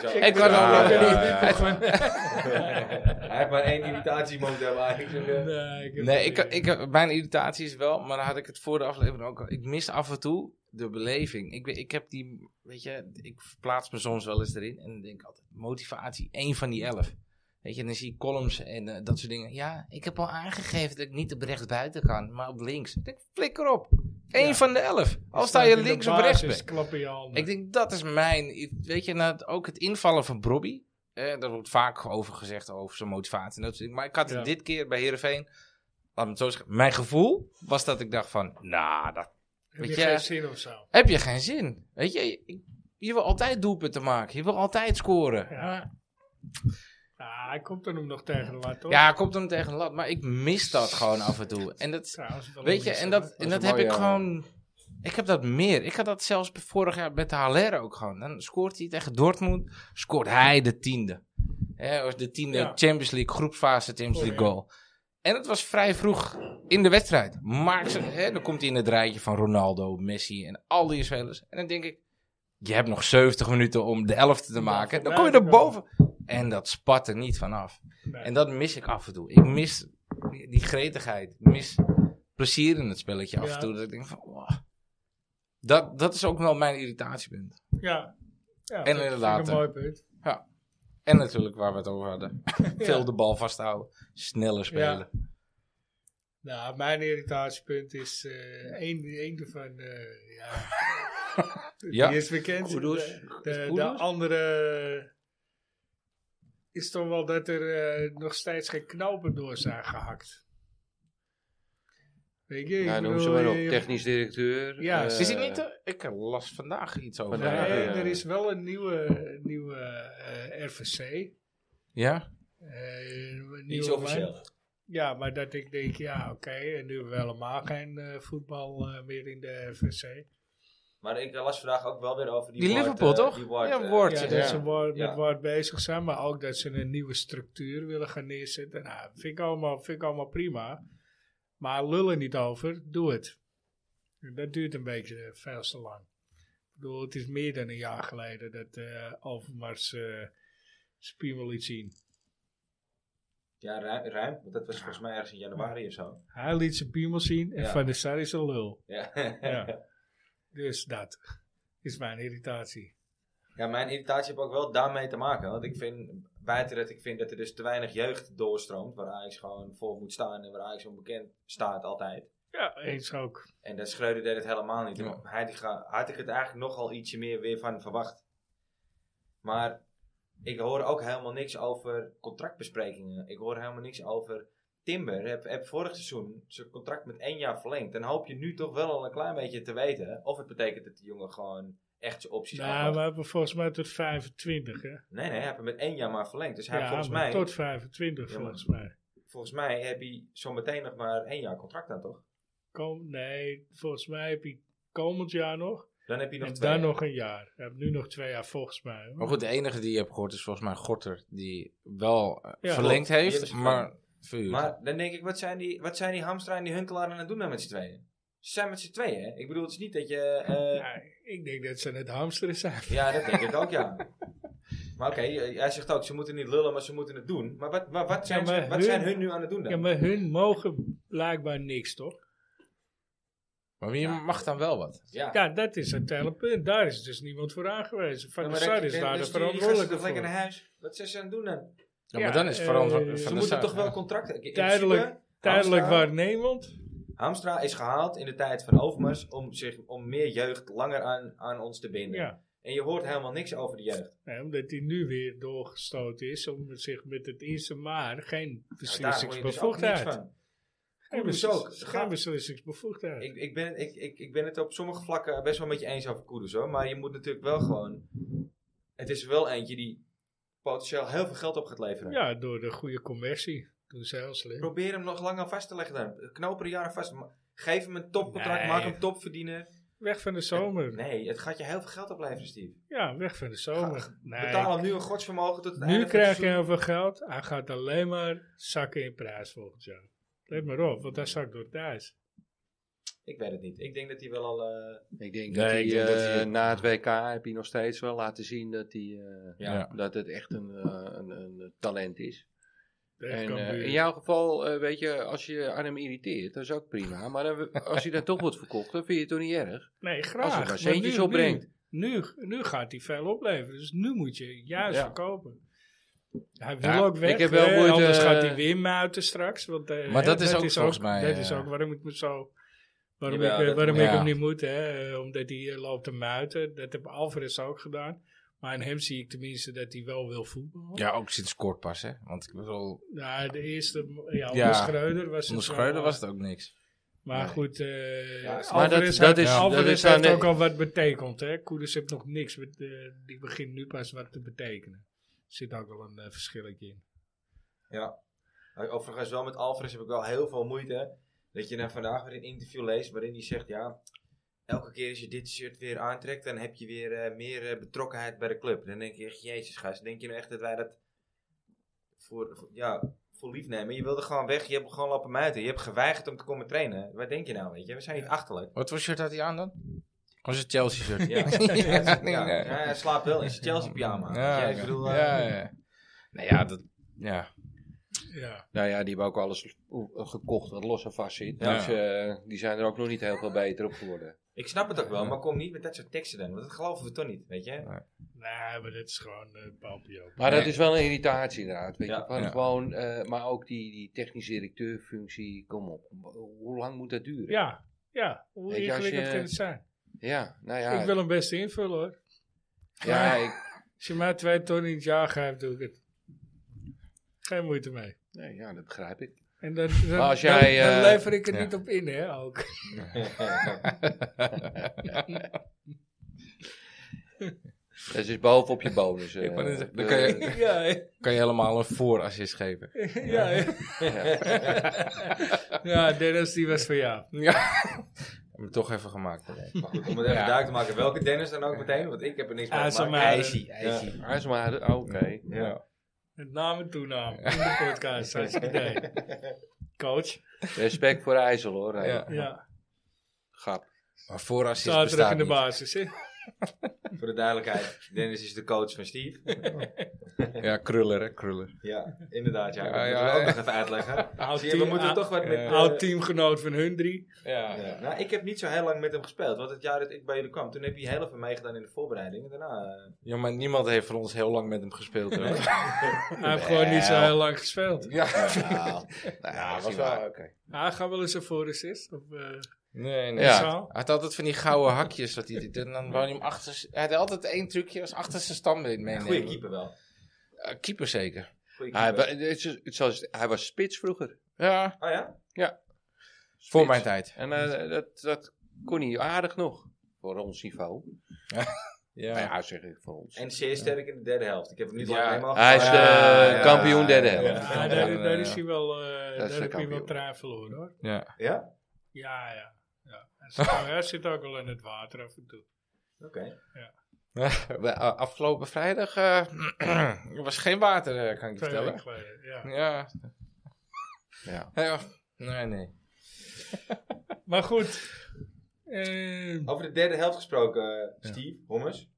Speaker 1: deze ook.
Speaker 3: [laughs] Ik was al...
Speaker 2: ik ben
Speaker 3: eh,
Speaker 2: niet-
Speaker 1: Hij heeft maar één irritatie momenteel, maar ik zeg... eh,
Speaker 2: Nee, ik heb
Speaker 3: Nee,
Speaker 2: het
Speaker 3: ik,
Speaker 2: niet.
Speaker 3: ik, heb- mijn irritatie is wel, maar dan had ik het voor de aflevering ook al. Ik mis af en toe de beleving. Ik, ben- ik heb die, weet je, ik verplaats me soms wel eens erin en dan denk ik altijd, motivatie, één van die elf. Weet je, en dan zie ik columns en eh, dat soort dingen. Ja, ik heb al aangegeven dat ik niet op rechts buiten kan, maar op links. Ik denk, flikker op. Eén
Speaker 2: Ja.
Speaker 3: van de elf. Al sta je
Speaker 2: in de
Speaker 3: links of rechts
Speaker 2: basis,
Speaker 3: bent.
Speaker 2: klap in je handen.
Speaker 3: Ik denk, dat is mijn... Weet je, nou, ook het invallen van Bobby. Eh, daar wordt vaak over gezegd, over zijn motivatie. En dat, soort dingen. maar ik had het
Speaker 2: Ja.
Speaker 3: dit keer bij Heerenveen... Laat me het zo zeggen. Mijn gevoel was dat ik dacht van... Nou, dat
Speaker 2: heb je
Speaker 3: weet je-
Speaker 2: geen zin of zo?
Speaker 3: heb je geen zin. Weet je, je, je wil altijd doelpunten maken. Je wil altijd scoren.
Speaker 2: Ja.
Speaker 3: Ja,
Speaker 2: Ah, hij komt er hem nog tegen de lat, toch?
Speaker 3: ja komt hem tegen de lat. Maar ik mis dat gewoon af en toe. En dat,
Speaker 2: Trouwens, wel
Speaker 3: Weet je,
Speaker 2: een
Speaker 3: en dat,
Speaker 2: wissel,
Speaker 3: en
Speaker 4: is
Speaker 3: dat
Speaker 4: een
Speaker 3: heb ik
Speaker 4: mooie- eh,
Speaker 3: gewoon. Ik heb dat meer. Ik had dat zelfs vorig jaar met de Haller ook gewoon. Dan scoort hij tegen Dortmund, scoort hij de tiende. Hè, was de tiende
Speaker 2: Ja.
Speaker 3: Champions League, groepsfase Champions
Speaker 2: Oh,
Speaker 3: League
Speaker 2: ja.
Speaker 3: goal. En het was vrij vroeg in de wedstrijd. Maar ze- hè, dan komt hij in het rijtje van Ronaldo, Messi en al die spelers. En dan denk ik, je hebt nog 70 minuten om de elfte te
Speaker 2: Ja,
Speaker 3: maken. Dan
Speaker 2: voorbij
Speaker 3: kom je
Speaker 2: te
Speaker 3: er
Speaker 2: komen.
Speaker 3: boven. En dat spat er niet vanaf.
Speaker 2: hè? Nee.
Speaker 3: En dat mis ik af en toe. Ik mis die die gretigheid. Ik mis plezier in het spelletje af
Speaker 2: Ja.
Speaker 3: en toe. Dat ik denk van, wow. dat, dat is ook wel mijn irritatiepunt.
Speaker 2: Ja. ja
Speaker 3: En
Speaker 2: dat
Speaker 3: inderdaad,
Speaker 2: vind ik
Speaker 3: hè.
Speaker 2: Een mooi punt.
Speaker 3: En natuurlijk waar we het over hadden. Veel de bal vasthouden. Sneller spelen.
Speaker 2: Nou, mijn irritatiepunt is eh één, één ervan. eh ja.
Speaker 3: Ja.
Speaker 2: Die is bekend.
Speaker 4: Kudus.
Speaker 2: De, de, de andere is toch wel dat er eh, nog steeds geen knopen door zijn gehakt. Weet je, ik
Speaker 3: Nou,
Speaker 4: Ja, noem ze
Speaker 2: bedoel,
Speaker 4: maar op.
Speaker 2: je-
Speaker 4: Technisch directeur.
Speaker 2: Ja,
Speaker 4: eh,
Speaker 2: ze
Speaker 3: Is het niet? eh, Ik las vandaag iets over.
Speaker 4: Vandaag,
Speaker 2: Nee,
Speaker 4: ja.
Speaker 2: er is wel een nieuwe, nieuwe eh, RVC.
Speaker 3: Ja?
Speaker 2: eh
Speaker 1: Niet
Speaker 2: nieuwe
Speaker 1: zo officieel.
Speaker 2: Ja, maar dat ik denk, ja, oké, en nu hebben we helemaal geen eh, voetbal eh, meer in de RVC.
Speaker 1: Maar ik las vandaag ook wel weer over die,
Speaker 3: Die
Speaker 1: Ward,
Speaker 3: Liverpool,
Speaker 1: eh,
Speaker 3: toch?
Speaker 1: Die Ward,
Speaker 3: Ja,
Speaker 1: eh,
Speaker 3: Ward,
Speaker 2: Ja,
Speaker 3: ja.
Speaker 2: dat ze waar-
Speaker 1: Ja.
Speaker 2: met waar bezig zijn, maar ook dat ze een nieuwe structuur willen gaan neerzetten. Nou, vind ik allemaal, vind ik allemaal prima. Maar lullen niet over, doe het. En Dat duurt een beetje eh, veel te lang. Ik bedoel, het is meer dan een jaar geleden dat eh Overmars eh Spiemel liet zien.
Speaker 1: Ja, ruim, ruim, want dat was volgens mij ergens in januari of zo.
Speaker 2: Hij liet zijn piemel zien en
Speaker 1: Ja.
Speaker 2: Van der Sar is een lul.
Speaker 1: Ja.
Speaker 2: Ja. Dus dat is mijn
Speaker 1: [laughs]
Speaker 2: irritatie.
Speaker 1: Ja, mijn irritatie heeft ook wel daarmee te maken. Want ik vind, buiten dat ik vind dat er dus te weinig jeugd doorstroomt, waar Ajax gewoon vol moet staan en waar Ajax onbekend staat altijd.
Speaker 2: Ja, eens ook.
Speaker 1: En dat Schreuder deed het helemaal niet.
Speaker 3: Ja.
Speaker 1: Hij had ik het eigenlijk nogal ietsje meer weer van verwacht. Maar ik hoor ook helemaal niks over contractbesprekingen. Ik hoor helemaal niks over Timber. Heb, heb vorig seizoen zijn contract met één jaar verlengd. Dan hoop je nu toch wel al een klein beetje te weten of het betekent dat die jongen gewoon echt zijn opties
Speaker 2: Nou,
Speaker 1: afwacht.
Speaker 2: we hebben volgens mij tot 25, hè?
Speaker 1: Nee, nee, hij heeft hem met één jaar maar verlengd. Dus hij
Speaker 2: ja,
Speaker 1: volgens,
Speaker 2: maar
Speaker 1: mij,
Speaker 2: tot 25
Speaker 1: Ja, maar-
Speaker 2: volgens mij.
Speaker 1: volgens mij heb hij zometeen nog maar één jaar contract aan, toch?
Speaker 2: Kom, nee, volgens mij heb je komend jaar nog.
Speaker 1: Dan heb je nog
Speaker 2: en
Speaker 1: twee.
Speaker 2: dan
Speaker 1: jaar.
Speaker 2: nog een jaar. Je hebt nu nog twee jaar volgens mij. hoor.
Speaker 3: Maar goed, de enige die je hebt gehoord is volgens mij Gorter, die wel eh,
Speaker 2: Ja,
Speaker 3: verlengd
Speaker 1: klopt. Die
Speaker 3: heeft,
Speaker 1: hebben ze
Speaker 3: maar verhuurd.
Speaker 1: Maar dan denk ik, wat zijn die, wat zijn die Hamstra en die Huntelaar aan het doen dan met z'n tweeën? Ze zijn met z'n tweeën, hè? Ik bedoel, het is niet dat je... eh, ja.
Speaker 2: Ja, ik denk dat ze het hamsteren zijn.
Speaker 1: dat denk ik ook, ja. Maar oké, eh, hij zegt ook, ze moeten niet lullen, maar ze moeten het doen. Maar wat, wat, wat, zijn,
Speaker 2: Ja, maar
Speaker 1: ze, wat
Speaker 2: hun-
Speaker 1: zijn hun nu aan het doen dan?
Speaker 2: Ja, maar hun mogen blijkbaar niks, toch?
Speaker 3: Maar wie mag dan wel wat?
Speaker 1: Ja.
Speaker 2: Ja, dat is het hele punt. Daar is dus niemand voor aangewezen. Van
Speaker 1: Ja,
Speaker 2: de
Speaker 1: maar
Speaker 2: Sar
Speaker 1: dat-
Speaker 2: is
Speaker 1: dus
Speaker 2: daar
Speaker 1: die-
Speaker 2: de
Speaker 1: die gasten
Speaker 2: verantwoordelijke
Speaker 1: toch lekker
Speaker 2: voor.
Speaker 1: naar huis. Wat zijn ze aan het doen dan?
Speaker 3: Ja,
Speaker 2: Ja,
Speaker 3: maar dan is
Speaker 2: eh,
Speaker 3: verantwoordelijk
Speaker 2: ze
Speaker 1: Ze
Speaker 3: van de
Speaker 1: moeten
Speaker 3: zaak,
Speaker 1: toch wel
Speaker 3: ja.
Speaker 1: contracten... in principe-
Speaker 2: Tijdelijk, tijdelijk
Speaker 1: Hamstra-
Speaker 2: waarnemend.
Speaker 1: Hamstra is gehaald in de tijd van Overmars om, zich, om meer jeugd langer aan, aan ons te binden.
Speaker 2: Ja.
Speaker 1: En je hoort helemaal niks over de jeugd.
Speaker 2: Nee, omdat hij nu weer doorgestoten is, om zich met het eerste maar geen
Speaker 1: Nou, daar hoor je dus ook niks
Speaker 2: beslissingsbevoegdheid.
Speaker 1: van.
Speaker 2: geen,
Speaker 1: Koeders
Speaker 2: beslis-
Speaker 1: ook.
Speaker 2: geen beslissingsbevoegdheid.
Speaker 1: Ik, ik, ben, ik, ik, ik ben het op sommige vlakken best wel met je eens over Koeders hoor. Maar je moet natuurlijk wel gewoon... Het is wel eentje die potentieel heel veel geld op gaat leveren.
Speaker 2: ja, door de goede commercie. Toen ze heel slim.
Speaker 1: Probeer hem nog lang aan vast te leggen dan. Knoop er jaren vast. Ma- Geef hem een topcontract.
Speaker 2: Nee.
Speaker 1: Maak hem topverdiener.
Speaker 2: Weg van de zomer.
Speaker 1: Nee, het gaat je heel veel geld opleveren, Steve.
Speaker 2: Ja, weg van de zomer. nee.
Speaker 1: Betaal hem nu een godsvermogen tot het einde van
Speaker 2: Nu
Speaker 1: het
Speaker 2: krijg je
Speaker 1: seizoen.
Speaker 2: heel veel geld. Hij gaat alleen maar zakken in prijs volgend jaar. Let maar op, want hij zakt door thuis.
Speaker 1: Ik weet het niet. Ik denk dat hij wel al... eh,
Speaker 4: Ik denk
Speaker 3: Nee,
Speaker 4: dat hij
Speaker 3: ik denk dat hij-
Speaker 4: eh, na het WK heb je nog steeds wel laten zien dat, hij, eh,
Speaker 1: Ja.
Speaker 3: Ja.
Speaker 4: dat het echt een, eh, een, een talent is.
Speaker 2: Tegen
Speaker 4: En, eh,
Speaker 2: Cambuur.
Speaker 4: in jouw geval, eh, weet je, als je aan hem irriteert, dat is ook prima. Maar dan- als hij dan toch wordt verkocht, dan vind je het toch niet erg.
Speaker 2: nee,
Speaker 4: als
Speaker 2: graag.
Speaker 4: hij maar
Speaker 2: maar
Speaker 4: centjes
Speaker 2: nu-
Speaker 4: opbrengt.
Speaker 2: Nu, nu, nu gaat hij veel opleveren. Dus nu moet je juist
Speaker 4: Ja.
Speaker 2: verkopen. Hij wil
Speaker 3: Ja,
Speaker 2: ook weg.
Speaker 4: ik heb wel
Speaker 2: hè,
Speaker 4: ooit,
Speaker 2: anders
Speaker 4: eh,
Speaker 2: gaat hij weer muiten straks. Want, eh,
Speaker 3: Maar
Speaker 2: hè,
Speaker 3: dat is ook volgens mij,
Speaker 2: Dat
Speaker 3: eh,
Speaker 2: is ook waarom ik me zo... Waarom,
Speaker 1: Jawel,
Speaker 2: ik, eh,
Speaker 1: dat-
Speaker 2: waarom ik
Speaker 3: ja.
Speaker 2: hem niet moet. Hè, eh, omdat hij eh, loopt te muiten. Dat heb Alvarez ook gedaan. Maar in hem zie ik tenminste dat hij wel wil voetballen.
Speaker 3: Ja, ook sinds kort pas, hè. Want ik bedoel,
Speaker 2: Nou, de eerste, ja,
Speaker 3: Ja.
Speaker 2: onder Schreuder was het
Speaker 3: zonder
Speaker 2: wel,
Speaker 3: Schreuder was het ook niks.
Speaker 2: Maar
Speaker 3: Nee.
Speaker 2: goed, eh
Speaker 1: Ja, maar
Speaker 2: Alvarez,
Speaker 4: dat- dat
Speaker 2: heeft-
Speaker 4: is-
Speaker 2: Alvarez
Speaker 4: dat is
Speaker 2: heeft
Speaker 4: aan-
Speaker 2: ook al wat betekend. Hè? Koeders heeft nog niks, met, eh, die begint nu pas wat te betekenen. Er zit ook wel een eh, verschilletje in.
Speaker 1: Ja. Maar Overigens wel met Alvarez heb ik wel heel veel moeite. Dat je dan vandaag weer een interview leest waarin hij zegt, ja, elke keer als je dit shirt weer aantrekt, dan heb je weer eh, meer eh, betrokkenheid bij de club. Dan denk je echt, jezus gast, denk je nou echt dat wij dat voor, voor- ja, voor lief nemen? Je wilde gewoon weg, je hebt gewoon lopen muiten. Je hebt geweigerd om te komen trainen. Wat denk je nou, weet je? We zijn niet achterlijk.
Speaker 3: Wat voor shirt had hij aan dan? Was het Chelsea shirt?
Speaker 1: Ja.
Speaker 3: [laughs] ja,
Speaker 1: Ja,
Speaker 3: nee.
Speaker 1: ja, hij slaapt wel in zijn Chelsea pyjama.
Speaker 3: Ja,
Speaker 1: Ja,
Speaker 3: oké.
Speaker 1: ik bedoel, eh,
Speaker 3: ja, ja. Nou ja, dat... Ja.
Speaker 2: Ja,
Speaker 4: Nou ja, die hebben ook alles gekocht wat los en vast zit.
Speaker 3: Ja.
Speaker 4: Dus eh, die zijn er ook nog niet heel veel beter op geworden.
Speaker 1: Ik snap het ook wel, maar kom niet met dat soort teksten dan. Want dat geloven we toch niet, weet je?
Speaker 2: nee, maar dit is gewoon eh papio.
Speaker 4: Maar
Speaker 3: Nee.
Speaker 4: dat is wel een irritatie inderdaad. Weet
Speaker 1: Ja.
Speaker 4: je, van
Speaker 3: Ja.
Speaker 4: gewoon, eh, maar ook die, die technische directeurfunctie, kom op. Hoe lang moet dat duren?
Speaker 2: Ja, ja, hoe
Speaker 4: Weet je, als
Speaker 2: ingewikkeld
Speaker 4: je-
Speaker 2: kan het zijn?
Speaker 4: Ja, nou ja.
Speaker 2: ik wil hem best invullen hoor.
Speaker 4: ja, ik,
Speaker 2: Als je mij twee ton in het jaar geeft, doe ik het. Geen moeite mee.
Speaker 4: nee, ja, dat begrijp ik.
Speaker 2: En dan, dan,
Speaker 4: Maar als
Speaker 2: dan-
Speaker 4: jij,
Speaker 2: dan
Speaker 4: eh,
Speaker 2: lever ik er
Speaker 3: ja.
Speaker 2: niet op in, hè,
Speaker 4: [laughs]
Speaker 2: ook.
Speaker 4: Dat is boven op je bonus. eh,
Speaker 3: [laughs] Ik wou net zeggen, dan
Speaker 4: de-
Speaker 3: kan je-
Speaker 2: ja, hè.
Speaker 3: Kan je helemaal een voorassist geven.
Speaker 2: ja, hè. [laughs] ja, Dennis, die was voor jou.
Speaker 3: Ja. Heb me toch even gemaakt.
Speaker 1: Maar goed, om het even
Speaker 3: Ja.
Speaker 1: duidelijk te maken, welke Dennis dan ook meteen, want ik heb er niks mee
Speaker 2: Ah,
Speaker 1: te
Speaker 2: zeg
Speaker 1: maken.
Speaker 2: maar.
Speaker 3: IJsie, IJsie.
Speaker 4: Ah, is maar, oké.
Speaker 1: Ja.
Speaker 2: Met naam en toenaam in de podcast. Hartstikke idee. Coach.
Speaker 4: Respect voor IJssel hoor. eh.
Speaker 3: Ja.
Speaker 2: Ja,
Speaker 4: Grap.
Speaker 3: Maar voorassist
Speaker 2: zaterdag
Speaker 3: bestaat
Speaker 2: in de
Speaker 3: niet.
Speaker 2: basis. Hè?
Speaker 1: Voor de duidelijkheid, Dennis is de coach van Steve.
Speaker 3: Ja, kruller hè, kruller.
Speaker 1: Ja, inderdaad. Ja,
Speaker 3: Ja,
Speaker 1: dat
Speaker 3: ja,
Speaker 1: moeten we ook
Speaker 3: ja.
Speaker 1: nog even
Speaker 3: [laughs]
Speaker 1: uitleggen.
Speaker 2: Oud
Speaker 1: Zie je, we
Speaker 2: team,
Speaker 1: moeten
Speaker 2: ah,
Speaker 1: toch wat met...
Speaker 3: eh,
Speaker 1: eh,
Speaker 2: Oud teamgenoot van hun drie.
Speaker 3: Ja.
Speaker 1: ja. Nou, ik heb niet zo heel lang met hem gespeeld, want het jaar dat ik bij jullie kwam, toen heb hij heel even meegedaan in de voorbereiding. En daarna... eh,
Speaker 3: Ja, maar niemand heeft voor ons heel lang met hem gespeeld. hoor.
Speaker 2: Hij heeft gewoon niet zo heel lang gespeeld.
Speaker 3: ja. [laughs]
Speaker 4: Nou, nou, was wel oké.
Speaker 2: Hij gaat wel eens een voorassist. Of, eh,
Speaker 3: Nee, nee.
Speaker 4: Ja.
Speaker 2: Zo.
Speaker 3: Hij had altijd van die gouden hakjes. Dat hij, en dan wou hij hem achter... z- Hij had altijd één trucje als achterste standbeen meenemen.
Speaker 1: goede keeper wel.
Speaker 3: Eh, keeper zeker.
Speaker 1: Goeie
Speaker 4: Hij,
Speaker 1: keeper.
Speaker 4: wa- het is- het is als- hij was spits vroeger.
Speaker 3: Ja,
Speaker 1: Oh ja?
Speaker 3: voor
Speaker 4: Spits.
Speaker 3: mijn tijd.
Speaker 4: En eh, dat, dat kon hij aardig nog. Voor ons niveau. Nou
Speaker 3: Ja.
Speaker 4: Ja, zeg ik voor ons.
Speaker 1: En zeer sterk in de derde helft. Ik heb hem niet
Speaker 3: Ja.
Speaker 1: lang mee mogen
Speaker 4: Hij is
Speaker 1: spelen.
Speaker 4: de
Speaker 3: Ja, ja,
Speaker 4: kampioen
Speaker 3: ja,
Speaker 4: derde
Speaker 3: ja.
Speaker 4: helft.
Speaker 2: ja,
Speaker 3: Ja,
Speaker 2: daar,
Speaker 3: dan,
Speaker 2: daar
Speaker 3: eh,
Speaker 2: is hij wel, eh,
Speaker 4: dat is
Speaker 2: daar heb
Speaker 4: de
Speaker 2: hij wel
Speaker 4: kampioen.
Speaker 2: trui verloren hoor.
Speaker 3: Ja.
Speaker 1: Ja?
Speaker 2: Ja, ja. ja. Hij, zit, hij zit ook wel in het water af en toe.
Speaker 1: Oké.
Speaker 3: Bij- a- Afgelopen vrijdag eh, [clears throat] er was geen water, eh, kan ik je
Speaker 2: Twee weken
Speaker 3: vertellen.
Speaker 2: geleden. Ja.
Speaker 3: Ja.
Speaker 4: Ja.
Speaker 3: ja. Nee, nee.
Speaker 2: Maar goed. Eh,
Speaker 1: Over de derde helft gesproken, eh, Steve, Hommers.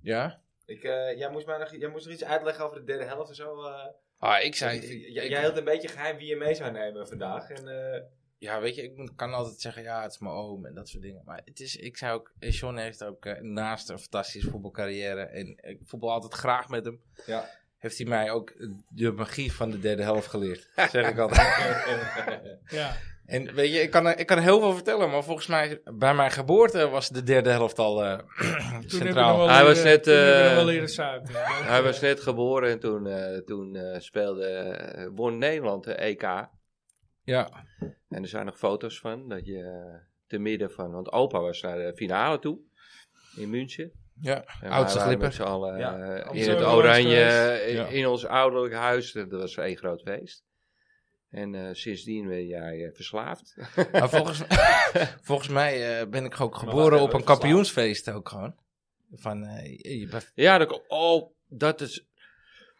Speaker 3: Ja?
Speaker 1: Ik, eh, jij, moest mij nog, jij moest nog iets uitleggen over de derde helft en zo. eh.
Speaker 3: Ah, ik zei...
Speaker 1: J-
Speaker 3: ik-
Speaker 1: jij
Speaker 3: ik-
Speaker 1: hield een beetje geheim wie je mee zou nemen vandaag. En, eh,
Speaker 3: Ja, weet je, ik moet- kan altijd zeggen, ja, het is mijn oom en dat soort dingen. Maar het is, ik zou ook, eh, John heeft ook eh, naast een fantastische voetbalcarrière en ik voetbal altijd graag met hem.
Speaker 1: Ja.
Speaker 3: Heeft hij mij ook eh, de magie van de derde helft [laughs] geleerd, zeg ik altijd.
Speaker 2: ja.
Speaker 3: En weet je, ik kan, er- ik kan heel veel vertellen, maar volgens mij bij mijn geboorte was de derde helft al eh, [clears throat]
Speaker 2: Toen heb je nog
Speaker 3: centraal.
Speaker 2: wel
Speaker 4: Hij
Speaker 2: leren-
Speaker 4: was net,
Speaker 2: toen heb je nog
Speaker 4: eh,
Speaker 2: wel leren zuipen. Ja, dat-
Speaker 4: Hij was net geboren en toen, eh, toen eh, speelde, eh, won Nederland de EK.
Speaker 3: Ja,
Speaker 4: En er zijn nog foto's van, dat je eh, te midden van, want opa was naar de finale toe in München.
Speaker 3: ja,
Speaker 4: En wij
Speaker 3: oudste
Speaker 4: waren
Speaker 3: glipper.
Speaker 4: met z'n allen
Speaker 1: Ja,
Speaker 4: eh, in
Speaker 2: Amsterdam
Speaker 4: het
Speaker 2: was
Speaker 4: oranje,
Speaker 2: geweest.
Speaker 4: eh, in,
Speaker 3: Ja.
Speaker 4: ons ouderlijk huis. Dat was één groot feest. En eh, sindsdien ben jij eh, verslaafd.
Speaker 3: Maar volgens, volgens mij [laughs] eh, ben ik ook
Speaker 1: wacht
Speaker 3: geboren
Speaker 1: even,
Speaker 3: op een
Speaker 1: verslaafd.
Speaker 3: kampioensfeest ook gewoon. Van, eh, je-
Speaker 4: Ja, dat, ko- oh, dat is...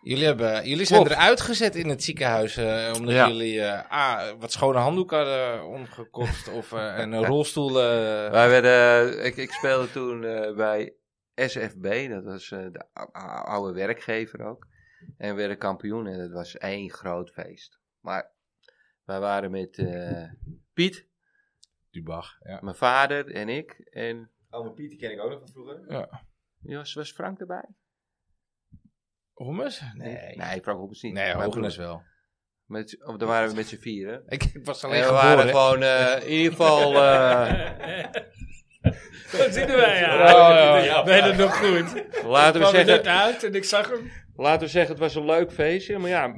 Speaker 3: Jullie, hebben, jullie zijn
Speaker 4: Klopt.
Speaker 3: eruit gezet in het ziekenhuis eh, omdat
Speaker 4: Ja.
Speaker 3: jullie eh, A, wat schone handdoeken hadden omgekocht of eh, en een rolstoel. eh,
Speaker 4: Wij werden, ik, ik speelde toen eh, bij SFB, dat was eh, de ou- ou- oude werkgever ook. En we werden kampioen en dat was één groot feest. Maar wij waren met eh, Piet,
Speaker 3: Dubach, ja.
Speaker 4: mijn vader en ik. En
Speaker 1: Ome Piet, die ken ik ook nog van vroeger.
Speaker 4: wie was, was Frank erbij?
Speaker 3: Hummus? Nee.
Speaker 4: Nee, Frank Hoppers niet.
Speaker 3: Nee,
Speaker 4: Mijn
Speaker 3: Hogenes
Speaker 4: broer.
Speaker 3: wel.
Speaker 4: Met, of daar waren we met z'n vieren.
Speaker 3: Ik, ik [laughs] was alleen
Speaker 4: En we waren
Speaker 3: geboren.
Speaker 4: gewoon eh, in ieder
Speaker 3: [laughs]
Speaker 4: geval. eh,
Speaker 2: dat zien wij, ja.
Speaker 3: Ja, ja, ja.
Speaker 2: Ben je het nog goed?
Speaker 4: laten, we
Speaker 2: kwam er net
Speaker 4: zeggen,
Speaker 2: uit en ik zag hem.
Speaker 4: laten we zeggen, het was een leuk feestje. Maar ja,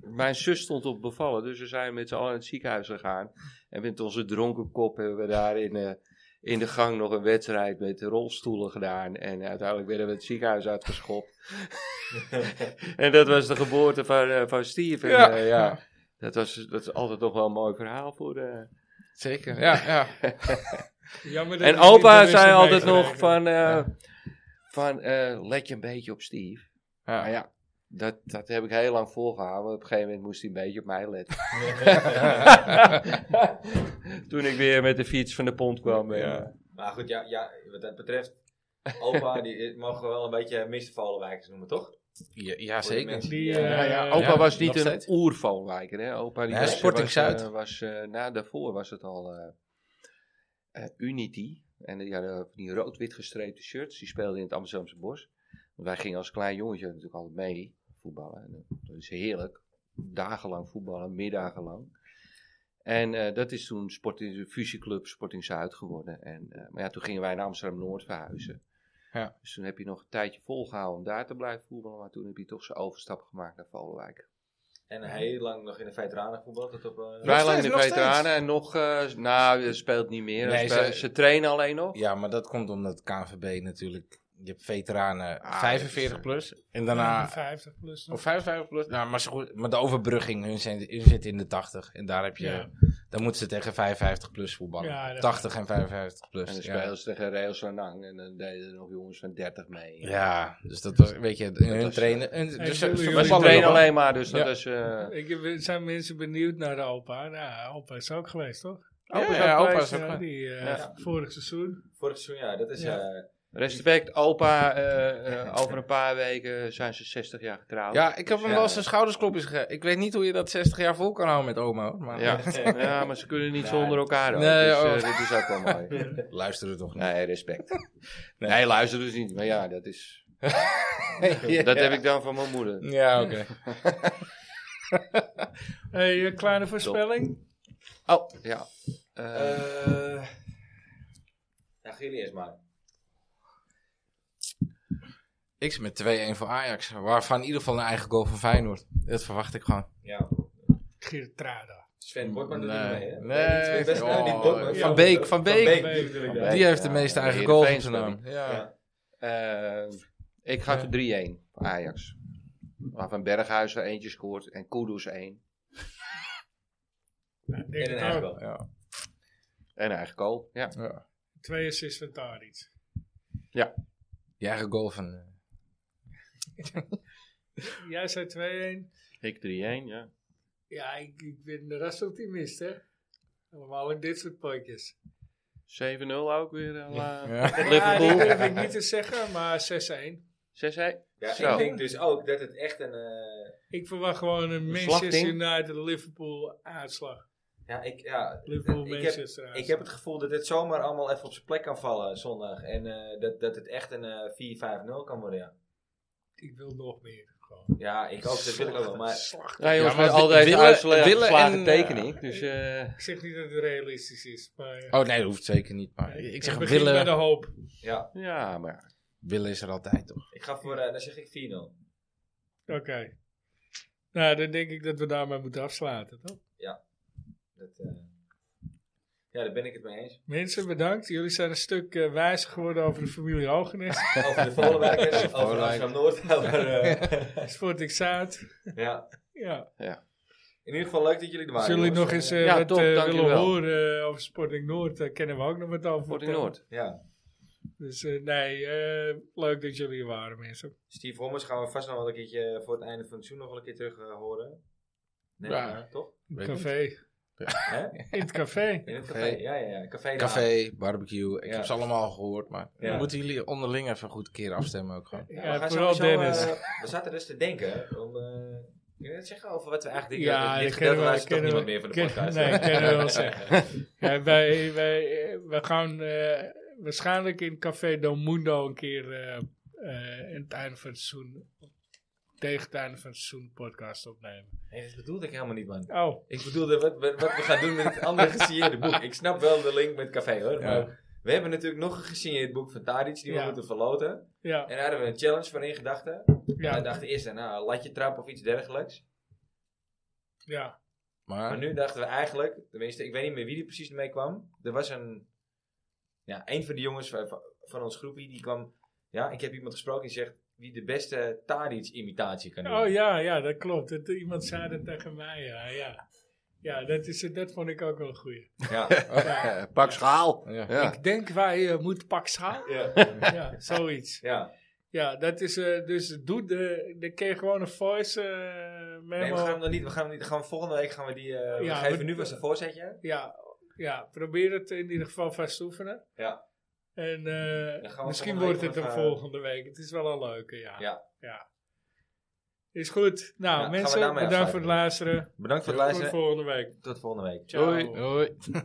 Speaker 4: mijn zus stond op bevallen. Dus we zijn met z'n allen naar het ziekenhuis gegaan. En met onze dronken kop hebben we daar in, eh, in de gang nog een wedstrijd met rolstoelen gedaan. En uiteindelijk werden we het ziekenhuis uitgeschopt. en dat was de geboorte van, eh, van Steve. En,
Speaker 3: Ja.
Speaker 4: eh, ja. Dat, was, dat is altijd toch wel een mooi verhaal voor eh, de.
Speaker 3: Zeker, ja. ja.
Speaker 2: Jammer dat
Speaker 4: En
Speaker 2: ik niet
Speaker 4: opa
Speaker 2: bewust
Speaker 4: zei
Speaker 2: heb
Speaker 4: altijd nog
Speaker 2: meegerekend.
Speaker 4: van, eh, van eh, let je een beetje op Steve. Maar ja, dat, dat heb ik heel lang volgehouden. Op een gegeven moment moest hij een beetje op mij
Speaker 3: [laughs]
Speaker 4: letten. Toen ik weer met de fiets van de pont kwam. en,
Speaker 3: Ja.
Speaker 4: eh,
Speaker 1: Maar goed, ja, ja, wat dat
Speaker 3: [laughs]
Speaker 1: betreft, opa, die eh, mogen we wel een beetje Mr. Vallenwijkers noemen, toch?
Speaker 3: ja,
Speaker 1: Voor de
Speaker 3: zeker.
Speaker 1: mensen
Speaker 2: Die,
Speaker 1: eh,
Speaker 2: eh,
Speaker 4: ja, ja, opa
Speaker 3: ja,
Speaker 4: was niet
Speaker 3: nog
Speaker 4: een
Speaker 3: steeds.
Speaker 4: oervalwijker. Hè? Opa die
Speaker 3: Nee,
Speaker 4: was,
Speaker 3: Sporting
Speaker 4: was,
Speaker 3: Zuid.
Speaker 4: eh, was, eh, na, daarvoor was het al eh, eh, Unity. En die hadden van die rood-wit gestreepte shirts. Die speelden in het Amsterdamse bos. Want wij gingen als klein jongetje natuurlijk altijd mee voetballen. En, eh, dat is heerlijk. Dagenlang voetballen, middagenlang. En eh, dat is toen sporting, de fusieclub Sporting Zuid geworden. En, eh, maar ja, toen gingen wij naar Amsterdam-Noord verhuizen.
Speaker 3: Ja.
Speaker 4: Dus toen heb je nog een tijdje volgehouden om daar te blijven voetballen. Maar toen heb je toch zijn overstap gemaakt naar Volwijk.
Speaker 1: Ja, En heel lang nog in de veteranen voetbal. Tot op, eh,
Speaker 4: Vrij lang
Speaker 3: steeds,
Speaker 4: de
Speaker 3: nog steeds.
Speaker 4: veteranen en nog, eh, nou, dat speelt niet meer.
Speaker 3: Nee,
Speaker 4: ze,
Speaker 3: ze-
Speaker 4: ze trainen alleen nog.
Speaker 3: Ja, maar dat komt omdat KNVB natuurlijk... Je hebt veteranen
Speaker 4: Ah,
Speaker 3: 45
Speaker 4: dat
Speaker 3: plus. En daarna...
Speaker 2: 50 plus. nog.
Speaker 3: Of 55 plus. Nou, maar, ze goed, maar de overbrugging, hun, zijn, hun zitten in de 80. En daar heb je...
Speaker 2: Ja.
Speaker 3: Dan moeten ze tegen 55 plus voetballen.
Speaker 2: Ja, dat-
Speaker 3: 80 en 55 plus.
Speaker 4: En dan
Speaker 3: ja.
Speaker 4: speelden ze tegen Real Sanang en dan deden er nog jongens van 30 mee.
Speaker 3: Ja, dus dat was, weet je, hun
Speaker 4: was-
Speaker 3: trainen. hun-
Speaker 2: Hey,
Speaker 3: dus ze,
Speaker 2: jullie-
Speaker 3: ze
Speaker 4: Maar ze
Speaker 3: voetballen
Speaker 4: trainen
Speaker 3: nog wel.
Speaker 4: alleen maar, dus dat
Speaker 3: Ja.
Speaker 4: is... eh,
Speaker 2: Ik heb- er zijn mensen benieuwd naar de Alpa. Nou, Alpa is ook geweest, toch?
Speaker 3: Ja,
Speaker 4: Opa is
Speaker 3: ja,
Speaker 4: ook
Speaker 3: opa
Speaker 2: Geweest,
Speaker 3: is ook
Speaker 2: eh,
Speaker 3: wel-
Speaker 2: die, eh,
Speaker 4: Ja.
Speaker 2: Vorig seizoen.
Speaker 1: Vorig seizoen, ja. Dat is...
Speaker 2: Ja.
Speaker 1: eh,
Speaker 4: Respect, opa. eh, eh, over een paar weken zijn ze 60 jaar getrouwd. Dus
Speaker 3: Ja, ik heb hem
Speaker 4: Ja.
Speaker 3: wel eens zijn schoudersklopjes gegeven. Ik weet niet hoe je dat 60 jaar vol kan houden met oma. hoor, Maar
Speaker 4: Ja. ja, maar ze kunnen niet zonder elkaar. Ook.
Speaker 3: Nee,
Speaker 4: dus eh,
Speaker 3: oh.
Speaker 4: dat is ook wel mooi.
Speaker 3: [laughs] luister er toch niet.
Speaker 4: Nee, respect. Nee, luister dus niet. Maar ja, dat
Speaker 3: [laughs]
Speaker 4: is... Dat heb ik dan van mijn moeder.
Speaker 3: Ja, oké.
Speaker 2: Hey, eh, kleine voorspelling.
Speaker 4: Oh, ja. Eh,
Speaker 1: eh, ja, Gilly is maar.
Speaker 3: [laughs] Ik zit met 2-1 voor Ajax. Waarvan in ieder geval een eigen goal van Feyenoord. Dat verwacht ik gewoon.
Speaker 1: Ja.
Speaker 2: Geertrada.
Speaker 1: Sven Botman doet er
Speaker 3: Nee.
Speaker 1: niet mee, hè?
Speaker 3: Nee.
Speaker 1: niet- best-
Speaker 3: Oh,
Speaker 1: niet Botman.
Speaker 3: Van Beek, Van Beek.
Speaker 1: Van Beek natuurlijk,
Speaker 4: Van
Speaker 1: ja.
Speaker 4: Beek.
Speaker 3: Die heeft de
Speaker 4: ja,
Speaker 3: meeste
Speaker 4: ja,
Speaker 3: eigen
Speaker 4: de
Speaker 3: goals op
Speaker 4: Heerenveen
Speaker 3: zijn naam. Ja.
Speaker 4: Eh, ik ga voor 3-1 voor Ajax. Waarvan Berghuis er eentje scoort en Kudus 1.
Speaker 2: Ik denk
Speaker 1: En een
Speaker 2: het
Speaker 1: eigen
Speaker 2: ook.
Speaker 1: goal.
Speaker 3: Ja.
Speaker 4: En een eigen goal. Ja.
Speaker 3: ja.
Speaker 2: Twee assists van Tadic.
Speaker 3: Die eigen goal van... eh,
Speaker 2: Jij zei 2-1.
Speaker 4: Ik 3-1, ja.
Speaker 2: Ja, ik, ik ben de rest optimist, hè? Allemaal in dit soort potjes.
Speaker 4: 7-0 ook weer. eh, la-
Speaker 3: ja.
Speaker 2: Ja, dat
Speaker 4: Liverpool.
Speaker 2: durf ik niet te zeggen, maar 6-1.
Speaker 4: 6-1.
Speaker 1: Ja,
Speaker 4: Zo.
Speaker 1: ik denk dus ook dat het echt een... eh,
Speaker 2: Ik verwacht gewoon een Manchester
Speaker 4: slagding.
Speaker 2: United-Liverpool uitslag.
Speaker 1: ja, ik, ja,
Speaker 2: Liverpool,
Speaker 1: ik, heb,
Speaker 2: Manchester
Speaker 1: ik heb het gevoel dat dit zomaar allemaal even op zijn plek kan vallen zondag. En eh, dat, dat het echt een eh 4-5-0 kan worden, ja.
Speaker 2: Ik wil nog meer. Gewoon.
Speaker 1: Ja, ik ook. Dat wil ik ook wel. Maar
Speaker 2: Slag.
Speaker 4: Ja, jongens,
Speaker 3: Ja, maar
Speaker 4: met al
Speaker 3: wi-
Speaker 4: deze
Speaker 3: willen-
Speaker 4: uitslagen
Speaker 3: willen
Speaker 4: slagen
Speaker 3: en,
Speaker 4: teken ik. Dus, eh,
Speaker 2: Ik zeg niet dat het realistisch is, maar... eh,
Speaker 3: Oh nee, dat hoeft zeker niet. Maar ik zeg,
Speaker 2: begin met de
Speaker 3: willen,
Speaker 2: hoop.
Speaker 1: ja,
Speaker 4: ja, maar
Speaker 3: willen is er altijd, toch?
Speaker 1: ik ga voor... eh, dan zeg ik 4-0.
Speaker 2: Oké. Nou, dan denk ik dat we daarmee moeten afsluiten, toch?
Speaker 1: Dat, eh, ja, daar ben ik het mee eens.
Speaker 2: Mensen, bedankt. Jullie zijn een stuk eh, wijzer geworden over de familie Hogenis.
Speaker 1: Over de
Speaker 2: [laughs]
Speaker 1: Volenwijkers, over
Speaker 3: Volendijk.
Speaker 1: Amsterdam-Noord. [laughs] over, eh,
Speaker 2: Sporting Zuid.
Speaker 1: ja.
Speaker 2: Ja.
Speaker 1: In ieder geval leuk dat jullie er waren.
Speaker 2: Zullen jullie nog
Speaker 1: jongens. En,
Speaker 2: eens eh,
Speaker 4: Ja,
Speaker 2: wat
Speaker 4: top,
Speaker 2: eh, willen
Speaker 4: dankjewel.
Speaker 2: horen eh, over Sporting Noord? Daar kennen we ook nog wat over.
Speaker 4: Sporting Noord.
Speaker 1: eh, ja.
Speaker 2: Dus eh, nee, eh, leuk dat jullie er waren, mensen.
Speaker 1: Steve Hommers gaan we vast nog wel een keertje eh, voor het einde van het seizoen nog wel een keer terug eh, horen. Nee,
Speaker 3: Ja.
Speaker 1: maar, toch?
Speaker 2: In
Speaker 3: Weet
Speaker 2: het café.
Speaker 1: Hè?
Speaker 2: In het café.
Speaker 1: In het café.
Speaker 3: Café.
Speaker 1: Ja, ja, ja. Café. de Haag.
Speaker 3: Café, barbecue. Ik
Speaker 1: Ja.
Speaker 3: heb ze allemaal al gehoord, maar
Speaker 1: Ja.
Speaker 3: dan moeten jullie onderling even goed een keer afstemmen ook gewoon.
Speaker 1: Ja,
Speaker 2: Ja,
Speaker 1: we gaan
Speaker 2: vooral
Speaker 1: sowieso,
Speaker 2: Dennis.
Speaker 1: eh, [laughs] we zaten dus te denken om... eh kun je het zeggen over wat we eigenlijk denken?
Speaker 2: ja,
Speaker 1: dit
Speaker 2: dat
Speaker 1: gedeelte
Speaker 2: kennen we.
Speaker 1: luistert toch
Speaker 2: kennen
Speaker 1: niemand
Speaker 2: we-
Speaker 1: meer van de
Speaker 2: ken-
Speaker 1: podcast.
Speaker 2: Nee, kennen we wel zeggen. ja, wij, wij, eh, we gaan eh, waarschijnlijk in Café Del Mundo een keer eh eh, in het einde van het seizoen, tegen het einde van het seizoen, podcast opnemen.
Speaker 1: [laughs] Nee, dat bedoelde ik helemaal niet, man.
Speaker 2: Oh,
Speaker 1: Ik bedoelde wat, wat, wat we gaan doen met het
Speaker 2: [laughs]
Speaker 1: andere gesigneerde boek. Ik snap wel de link met café hoor.
Speaker 3: Ja.
Speaker 1: Maar we hebben natuurlijk nog een gesigneerd boek van Tadic die we
Speaker 2: Ja.
Speaker 1: moeten verloten.
Speaker 2: ja.
Speaker 1: En daar hadden we een challenge voor in gedachten. En we
Speaker 2: Ja,
Speaker 1: dachten eerst nou, een latje trap of iets dergelijks.
Speaker 2: ja.
Speaker 1: Maar
Speaker 3: Maar, [laughs]
Speaker 1: nu dachten we eigenlijk, tenminste, ik weet niet meer wie er precies mee kwam. Er was een, ja, een van de jongens van, van- van ons groepje die kwam. Ja, ik heb iemand gesproken die zegt wie de beste Tadic-imitatie kan doen.
Speaker 2: Oh ja, ja, dat klopt. Dat, iemand zei dat tegen mij, ja. Ja, ja dat, is, dat vond ik ook wel een goeie.
Speaker 1: Ja.
Speaker 2: Ja.
Speaker 4: pak schaal.
Speaker 3: ja.
Speaker 4: Ja.
Speaker 2: Ik denk wij eh, moeten pak schaal.
Speaker 1: [laughs] ja.
Speaker 2: Ja, zoiets.
Speaker 1: ja.
Speaker 2: Ja, dat is eh, dus doe de, de kun je gewoon een voice eh
Speaker 1: Nee, we
Speaker 2: memo.
Speaker 1: gaan hem nog niet. We gaan hem niet. Gaan we volgende week gaan we die. eh, we
Speaker 2: Ja,
Speaker 1: geven
Speaker 2: we-
Speaker 1: nu vast een voorzetje.
Speaker 2: ja, ja, probeer het in ieder geval vast te oefenen.
Speaker 1: Ja.
Speaker 2: En eh,
Speaker 1: Dan gaan we
Speaker 2: misschien
Speaker 1: volgende
Speaker 2: wordt
Speaker 1: week
Speaker 2: het een
Speaker 1: nog, eh,
Speaker 2: volgende week. Het is wel een leuke, ja.
Speaker 1: Ja.
Speaker 2: Is goed. Nou,
Speaker 1: gaan we
Speaker 2: mensen,
Speaker 1: daarmee
Speaker 2: bedankt voor het luisteren.
Speaker 1: Bedankt voor het
Speaker 2: Tot
Speaker 1: luisteren.
Speaker 2: volgende week.
Speaker 1: Tot volgende week.
Speaker 2: Ciao.
Speaker 3: eh, Hoi.